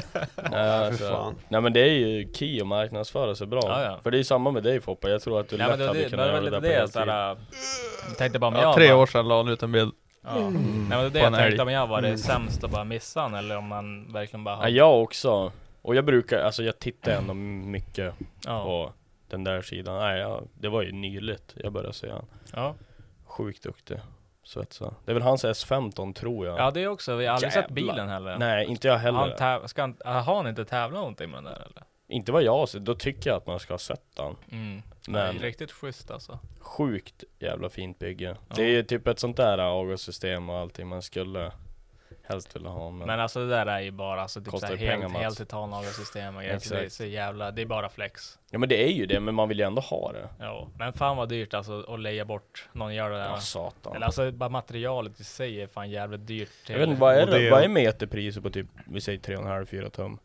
fy
alltså,
fan.
nej men det är ju key att marknadsföra sig bra.
Ja, ja.
För det är ju samma med dig Foppa, jag tror att du
Nej,
lätt
men det,
hade
det, det
kunnat
var
göra
väl
det
lite
där på
det
heltid.
såhär, äh, jag tänkte bara om
Ja,
jag
tre
bara-
år sedan la han ut en bild
Ja. Nej men det är
På
det
en
jag tänkte
älg.
om jag var
Mm.
det sämst att bara missa han eller om man verkligen bara
Ja, jag också. Och jag brukar, alltså jag tittar ändå mycket
Ja.
på den där sidan. Nej, jag, det var ju nyligt jag började se han.
Ja.
Sjukt duktig. Svetsa. Det är väl hans S15 tror jag.
Ja det är också, vi har aldrig sett
Jävlar.
bilen heller.
Nej, inte jag heller.
Han täv- ska han, äh, har han inte tävlat någonting med den där eller?
Inte vad jag har sett, då tycker jag att man ska ha sett den.
Mm.
Men
Nej, riktigt schysst alltså.
sjukt jävla fint bygge. Det är ju typ ett sånt där avgassystem och allting man skulle helst vilja ha. Men,
Men alltså det där är ju bara alltså typ
Kostar
såhär
ju pengar,
helt,
Mats.
helt titanlagersystem och grejer. Så Det är
Exakt.
så jävla, det är bara flex.
ja men det är ju det, men man vill ju ändå ha det.
Ja, men fan vad dyrt alltså att leja bort någon gör det där.
Ja, satan.
Eller alltså bara materialet i sig är fan jävligt dyrt.
Jag vet inte, vad är
Och det
det?
är-
Vad är meterpriset på typ, vi säger 3,5-4 tum?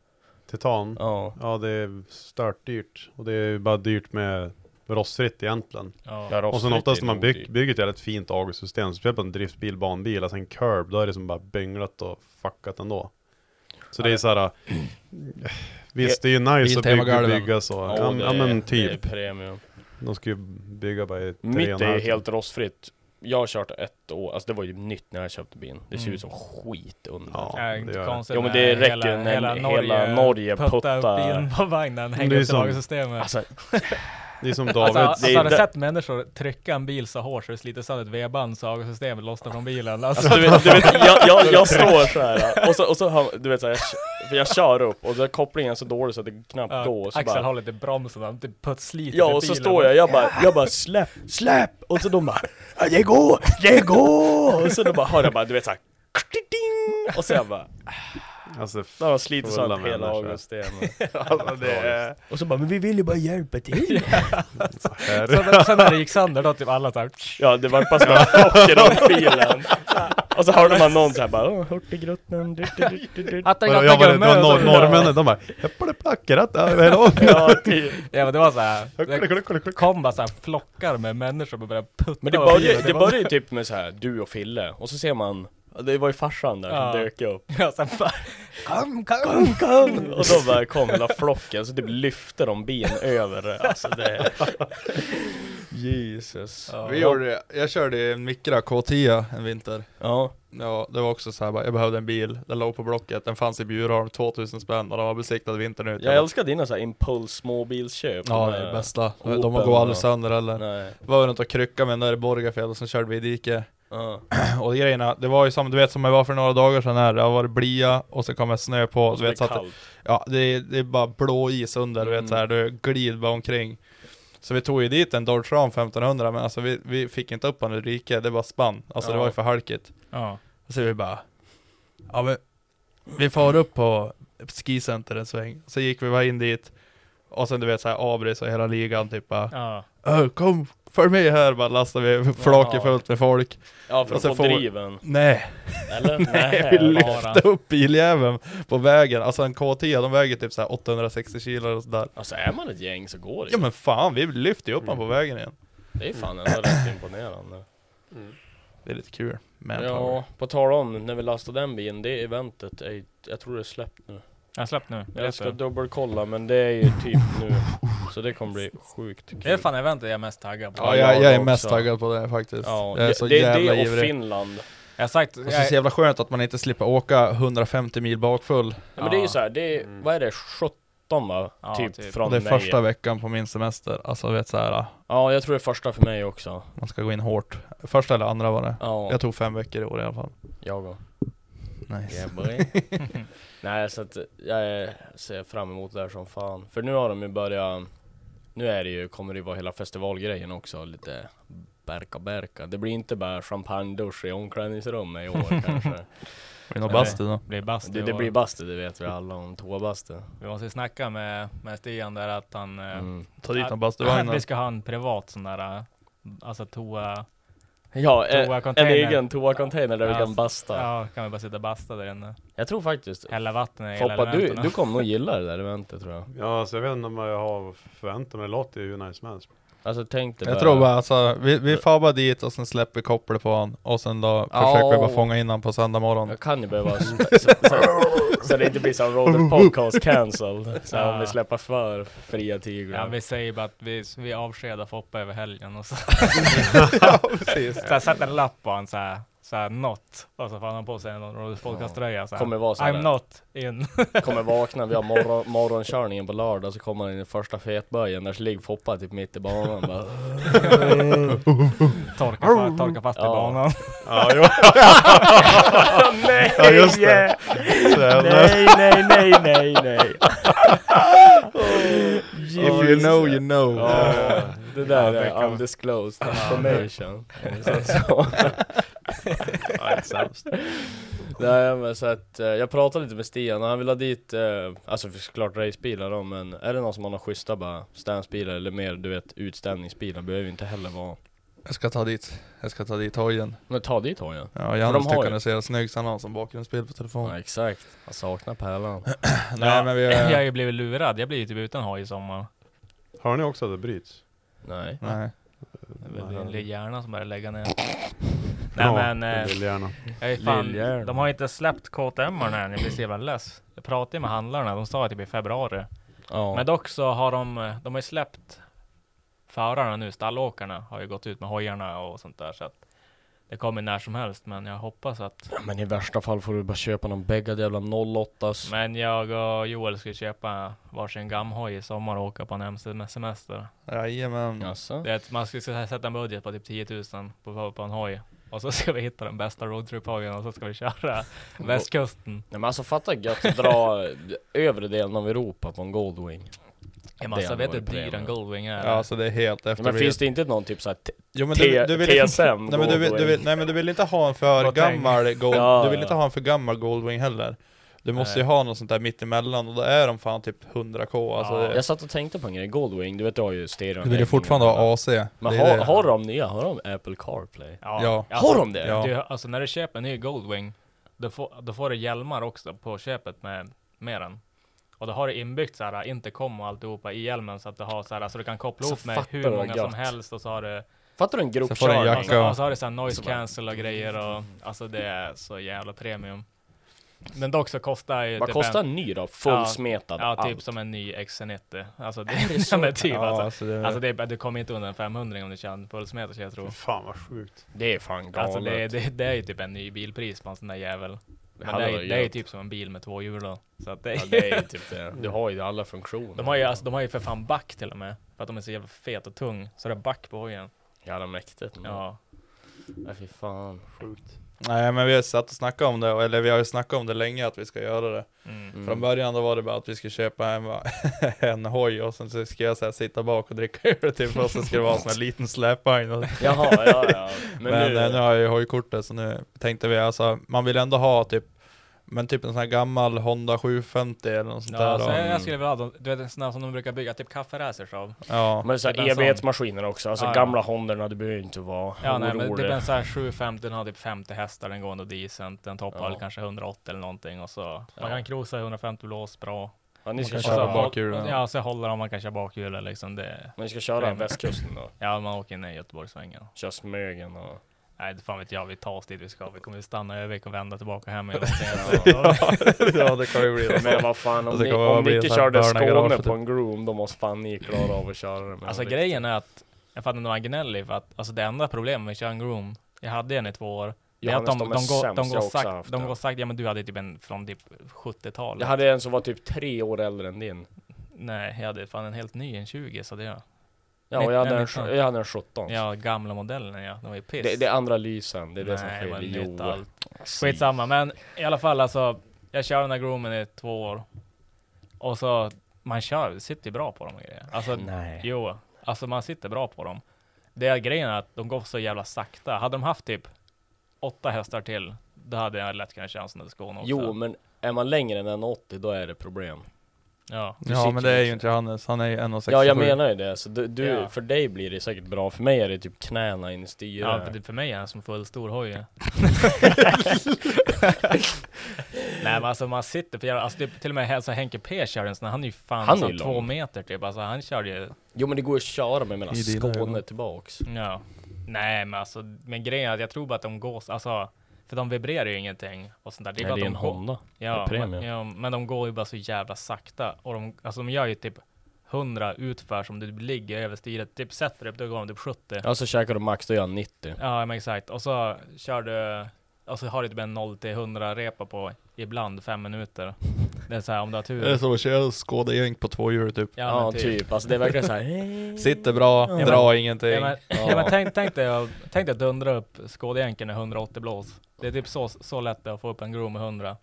Titan.
Ja.
Ja, det är stört dyrt. Och det är ju bara dyrt med rostfritt egentligen.
Ja.
Ja,
och sen
rostfritt
oftast
är
när man
nog
byg,
dyrt.
bygger ett jävligt fint AG-system, speciellt på en driftbil, banbil, alltså en curb, då är det som bara bynglat och fuckat ändå. Så det är såhär, äh, visst det är ju nice att bygga,
Biltemagalven.
bygga så,
Ja,
ja,
det
ja men
är-
typ.
Det är premium.
De ska ju bygga bara i tre
Mitt
och en
är
halv.
helt rostfritt. Jag har kört ett år, alltså det var ju nytt när jag köpte bilen. Det ser
Mm.
ut som skit under.
Ja,
Ja, inte
det gör det.
konstigt
Jo, men
när
det räcker när hela Norge
puttar upp
puttar.
bilen på vagnen,
Men
hänger
det är
upp
som-
lagersystemet.
Alltså,
Det är som
Alltså,
David,
alltså,
det är
har du
där-
sett människor trycka en bil så hårt så det sliter sönder ett V-band så lagersystemet lossnar från bilen? Alltså,
Alltså du vet, du vet jag, jag, jag står såhär och så, och så hör, du vet såhär, jag, kö- för jag kör upp och så är kopplingen så dålig så att det knappt
ja,
går. Så
Axel
bara,
håller inte i bromsen, han typ putsliter
ja och så står jag, jag bara, jag bara släpp, släpp! Och så de bara, "Ja, det går, det går! Och så de bara, hör jag bara, du vet såhär, och så jag bara,
alltså
då har de slitit
fulla
sönder hela
människor.
August-stenen.
Alltså, det är...
Och så bara, men vi vill ju bara hjälpa till.
Här.
sen, sen när det gick sönder då typ alla såhär...
Ja det var bara sådana chocker av bilen. Och så hörde man någon såhär bara, "Åh, hurtigruten, du, du, du, du, du."
Att
Och jag bara, det var nor- norrmännen, de bara Heppaleplackerat, ja, vad är det?
Ja, typ.
Ja men det var såhär,
Kluck, kluck, kluck,
det
kluck.
kom bara såhär flockar med människor och började putta
Men det
på
börjar
bilen.
det
var-
börjar ju typ med så här du och Fille, och så ser man, ja, det var ju farsan där
Ja.
som dök upp.
Ja, sen bara,
Kom, kom, kom!
Och då bara kom hela flocken, så typ lyfte de ben över det. Alltså det... Jesus. Ja.
Vi gjorde det. Jag körde en Micra K10 en vinter
Ja.
Ja, det var också så här, bara, jag behövde en bil, den låg på Blocket, den fanns i Bjurholm, 2000 spänn och den var besiktad vintern ut
Jag älskar dina så här impuls småbilsköp.
Ja,
De
det
här-
är det bästa.
Opel
De går aldrig
och-
sönder heller.
Nej.
Var runt och krycka med den där i Borgafjäll och sen körde vi i dike.
Ja.
Och grejerna, det var ju som du vet som jag var för några dagar sedan här, det har varit blia och så kommer snö på.
Och så
du vet,
blir
så att,
det kallt.
ja, det, är, det är bara blå is under, du vet
Mm.
så här, du glider bara omkring. Så vi tog ju dit en Dodge Ram 1500 men alltså vi, vi fick inte upp honom ur riket, det bara spann. Alltså det
Ja.
var ju för halkigt.
ja.
Och så vi bara Ja men Vi far upp på skicenter en sväng Så gick vi bara in dit Och sen du vet såhär Abris och hela ligan typ bara
Ja.
"Ö, Kom följ med här bara lastade vi flaket
Ja.
fullt med folk
Ja, för
Och
att
så
få
får-
driven.
Nej!
Eller?
Nej vi
bara.
lyfte upp biljäveln på vägen Alltså en KT de väger typ såhär 860 kilo och sådär
Alltså är man ett gäng så går det
Ja
ju.
men fan vi lyfte ju upp honom på
Mm.
vägen igen
Det är fan ändå rätt imponerande.
Det är lite kul Manpower
Ja, på tal om när vi lastade den bilen, det eventet är ju, jag tror det är släppt nu.
Jag släpp nu.
Jag ska dubbelkolla men det är ju typ nu. Så det kommer bli sjukt kul.
Det är fan eventet jag är mest taggad på.
Ja, jag, jag är
jag
mest
också.
taggad på det faktiskt
Ja,
Jag är
det-
så
det är
jävla
det och
ivrig
Finland.
Jag har sagt,
Och så är det så
jag,
jävla skönt att man inte slipper åka 150 mil bakfull
Ja, men det är
Ja.
ju såhär, det är, vad är det, 17 va?
Ja,
typ,
typ.
från
Och det är
mig.
första veckan på min semester, alltså vet så här,
Ja, jag tror det är första för mig också.
man ska gå in hårt Första eller andra var det
Ja,
Jag tog fem veckor i år i alla fall
jag och.
Nice.
Yeah, boy. Nej, så att jag ser fram emot det här som fan. För nu har de ju börjat... Nu är det ju, kommer det ju vara hela festivalgrejen också, lite berka berka. Det blir inte bara champagne-dusch i omklädningsrummet i år kanske.
Blir det någon bastu då?
Blir bastu
det,
i
det
år.
blir bastu, det vet vi alla om. Toabastu.
Vi måste snacka med, med Stian där att han... eh,
Mm.
Ta dit
att-
någon bastuvagn då.
Vi ska ha en privat sån där, eh, alltså toa...
Ja, eh,
toacontainer.
en egen toacontainer där vi kan basta.
Ja, kan vi bara sitta och basta där inne.
Jag tror faktiskt...
Hälla vatten i hela
Foppa, du,
elementerna.
du kommer nog gilla det där eventet tror jag.
Ja, alltså jag vet inte om jag har förväntat mig, det låter ju nice som helst.
Alltså tänk dig
Jag tror bara alltså, vi, vi far bara dit och sen släpper vi kopplet på honom och sen då försöker vi bara fånga in honom på söndag morgon.
Jag kan ju behöva... så, så, så det inte blir som Robert Podcast cancelled. Så om vi släpper för fria tigrar.
Ja, vi säger bara att vi, vi avskedar Foppa över helgen och så...
Ja, precis.
Så jag sätter en lapp på honom såhär, såhär not. Och så får han på sig en Rollers Podcast-tröja såhär.
Kommer vara så här.
I'm not in.
Kommer vakna, vi har morgon, morgonkörningen på lördag, så kommer han in i första fetböjen, där så ligger Foppa typ mitt i banan bara...
Torka fa- torka fast i banan.
Ja, jo.
Nej! Ja, just det.
Nej, nej, nej, nej, nej.
If you know, you know.
Ja, det där
Ja, det
är
kan-
undisclosed
Ja.
information. om vi säger så.
Ja, det är sämst.
Nej men så att eh, jag pratade lite med Stian och han vill ha dit, eh, alltså för såklart racebilar då men är det någon som har några schyssta bara stansbilar eller mer du vet utställningsbilar behöver ju inte heller vara.
Jag ska ta dit, jag ska ta dit hojen.
Men ta dit hojen.
Ja,
För
Jannes
de har
tycker
ju-
han är så jävla snygg så han har som bakgrundsbild på telefonen.
Ja, exakt, jag saknar pärlan.
Nej, men vi-
Jag har ju blivit lurad. Jag blir ju typ utan hoj i sommar.
Hör ni också att det bryts?
Nej.
Nej.
Det är väl din hjärna som börjar lägga ner. Nej
Ja,
men...
det
eh,
vill gärna.
Jag är fan,
Lillhjärna.
de har inte släppt KTM än, jag blir så jävla less. Jag pratade ju med handlarna, de sa typ i februari.
Ja.
Men dock så har de, de har ju släppt förarna nu, stallåkarna har ju gått ut med hojarna och sånt där så att det kommer när som helst men jag hoppas att...
Men i värsta fall får du bara köpa någon bäggad jävla 08
Men jag och Joel ska köpa varsin gamhoj i sommar och åka på en MC-semester.
Jajamän.
Det är att man ska s- sätta en budget på typ 10 000 på, på en hoj. Och så ska vi hitta den bästa roadtrip-hojen och så ska vi köra västkusten.
Nej men alltså fatta gött att dra övre delen av Europa på en Goldwing.
Ja, men alltså,
hade
vet du
varit
hur dyr
premium.
en Goldwing är?
Ja, alltså det är helt efter
Men
vi-
finns det inte någon typ såhär
Jo, men
T-
du, du vill,
TSM
nej, men du, vill, du vill, nej men du vill inte ha en för
Goldwing.
gammal gold,
Ja,
Du vill
ja.
inte ha en för gammal Goldwing heller Du måste
Nej.
ju ha något sånt där mittemellan och då är de fan typ 100k alltså det,
Jag satt och tänkte på en grej, Goldwing, du vet du har ju stereon
Du vill ju fortfarande ha AC
Men
Det är
har,
det.
har de nya? Har de Apple CarPlay?
Alltså,
Har de det?
Du, alltså när du köper en ny Goldwing, då får, då får du hjälmar också på köpet med, med den. Och då har du inbyggt så här äh, intercom och alltihopa i hjälmen så att du har så här, så du kan koppla
Så
ihop med
fattar
hur
du vad
många som
gött.
helst och så har du
Fattar du en grop
och så,
körning?
och så, och så har du så här noise cancel och grejer och alltså det är så jävla premium. Men dock så kostar ju
Vad
typ
kostar en ny då? Fullsmetad,
Ja, ja typ
allt.
som en ny XC90. Alltså det,
Är det så?
ja, men typ,
Ja,
alltså,
alltså
alltså,
det-
det... är- du kommer inte under en 500 om du kör en fullsmetad skulle jag tro.
Fan vad sjukt.
Det är fan galet.
Alltså det, det, det är ju typ en ny bilpris på en sån där jävel. Men det,
hade
är, ju-
varit
det är ju
gött.
typ som en bil med två hjul då. Så att det,
Ja, det är ju typ det. Du har ju alla funktioner.
De har ju, alltså, de har ju för fan back till och med. För att de är så jävla fet och tung. Så det är back på hojen.
Jävla mäktigt.
Ja.
Nej fy fan. Sjukt.
Nej men vi har satt och snackat om det, och- eller vi har ju snackat om det länge att vi ska göra det
Mm.
Från början då var det bara att vi skulle köpa en, en hoj och sen så ska jag så här, sitta bak och dricka öl typ och så ska det vara en sån här liten släpvagn och-
Jaha, ja, ja. Men
Men,
nu-
nu... nu har jag ju hojkortet så nu tänkte vi alltså, man vill ändå ha typ Men typ en sån här gammal Honda 750 eller något sånt
Ja,
där
så jag,
då.
jag skulle vilja ha, de- du vet en sån där som de brukar bygga, typ kafferacers av.
Ja.
Men så
Typ en
här
sån.
evighetsmaskiner också, alltså
Ja, ja.
gamla Hondorna, du behöver ju inte vara
Ja, nej, men
orolig.
typ en sån här 750, den har typ 50 hästar, den går ändå decent. Den toppar
Ja.
väl kanske 180 eller någonting och så. Man kan krosa 150 blås bra.
Ja, ni ska
Och
köra
så håll-
bakhjulen.
Ja, så håller de, man kan köra bakhjulen liksom. Det,
Men ni ska köra
Premium.
västkusten då?
Ja, man åker in i Göteborgssvängen.
Kör Smögen och...
Nej, det fan vet jag. Vi tar oss dit vi ska. Vi kommer ju stanna i Örnsköldsvik och vända tillbaka hem. igen.
Ja, Men vad fan, om
Alltså,
ni,
kommer bara
om
bli
ni inte
så här
körde
Börna garage
Skåne
typ.
på en groom, då måste fan ni klara av att köra det med
Alltså
en
grejen är att, jag fattar inte vad han gnäller för att alltså, det enda problemet med att köra en groom, jag hade en i två år, det är att
Johannes,
de, de,
de är
går,
sämst.
de,
Jag
går
har också
sagt,
haft
de
det.
går sagt, ja men du hade typ en från typ 70-talet.
Jag hade en som var typ tre år äldre än din.
Nej, jag hade fan en helt ny, en 20 så det jag.
Ja, och jag hade en sj- jag hade en
17. Ja, gamla modellen ja. De var ju piss.
Alltså. Det, det är andra lysen, det är det som
Nej,
skiljer.
men nytt
Jo.
allt. Skitsamma, men i alla fall alltså. Jag kör den här groomen i två år. Och så, man kör, sitter ju bra på dem och grejer. Alltså,
Nej.
jo. Alltså man sitter bra på dem. Det är grejen är att de går så jävla sakta. Hade de haft typ åtta hästar till, då hade jag lätt kunnat köra en sån där skon också.
Jo, men är man längre än 1,80 då är det problem.
Ja.
Du
Ja
sitter
men det är ju
liksom-
inte Hannes, han är ju 1,67
Ja, jag menar ju det. Så du, du,
Ja.
för dig blir det säkert bra. För mig är det typ knäna in i styret.
Ja, för, det- för mig är han som full stor hoj. Nej men alltså man sitter för jävla, alltså typ, till och med alltså, Henke P kör en sån, här, han är ju fan
Han är
alltså,
ju
två
lång.
meter typ, alltså han körde ju...
Jo, men det går att köra med mellan
I dina
Skåne
ögon.
tillbaks.
Ja. Nej men alltså, men grejen är att jag tror bara att de går, så- alltså, för de vibrerar ju ingenting och sånt där.
Nej,
bara
det
att
är
de
en
går-
Honda.
Ja,
Det är
men,
premium.
ja, men de går ju bara så jävla sakta och de, alltså de gör ju typ 100 utför som du ligger över styret, typ sätter du upp, då går de typ 70.
Ja, så käkar du max, då gör jag 90.
Ja, men exakt. Och så kör du, och så har du typ en 0 till 100 repa på ibland fem minuter. Det är så här om du har tur.
Det är som att köra skådejänk på två hjul typ.
Ja, men Ja, typ. typ. Alltså, det är verkligen så här-
Sitter bra,
Ja,
drar
men-
ingenting.
Ja, men, ja. men tänk, tänk, dig, att- tänk dig att dundra upp skådejänken i 180 blås. Det är typ så, så lätt det är att få upp en grov med 100.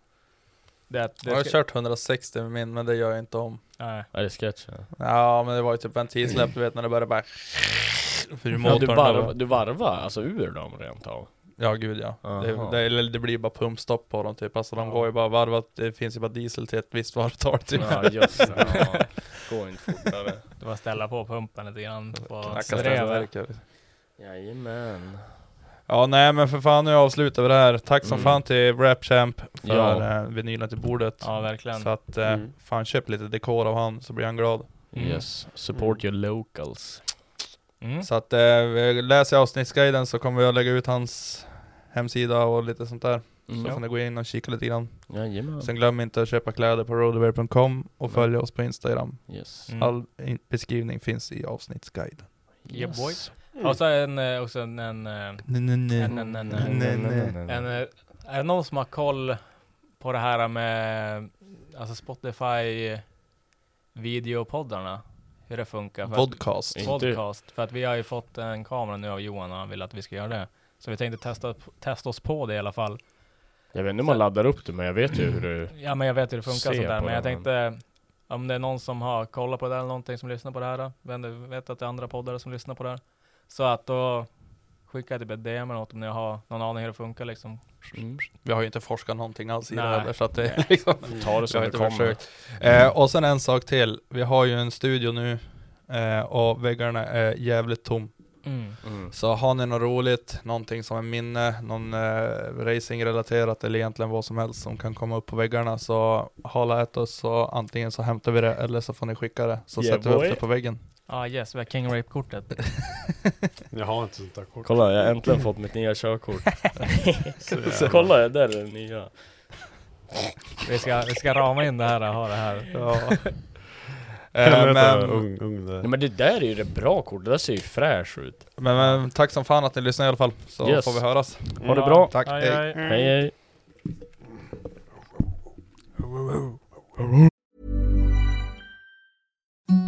Det, är att- det
jag har
ska-
kört 160 med min, men det gör jag inte om.
Nej.
Är det sketch? Ja.
Ja, men det var ju typ ventilsläpp, du vet när det började bara... För
Ja, du,
motorn
varv, du varvar alltså ur dem rent av?
Ja, gud ja. Det,
Aha.
det, eller det blir bara pumpstopp på dem typ. Alltså de går ju bara varvat, det finns ju bara diesel till ett visst varvtal typ.
Ja, just det. Ja. Går inte fortare.
Det var ställa på pumpen lite grann på
Knacka ställverkar.
Jajamän.
Ja nej men för fan nu avslutar vi det här. Tack som
Mm.
fan till Rapchamp för
Ja.
eh, vinylen till bordet.
Ja, verkligen.
Så att eh,
Mm.
fan köp lite dekor av han så blir han glad.
Mm.
Yes, support your locals.
Så att eh, läs i avsnittsguiden så kommer vi att lägga ut hans hemsida och lite sånt där.
Mm.
Så
Ja.
får ni gå in och kika lite grann.
Jajamän.
Sen glöm inte att köpa kläder på roadaway.com och följa oss på Instagram.
Yes.
Mm.
All in- beskrivning finns i avsnittsguiden.
Yeah boy.
Yes.
Och så en, eh, också en, en, eh,
Nej, nej, nej.
en, en, en,
Nej, nej, nej.
en, eh, är det någon som har koll på det här med, alltså Spotify videopoddarna? Hur det funkar? För att-
Vodcast. Inte-
Vodcast. För att vi har ju fått en kamera nu av Johan och han vill att vi ska göra det. Så vi tänkte testa, testa oss på det i alla fall.
Jag vet inte om man laddar upp det, men jag vet ju hur du...
Ja men jag vet hur det funkar och
Se
sånt där,
på
men jag
den.
tänkte om det är någon som har kollat på det här eller någonting som lyssnar på det här, vem vet att det är andra poddare som lyssnar på det här. Så att då skicka typ ett DM eller något om ni har någon aning hur det funkar liksom.
Vi har ju inte forskat någonting alls i det
Nej.
heller så att det
Nej.
liksom,
Mm. Ta det som
vi har inte
det kommer.
försökt. Eh, och sen en sak till. Vi har ju en studio nu eh, och väggarna är jävligt tom.
Mm.
Så har ni något roligt, någonting som är minne, någon eh, racingrelaterat eller egentligen vad som helst som kan komma upp på väggarna så hala ett oss så antingen så hämtar vi det eller så får ni skicka det så
Yeah,
sätter vi
boy.
upp det på väggen.
Ja ah, yes, vi har King Rape-kortet.
Jag har inte sånt där kort.
Kolla, jag har äntligen fått mitt nya körkort.
Så-
Kolla, där är det nya.
vi, ska, vi ska rama in det här och ha det här.
Ja.
Äh,
Helvete,
Eh, men-
ung, ung där.
Nej men det där är ju ett bra kort, det där ser ju fräscht ut.
Men, men tack som fan att ni lyssnade i alla fall så
Yes.
får vi höras.
Ha det bra.
Tack,
Hej,
hej.
hej. Hej, hej.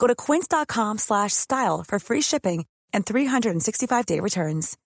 Go to quince.com/style slash style for free shipping and 365-day returns.